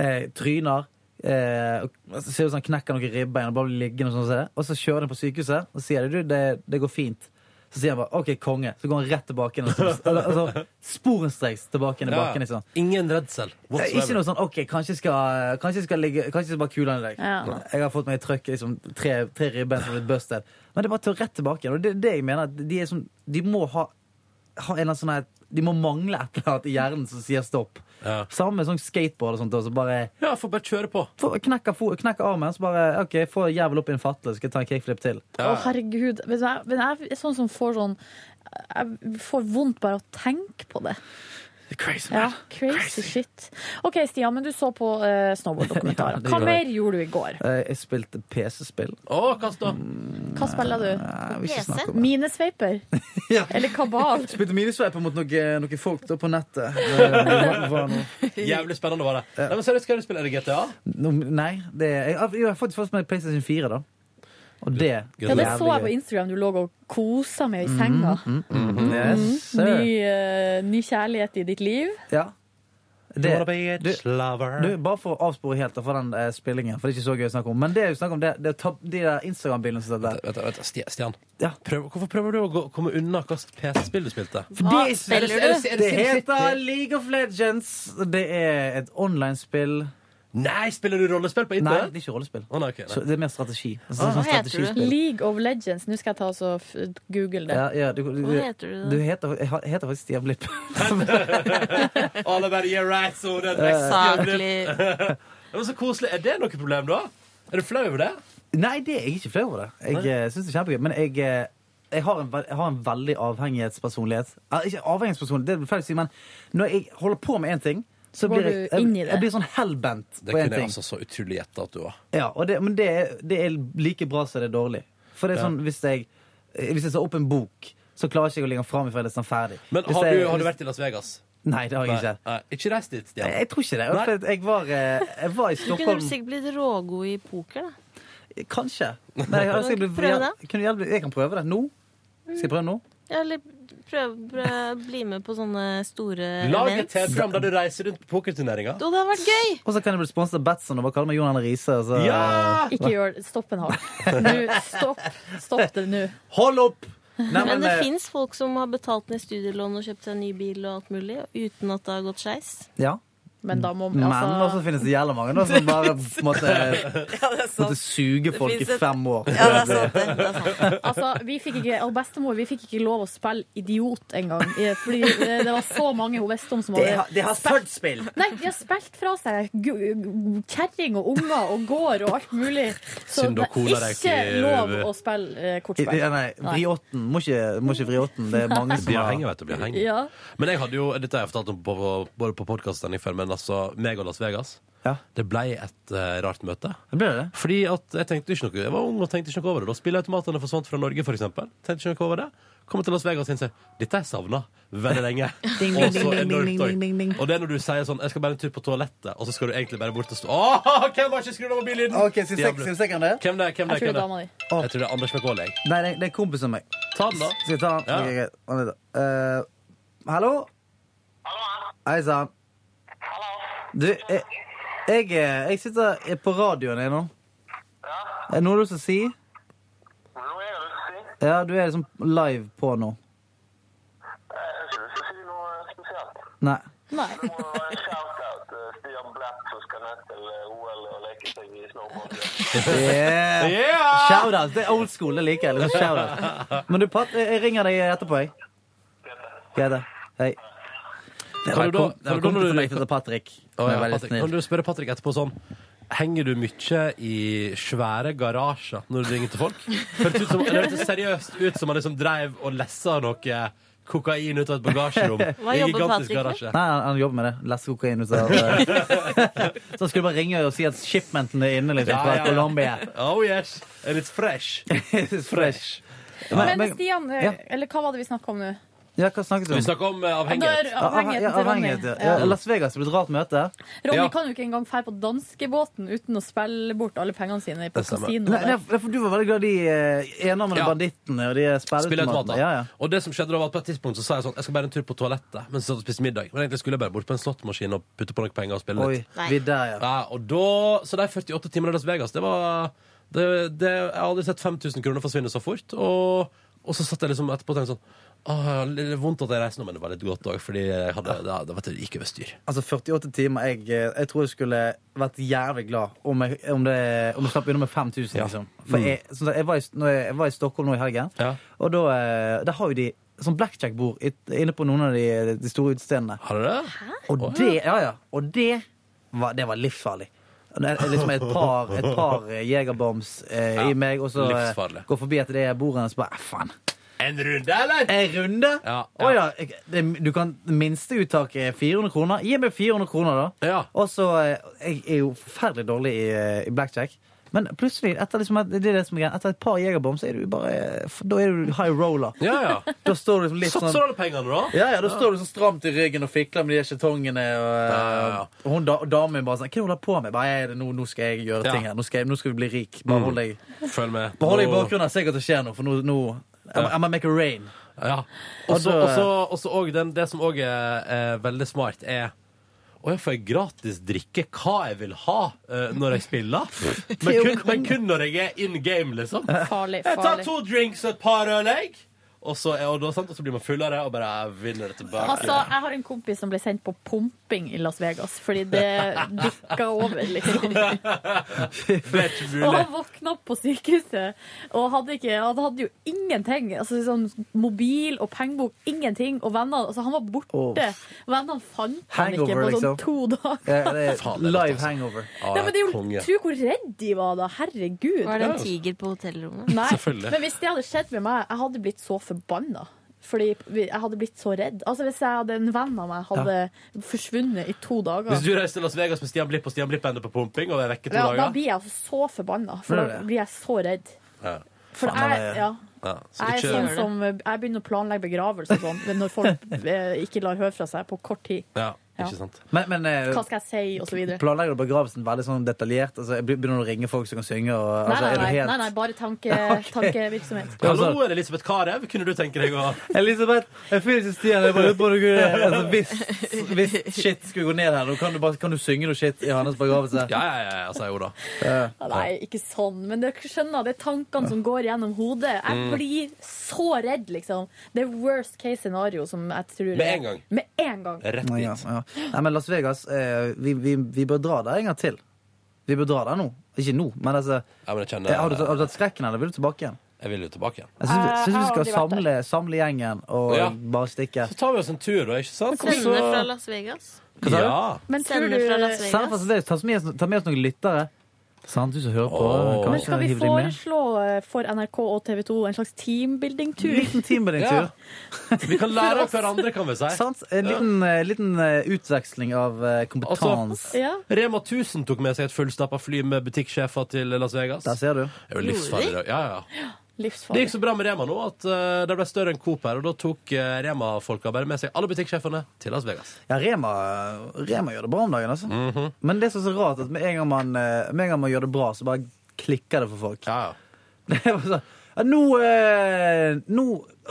eh, tryner. Eh, og så ser du sånn knekker noen ribbein og bare blir liggende og sånn. som det. Og så kjører han på sykehuset og sier det, du, det, det går fint. Så sier han bare OK, konge. Så går han rett tilbake inn. og så- eller, Altså, sporenstreks tilbake inn i
Ja.
bakken. Liksom.
Ingen redsel.
Eh,
whatsoever.
Ikke noe sånn OK, kanskje jeg skal, kanskje jeg skal, ligge, kanskje jeg skal bare kule han i dag.
Ja.
Jeg har fått meg i trøkk liksom, tre, tre ribbein som er blitt busted. Men det er bare til rett tilbake igjen. Og det er det jeg mener. at De, er som, de må ha, ha en eller annen sånn her De må mangle et eller annet i hjernen som sier stopp. Samme med sånn skateboard og sånt. Også, bare,
ja, får bare kjøre på.
knekker, fo- knekker armen, så bare OK, få jævel opp i en fatle, så skal jeg ta en kickflip til.
Å, herregud. Men jeg, men jeg er sånn som får sånn Jeg får vondt bare av å tenke på det.
Crazy,
ja, crazy, shit. OK, Stian, men du så på eh, snowboard-dokumentarer.
<laughs> Ja, det
Hva
gjorde jeg.
mer gjorde du i går?
Eh, Jeg spilte PC-spill.
Å, hva da?
Hva spiller du?
jeg vil ikke snakke om det. <laughs>
Minesveiper? Eller kabal?
Spilte minisveiper mot noen noe folk da på <laughs> nettet. Eh, hva- hva nå?
Jævlig spennende var det. Nei, men seriøst, skal du spille? Er det GTA?
No, nei, det jeg, jeg har faktisk fått med PlayStation 4, da. Og det
Ja, det så jeg på Instagram du lå og kosa med i senga.
Mm, mm, mm,
Mm,
yes, sir.
ny, eh, ny kjærlighet i ditt liv.
Ja. Det,
Wanna
be a
du, du, bare for å avspore helt da, fra den eh, spillingen, for det er ikke så gøy å snakke om. Men det er jo snakk om det, det er tab, de der Instagram-bildene som står der.
Vent, vent, Sti- Stian, prøv, hvorfor prøver du å gå, komme unna hvilket PC-spill du spilte?
Hva det,
spiller du?
det, det heter
City?
League of Legends. Det er et online-spill.
Nei, spiller du rollespill på
Nei,
internett?
det er ikke rollespill.
Å, nei, ok, nei.
Så det er mer strategi. Altså,
Ah,
sånn
hva heter du?
strategispill.
League of Legends. Nå skal jeg ta og så f- google det.
Ja, ja, du, du,
Hva heter du da?
Du heter, jeg ha- heter faktisk Stian Blipp.
All about your rights og den
Eh,
<laughs> Saklig. Det var så koselig. Er det noe problem, da? Er du flau over det?
Nei, det er jeg ikke flau over det. Jeg
Nei.
eh, synes det er kjempegøy. Men jeg, eh, jeg, har en, ve- jeg har en veldig avhengighetspersonlighet. Eh, Ikke avhengighetspersonlighet, det blir feil å si, men når jeg holder på med én ting, så,
går
blir jeg,
du
jeg,
inn i
jeg,
det.
blir sånn hellbent
Det
på én
kunne jeg
ting.
altså så utrolig gjette at du var.
Ja, og det, men det, er- det er like bra som det er dårlig. For det er
Ja.
sånn, hvis jeg, eh, hvis jeg tar opp en bok, så klarer ikke jeg å legge den fra meg før jeg er ferdig.
Men
Hvis
har
jeg-
du, har du
hvis-
vært i Las Vegas?
Nei, det har jeg ikke.
Nei, ikke reist dit, Stian.
Jeg, jeg tror ikke det.
Nei.
For Jeg var, eh, jeg var i
Du kunne
Stockholm
vel sikkert blitt rågod i poker, da.
Kanskje. Nei, jeg, har- jeg, skal bli-
Prøv det.
kunne hjelpe- jeg kan prøve det nå. Skal jeg prøve nå?
Ja, eller prøv, prøv bli med på sånne store
Lag et
events.
TV-program der du reiser rundt på pokerturneringer.
Jo, det hadde vært gøy!
Og så kan jeg bli sponset av Batson og bare kalle meg Jon Arne Riise. altså? og Så...
Ja!
Ikke gjør det. Stopp
<laughs>
en hal. Nå, Stopp Stopp det nå.
Hold opp!
men, eh, det
eh,
fins folk som har betalt ned studielån og kjøpt seg en ny bil og alt mulig, uten at det har gått skeis.
Ja.
Men da må altså,
Men også finnes det jævla mange da, som bare på en måte, eh, måtte suge
Det
folk i
finnes et-
fem år.
Ja, det er sant, Altså, vi fikk ikke, og bestemor vi fikk ikke lov å spille idiot engang. eh, Fordi det, det var så mange hun visste om som
Det har, det har
spilt-
spill.
Nei, de har spilt fra seg gu- gu- kjerring og unger og gård og alt mulig. Så
Synd
det
og cola
er
er
ikke
ikke-
lov å spille eh,
I-
kortspill.
Ja, nei, vri åtten. Må ikke, må ikke vri åtten. Det er mange som
Blir henger, vet du. Blir henger.
Ja.
Men jeg hadde jo, dette har jeg fortalt om på, på- både på podkastsending før, men altså meg og Las Vegas. Det ble et eh, rart møte. Fordi at jeg tenkte ikke noe Jeg var ung og tenkte ikke noe over det. Da Spilleautomatene forsvant fra Norge, f.eks. Tenkte ikke noe over det. Kommer til Las Vegas og innser dette har jeg savna veldig lenge.
<laughs> Ding, ding,
og
ding,
så
ding,
enormt
ding, ding,
òg.
ding, ding.
Og det er når du sier sånn Jeg skal bare en tur på toalettet, og så skal du egentlig bare bort og stå Åh, hvem har ikke skrudd av mobilen?
Ok, skal vi se-
Jævlig.
skal vi se hvem det er?
Hvem det er? Hvem det er? Hvem det er?
di.
Jeg tror det er Anders McCauley.
Nei, det, det er kompisen meg.
Ta den, da.
Skal jeg ta den?
Ja.
Ok, greit. Vent litt, da. Eh, hallo? Hei sann. Du, jeg, jeg, eh, jeg sitter på radioen jeg nå. Er det noe du skal si? Ja, du er liksom live på nå. Nei.
<laughs>
Nei.
eh,
Yeah.
Yeah!
Shoutout. Det er old school. Det liker jeg. Liksom. Shoutout. Men du, Pat, eh, jeg jeg ringer deg etterpå, jeg. Greit. Hei. Det
Kan
var
du da-
kom- det
kan du
var
da-
kompisen meg som heter Patrick.
Å,
Som
ja,
er veldig
Patrick.
snill.
Kan du spørre Patrick etterpå sånn Henger du mye i svære garasjer når du ringer til folk? Føltes ut som, det hørtes seriøst ut som han liksom dreiv og lessa noe kokain ut av et <laughs> bagasjerom.
Hva
i en
jobber
gigantisk
Patrick med?
garasje.
Nei, han, han jobber med det. Lesse kokain ut av eh.
<laughs>
Så han skulle bare ringe og si at shipmenten er inne liksom,
Ja,
fra
ja, ja. <laughs>
Colombia.
Oh yes, and it's fresh.
it's fresh.
Men, Stian, eh,
ja.
eller hva var det vi snakka om nå?
Ja, hva snakket du om?
Vi snakker om eh, avhengighet.
Når avhengigheten
Ja,
til Ronny.
avhengigheten, ja.
Ja.
Ja, Las Vegas er blitt et rart møte.
Ronny kan jo ikke engang dra på danskebåten uten å spille bort alle pengene sine på kasino.
Nei, nei, for du var veldig glad i de eh, enarmede bandittene og de
Spilleautomater.
spilleautomatene. Ja, ja.
Og det som skjedde da var at på et tidspunkt så sa jeg sånn Jeg skal bare en tur på toalettet mens jeg satt og spiste middag. Men egentlig skulle jeg bare bort på en slottmaskin og putte på noen penger og spille
Oi,
litt.
vi der, ja.
og da, så de 48 timene i Las Vegas, det var det, det, Jeg har aldri sett 5000 kroner forsvinne så fort. Og, og så satt jeg liksom etterpå og tenkte sånn Åh, det er vondt at jeg reiser nå, men det var litt godt òg, fordi jeg hadde, det, det, vet du, det gikk over styr.
Altså 48 timer jeg, jeg tror jeg skulle vært jævlig glad om jeg, om det, om jeg slapp unna med 5000. Liksom. For
Mm.
jeg, som sagt, jeg, var i, når jeg, jeg var i Stockholm nå i helgen, og da eh, der har jo de sånn blackjack-bord it- inne på noen av de, de store utestedene.
Har du det?
Og det, ja, ja, og det var, det var livsfarlig. Det er liksom et par, et par eh, jegerbombs eh,
Ja,
i meg, og så eh,
livsfarlig.
går forbi etter det bordet, og så bare "Ah, faen.
En runde, eller?
En runde?
Ja,
Å ja. jeg- det- Du kan det minste uttaket er 400 kroner. Gi meg 400 kroner, da. Og så eh, Jeg er jo forferdelig dårlig i, eh, i blackjack. Men plutselig, etter, liksom, at- det er det som er greia, etter et par jegerbom, så er du bare eh, f- Da er du high roller.
Ja, ja.
Da står du liksom litt
Satser
sånn
alle pengene, da?
ja, ja, Da står du sånn stramt i ryggen og fikler med de skjetongene. Og, eh, og hun da, og damen bare sånn Hva er det du holder på med? Bare, «Jeg er det nå, nå skal jeg gjøre
Ja.
ting her. Nå skal, jeg, nå skal vi bli rik. Bare hold deg
Følg med.
Bare hold deg i
Nå-
bakgrunnen, se hva som skjer nå, for nå, nå I'm, I'm gonna make it rain.
Ja. Og
Og
så
da-
også- også- og den- det som òg er, er veldig smart, er å, jeg får gratis drikke hva jeg vil ha eh, når jeg <laughs> spiller. Men kun, men kun når jeg er in game, liksom.
Farlig,
Jeg tar
farlig.
to drinks og et par øl, jeg. Og så, er- og da, sant, og så blir man fullere og bare jeg vinner det tilbake.
Altså, jeg har en kompis som ble sendt på pumping i Las Vegas fordi
<laughs>
det dikka over,
Sånn
liksom.
det er ikke
<laughs> Og
mulig.
han våkna opp på sykehuset og hadde, ikke, han hadde jo ingenting. Altså, sånn mobil og pengebok, ingenting. Og venner, altså, han var borte. Vennene fant han ikke
Hangover,
på sånn
liksom.
to dager.
Ja, <laughs> det er altså. live hangover.
Nei, men det er jo, Tro hvor redd de var da. Herregud.
Var det en tiger på hotellrommet?
Nei,
Selvfølgelig.
men hvis det hadde skjedd med meg, jeg hadde blitt så forbanna. Fordi jeg hadde blitt så redd. Altså Hvis jeg hadde en venn av meg hadde forsvunnet i to dager
Hvis du reiser til Las Vegas med Stian Blipp og Stian Blipp ender på pumping og er vekke to
ja, Da
dager
blir jeg altså så forbanna,
Gjør
for
du
da
det?
blir jeg så redd.
ja.
For
Faen,
jeg,
det-
ja,
Ja, så
jeg, er
ikke-
sånn
<laughs>
som, jeg begynner å planlegge begravelser og sånn, men når folk eh, ikke lar høre fra seg på kort tid.
ja.
Ja.
Ikke sant?
Men, men eh,
Hva skal jeg si, og så videre.
planlegger du begravelsen veldig sånn detaljert? Altså, jeg begynner du å ringe folk som kan synge? Og,
Nei,
altså,
nei,
er du
nei,
helt-
nei, nei bare tanke, tankevirksomhet.
Hallo, er det Elisabeth Karev? Kunne du tenke deg å
Elisabeth, jeg fyller ikke stien. Jeg bare, bare,
<laughs>
altså, hvis, hvis shit skulle gå ned her, nå kan du, bare, kan du synge noe shit i hans begravelse?
Ja, ja, ja, altså, jo da.
Ja, Nei, ikke sånn, men dere skjønner, det er tankene som går gjennom hodet. Jeg
Mm.
blir så redd, liksom. Det er worst case scenario som jeg tror
Med
er-
en gang.
Med en gang.
Nei, Ja, ja. Nei, men Las Vegas, eh, vi, vi, vi bør dra der en gang til. Vi bør dra der nå. Ikke nå, men altså
Ja, men jeg
eh, har,
kjenner
du, har du tatt skrekken, eller vil du tilbake igjen?
Jeg vil jo tilbake igjen.
Jeg
Eh,
syns,
Jeg
vi
har
skal
aldri vært
samle, samle gjengen og
Ja.
bare stikke.
Så tar vi oss en tur, da, ikke sant?
Sender fra Las Vegas.
Hva sa du?
Men tror
Sender fra Las
Send fra
Vegas.
Las Vegas. Ta med oss- Ta med oss noen lyttere. Sant, du som hører på. kanskje
Men skal vi
hiver de med.
foreslå eh, for NRK og TV 2 en slags teambuilding-tur?
Liten teambuilding-tur.
Vi kan
<laughs>
lære av hverandre, kan vi si.
Sånn.
Sant? En liten, eh, liten eh, utveksling av eh, kompetanse.
Rema 1000 tok med seg et fullstappa fly med butikksjefer til Las Vegas. Der
ser du.
Det er jo livsfarlig. da. Ja, ja. Det
Livsfarlig.
gikk så bra med Rema nå at eh, det ble større enn Coop her, og da tok eh, Rema-folka bare med seg alle butikksjefene til Las Vegas.
Ja, Rema, Rema gjør det bra om dagen, altså. Men det er så, så rart at med en, gang man, eh, med en gang man gjør det bra, så bare klikker det for folk. <laughs> Det er bare sånn, ja, nå, eh, nå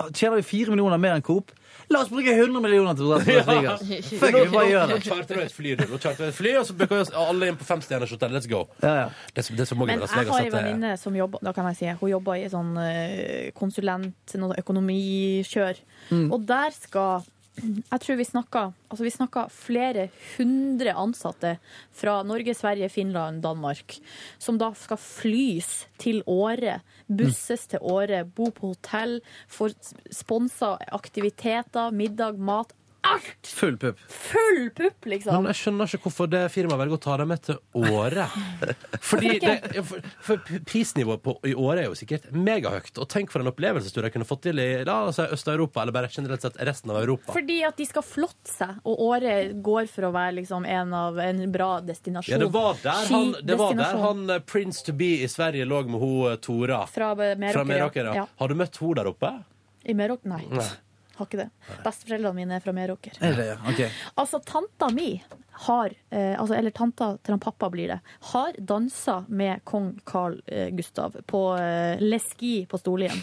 tjener vi fire millioner mer enn Coop. La oss bruke 100 millioner til Las <laughs> Vegas. Fuck,
Nå-
vi bare gjør <laughs>
Nå
det.
charter vi et fly, du. Nå charter vi et fly, og så bøkker vi oss alle inn på femstjerners hotell. Let's go. Det, er så- det er så mange i
Men
Las
jeg
Vegas
har en
at det
venninne som jobber Da kan jeg si Hun jobber i sånn eh, konsulent Noe økonomikjør
Mm.
Og der skal Jeg tror vi snakker Altså vi snakker flere hundre ansatte Fra Norge, Sverige, Finland, Danmark Som da skal flys til året Busses til året Bo på hotell Får sponsa aktiviteter Middag, mat Alt!
Full pupp.
Full pupp liksom
Men jeg skjønner ikke hvorfor det firmaet velger å ta dem med til
<laughs>
året. Fordi det,
Hvorfor
ja, for, for p- prisnivået på, i året er jo sikkert megahøyt. Og tenk for en opplevelsestur jeg kunne fått til i la oss si Øst-Europa, eller bare generelt sett resten av Europa.
Fordi at de skal flotte seg, og året går for å være liksom en, av, en bra destinasjon.
Ja, det var der han, det var der
Skidestinasjon.
han eh, Prince to be i Sverige lå med hun eh, Tora.
Fra eh, Meråker,
Fra Meråker, ja.
ja.
Har du møtt hun der oppe?
I Meråker? Nei.
Nei.
Har ikke det. Besteforeldrene mine er fra Meråker.
Er det, ja? Ok.
Altså, tanta mi har, eh, altså, eller tanta til han pappa blir det, har dansa med kong Carl eh, Gustav på eh, Leski på Storlien.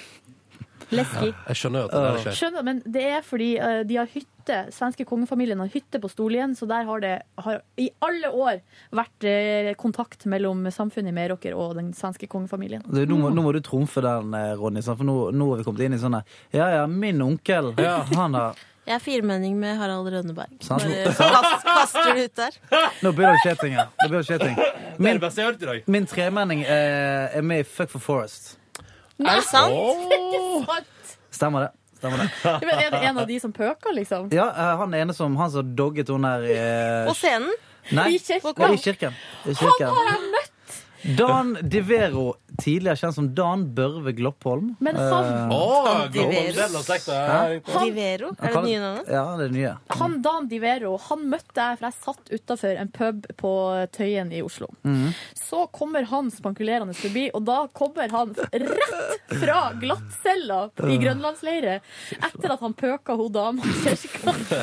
Leski.
Jeg skjønner jo at det der skjer.
Skjønner, men det er fordi eh, de har hytte, svenske kongefamilien har hytte på Storlien, så der har det har, i alle år vært eh, kontakt mellom samfunnet i Meråker og den svenske kongefamilien. <laughs>
Du, nå,
Mm.
må, nå må du trumfe den, eh, Ronny, sant? for nå, nå har vi kommet inn i sånne Ja, ja, min onkel, han har
Jeg er firmenning med Harald Rønneberg.
Sant.
Bare kast- kaster det ut der.
<laughs> Nå begynner det å skje ting her. Nå begynner det å skje ting. Min,
beste jeg har hørt i dag.
Min tremenning eh, er med i Fuck for Forest.
Er det sant?
Det er ikke sant!
Stemmer det. Stemmer det.
Men er det en av de som pøker,
<laughs>
liksom?
Ja, eh, han ene som han som dogget hun der eh,
På scenen?
Nei,
I kirken?
nei, i kirken. I kirken.
Han har jeg møtt!
Dan Divero, tidligere kjent som Dan Børve Gloppholm.
Men han-
Eh,
Å, Gloppholm, den har sagt det.
Hæ?
Han-
Divero?
Han
Er det
kaller-
nye navnet?
Ja, det er nye.
Han Dan Divero, han møtte jeg, for jeg satt utafor en pub på Tøyen i Oslo.
Mhm.
Så kommer han spankulerende forbi, og da kommer han rett fra glattcella i Grønlandsleire etter at han pøka hun dama i kirka.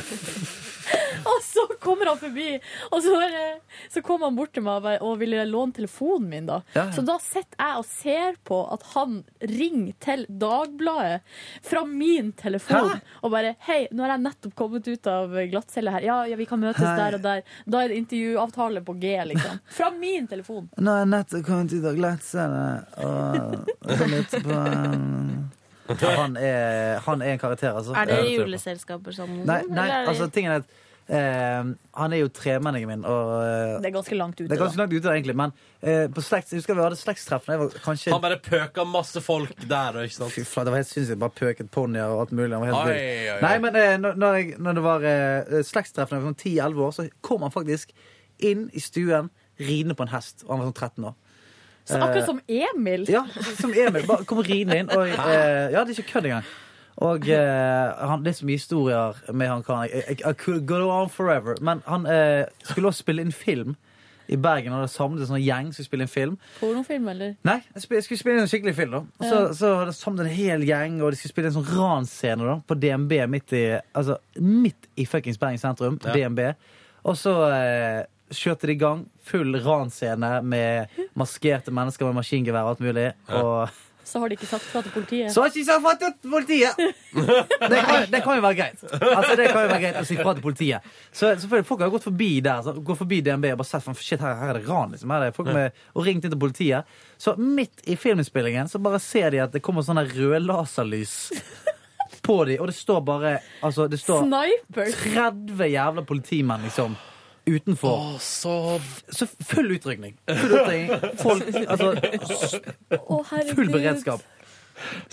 Og så kommer han forbi, og så, bare- så kom han bort til meg og bare- og ville låne telefonen min. da.
Ja, ja.
Så da sitter jeg og ser på at han ringer til Dagbladet fra min telefon og bare 'Hei, nå har jeg nettopp kommet ut av glattcelle her. Ja, ja, vi kan møtes
Hei.
der og der.' Da er det intervjuavtale på G, liksom. Fra min telefon.
Nå har jeg nettopp kommet ut av glatset og kom ut på
<laughs>
eh, ja, han, er, han er en karakter, altså.
Er det
Eh,
juleselskaper sammen?
Nei, nei
eller er det-
altså tingen er at eh, han er jo tremenningen min, og eh,
Det er ganske langt ute,
Det er ganske
da.
langt ute, egentlig, men eh, på slekts, jeg husker vi hadde slektstreff da jeg var kanskje
Han bare pøka masse folk der, og ikke sant?
Fy flate, det var helt sinnssykt. Bare pøket ponnier og alt mulig. Det var helt
Oi,
vild.
oi, oi.
Nei, men eh, når, når, jeg, når det var eh, slektstreff da jeg var sånn 10-11 år, så kom han faktisk inn i stuen ridende på en hest. Og han var sånn 13 år.
Så
Eh,
akkurat som Emil.
Ja, som Emil. Bare kom ridende inn. Og, eh, ja, det er ikke kødd engang. Og eh, han, Det er så mye historier med han karen. Jeg- jeg- I could go on forever. Men han eh, skulle også spille inn film i Bergen. Og det samlet en sånn gjeng som skulle spille inn film.
Pornofilm, eller?
Nei, jeg, sp jeg skulle spille inn en skikkelig film. da Og så,
Ja.
så var det samlet en hel gjeng, og de skulle spille en sånn ransscene da på DNB midt i, altså, midt i fuckings Bergen sentrum. på
Ja.
DNB Og så eh, kjørte de i gang full ranscene med maskerte mennesker med maskingevær og alt mulig. Og
Så har de ikke sagt fra til politiet.
så har ikke sagt fra til politiet! Det kan, det kan jo være greit. Altså, det kan jo være greit å si fra til politiet. Så selvfølgelig, Folk har gått forbi der, så, gått forbi DNB og bare sett faen, shit, her, her er det ran. liksom. Her er det folk med, Og ringt inn til politiet. Så midt i filminnspillingen så bare ser de at det kommer sånne røde laserlys på dem, og det står bare altså, det står
Sniper!
30 jævla politimenn, liksom. Utenfor.
så...
full utrykning. Full utrykning. Folk, altså,
Å, herregud.
full beredskap.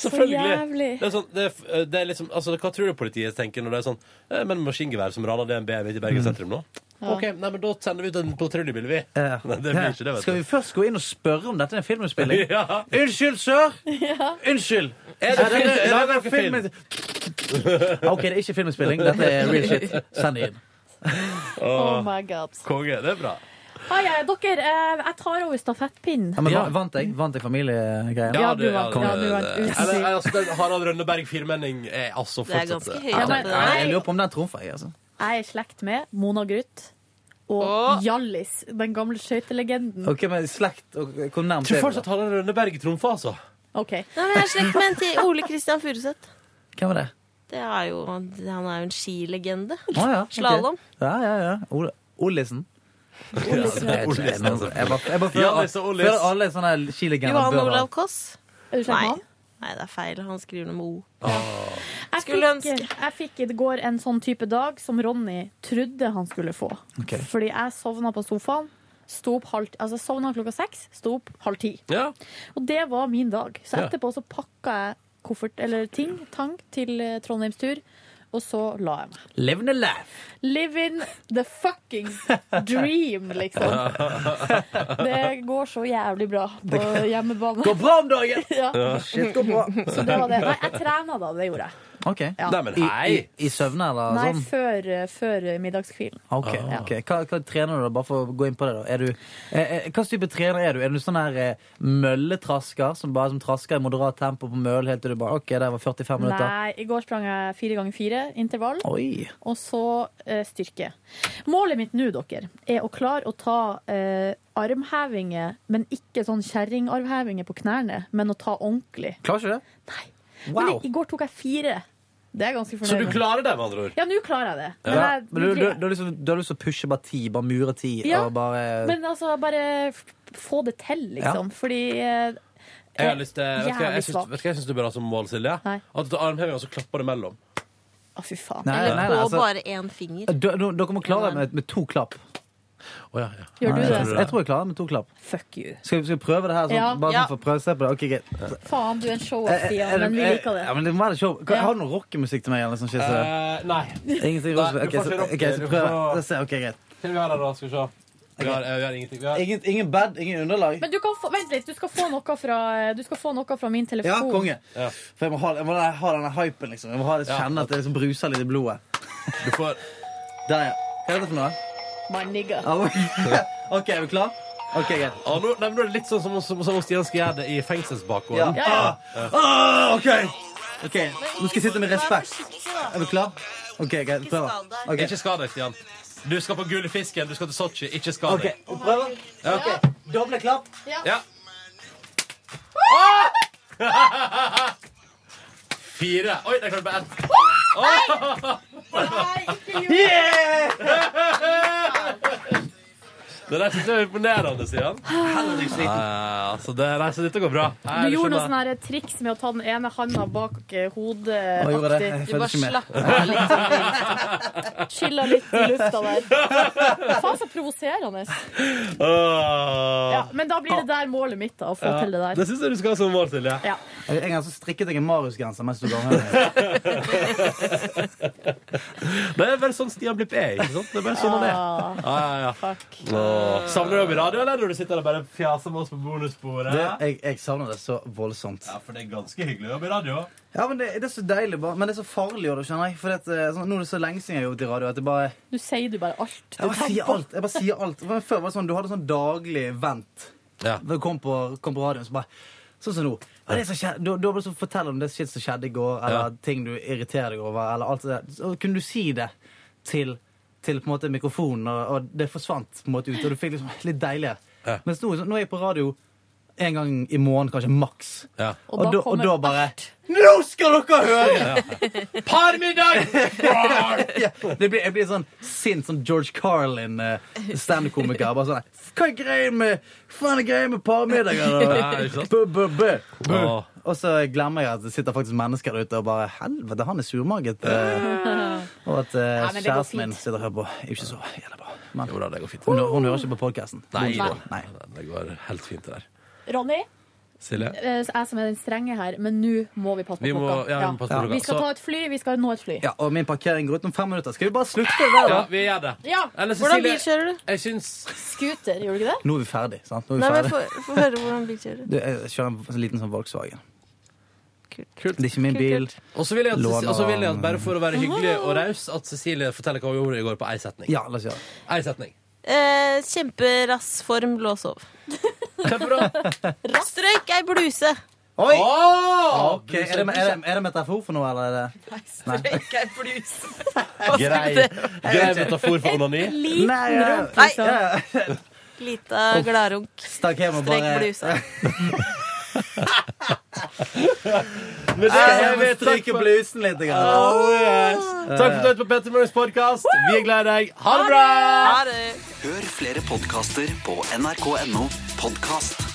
Selvfølgelig.
jævlig.
Det er sånn, det er, f- det er liksom, altså, hva tror du politiet tenker når det er sånn eh, Men maskingevær som raner DNB midt i Bergen sentrum nå?
Ja.
OK, nei, men da sender vi ut en patruljebil, vi. Nei, det blir ikke det, vet
Eh, Skal vi først gå inn og spørre om dette er en filminnspilling?
<laughs> Ja.
Unnskyld, sør! Unnskyld!
Er det film-
dette-
er det
dette
film-
filminnspilling? OK, det er ikke filminnspilling. Dette er real shit. Send det inn.
Oh my god.
Konge, det er bra.
Ai, ai, dere, eh, jeg tar over stafettpinnen.
Ja, men va- vant jeg? Vant jeg familiegreiene?
Ja, du vant.
Konge.
Ja, du vant. Eller, eller, altså, den Harald Rønneberg firmenning er altså
Det er
fortsatt
ganske høyt
Ja,
oppe der.
Nei, Jeg lurer på om den trumfer jeg, altså.
Jeg er i slekt med Mona Gruth og Hjallis, den gamle skøytelegenden.
OK, men slekt og Hvor nærmt
Tror fortsatt Harald Rønneberg trumfer, altså.
Ok.
Nei, men jeg er slekt med en til Ole Kristian Furuseth.
Hvem var det?
Det er jo, han er jo en skilegende.
Å, ja.
<laughs>
ok.
Slalåm.
Ja, ja, ja. Ole- Ollisen.
Ollisen.
Ja, det er ikke- Jeg bare- jeg bare føler
Hjallis
at-
og Ollis.
føler alle sånne skilegender
Johan
bør ha-
Olav Koss.
Er du slekt med
Nei.
han?
Nei, det er feil. Han skriver noe med O.
Ah.
Jeg fikk, jeg fikk i går en sånn type dag som Ronny trodde han skulle få.
Ok.
Fordi jeg sovna på sofaen. Sto opp halv, altså jeg sovna klokka seks, sto opp halv ti. Og det var min dag. Så
Ja.
etterpå så pakka jeg koffert, eller ting, tang, til eh, Trondheimstur. Og så la jeg meg.
Living the life.
Living the fucking dream, liksom.
<laughs>
Det går så jævlig bra på hjemmebane.
Går bra om dagen!
<laughs> ja.
Shit, går bra.
Så det var det. Nei, jeg trena da, det gjorde jeg.
Ok.
Ja. Nei, men
I-
hei.
I, i, søvne, eller
Nei,
sånn?
før, eh, før middagskvilen.
Ok, ok. Hva, hva trener du, da? Bare for å gå inn på det, da. Er du, eh, eh, hva slags type trener er du? Er du sånn her eh, mølletrasker som bare som trasker i moderat tempo på møll helt til du bare OK, der var 45 minutter?
Nei, i går sprang jeg fire ganger fire intervall.
Oi.
Og så eh, styrke. Målet mitt nå, dere, er å klare å ta eh, armhevinger, men ikke sånn kjerringarmhevinger på knærne, men å ta ordentlig.
Klarer ikke det?
Men
Wow.
i, I går tok jeg fire. Det er jeg ganske fornøyd
Så du
med.
klarer det, med andre ord?
Ja, nå klarer jeg det. Men
Ja.
jeg-
Men du, du, du, har lyst til- du har lyst til å pushe bare ti, bare mure ti,
Ja,
og bare eh,
Men altså, bare f- få det til, liksom.
Ja.
Fordi eh,
Jeg har lyst til, vet du hva jeg
Jævlig
syns-
svak.
vet du hva jeg syns du bør ha som mål, Silje? At du tar armheving og så klapper du mellom.
Å, fy faen.
Nei,
Eller
nei,
på
nei, altså-
bare én finger.
Du- du- Dere må klare det med, med to klapp.
Gjør du
Nei,
det?
Jeg, jeg tror jeg klarer det med to klapp.
Fuck you.
Skal, vi- skal vi prøve det her? Sånn,
Ja.
Bare
Ja.
sånn for å prøve å se på det? Ok, greit.
Faen, du er en show-off,
Eh, Er- er-
Stian, men vi
er-
liker det.
Ja, men det må være show. Kan- Har du noe rockemusikk til meg? Eller, sånn, shit, så det-
nei. Eh,
Ingenting
Nei,
rock-
du får
ok, så-
ikke rock- du
ok, så
får-
prøv. Da ser jeg, ok, greit.
Hva vi har her, da? Skal vi se. Vi har, eh, vi har ingenting. Vi har...
Ingen, ingen bad, ingen underlag.
Men du kan få, vent litt, du skal få noe fra, du skal få noe fra min telefon.
Ja, konge. For jeg må ha, jeg må ha denne hypen, liksom. Jeg må ha det, kjenne at det liksom bruser litt i blodet.
Du får...
Der, ja. Hva er dette for noe?
My nigga.
Au. <laughs> OK, er vi klar? Ok, greit.
Ja, nå, nei, men nå er det litt sånn som, som, som Stian skal gjøre det i fengselsbakgården.
Ja. Ja, ja. Ah, OK! Ok, Nå skal jeg sitte med respekt. Er du klar? OK, greit. Prøv. Ok.
Ikke skad deg, Stian. Du skal på Gullfisken, du skal til Sotsji. Ikke skad
Ok,
deg.
vi prøver.
Ja.
Ok, Doble klapp.
Ja. Fire. Oi, der klarte jeg bare ett. Det der synes jeg er imponerende, Stian. Nei, altså, det, nei, så dette går bra. Nei,
Du
det
gjorde noe
skjønner
sånn her triks med å ta den ene handa bak eh, hodet.
Å, gjorde jeg det?
aktivt.
Jeg følte ikke med.
Chilla litt i lufta der. Faen, så provoserende.
jeg. Åh.
sånn- Ja, men da blir det der målet mitt, da. Å få
Ja,
til det der.
det
synes jeg du skal ha som mål, Silje.
Ja.
En gang så strikket jeg en Marius-genser mens du ga meg den.
Det er bare sånn Stian Blipp er, ikke sant? Det er bare sånn han
Ah.
er. Ja, ja, ja. Åh. Savner du å bli radio, eller når du sitter der og bare fjaser med oss på bonussporet?
Det, jeg, jeg savner det så voldsomt.
Ja, for det er ganske hyggelig å jobbe i radio.
Ja, men det, det er så deilig, bare. Men det er så farlig òg, skjønner jeg. For det, at, eh, sånn, nå er det så lenge siden jeg har jobbet i radio at jeg bare
Du sier du bare alt.
Jeg bare sier alt. Jeg bare sier alt. Men før var det sånn, Du hadde sånn daglig vent. Når du kom på, kom på radioen, så bare Sånn som nå. Ja, det som skjedde, da, da var det sånn, Fortell om det shit som skjedde i går, eller ting du irriterer deg over. eller alt det der. Så kunne du si det til til på en måte mikrofonen, og, og det forsvant på en måte ut. Og du fikk liksom litt deilig.
Ja.
Mens nå, nå er jeg på radio en gang i måneden, kanskje maks.
Ja.
Og, da, og da bare
Nå skal dere
høre!
Parmiddag!
ja, det blir, jeg blir sånn sint sånn George Carlin, eh, standup-komiker. Bare sånn Hva er greia med Faen er greia med parmiddager? og-
Ja, ikke sant?
Bø, bø, bø. Bø.
Åh.
Og så glemmer jeg at det sitter faktisk mennesker der ute og bare Helvete, han er surmaget. eh, Og at eh,
Ja, men det går
kjæresten
fint.
min sitter og hører på. Ikke så jævla bra. Men
Jo da, det går fint.
Hun, hun hører ikke på podkasten.
Nei,
Nei.
da. det går helt fint, det der.
Ronny?
Silje?
eh, Jeg som er den strenge her, men nå må vi passe på
Vi må-
klokka.
ja, vi må passe på klokka.
Vi skal
Så-
ta et fly, vi skal nå et fly.
Ja, og min parkering går ut om fem minutter. Skal vi bare slutte det der, da?
Ja, vi gjør det.
Ja.
Eller
Hvordan
Cecilie-
bil kjører du?
Jeg syns
Scooter, gjorde du ikke det?
Nå er vi ferdig, sant? Nå er vi
Nei, men
ferdig.
få få høre hvordan bil kjører.
Du, jeg kjører en sånn liten sånn Volkswagen. Det er ikke min bil.
Og så vil jeg at,
Låner
og så vil jeg at bare for å være
han.
hyggelig og raus, at Cecilie forteller hva hun gjorde i går på ei setning.
Ja, la oss gjøre det.
Ei setning.
Eh, kjemperass form, lås av.
<laughs>
Kjempebra. Strøyk ei bluse.
Oi!
Oh!
Ok, er det, er, det, er det metafor for noe, eller er det
Strøyk ei bluse.
Grei, grei metafor for onani.
Liten
Nei, ja. <laughs>
rump,
Nei,
liksom. Lita
Uff.
gladrunk.
Stakk hjem og
Strøyk
bare-
bluse.
Men det
Jeg
er
må
vi. Takk
stryke
for-
blusen litt. grann.
Oh, yes. Takk for at du hørte på Petter Mørks podkast. Vi er glad i deg. Ha det bra!
Hør flere podkaster på nrk.no podkast.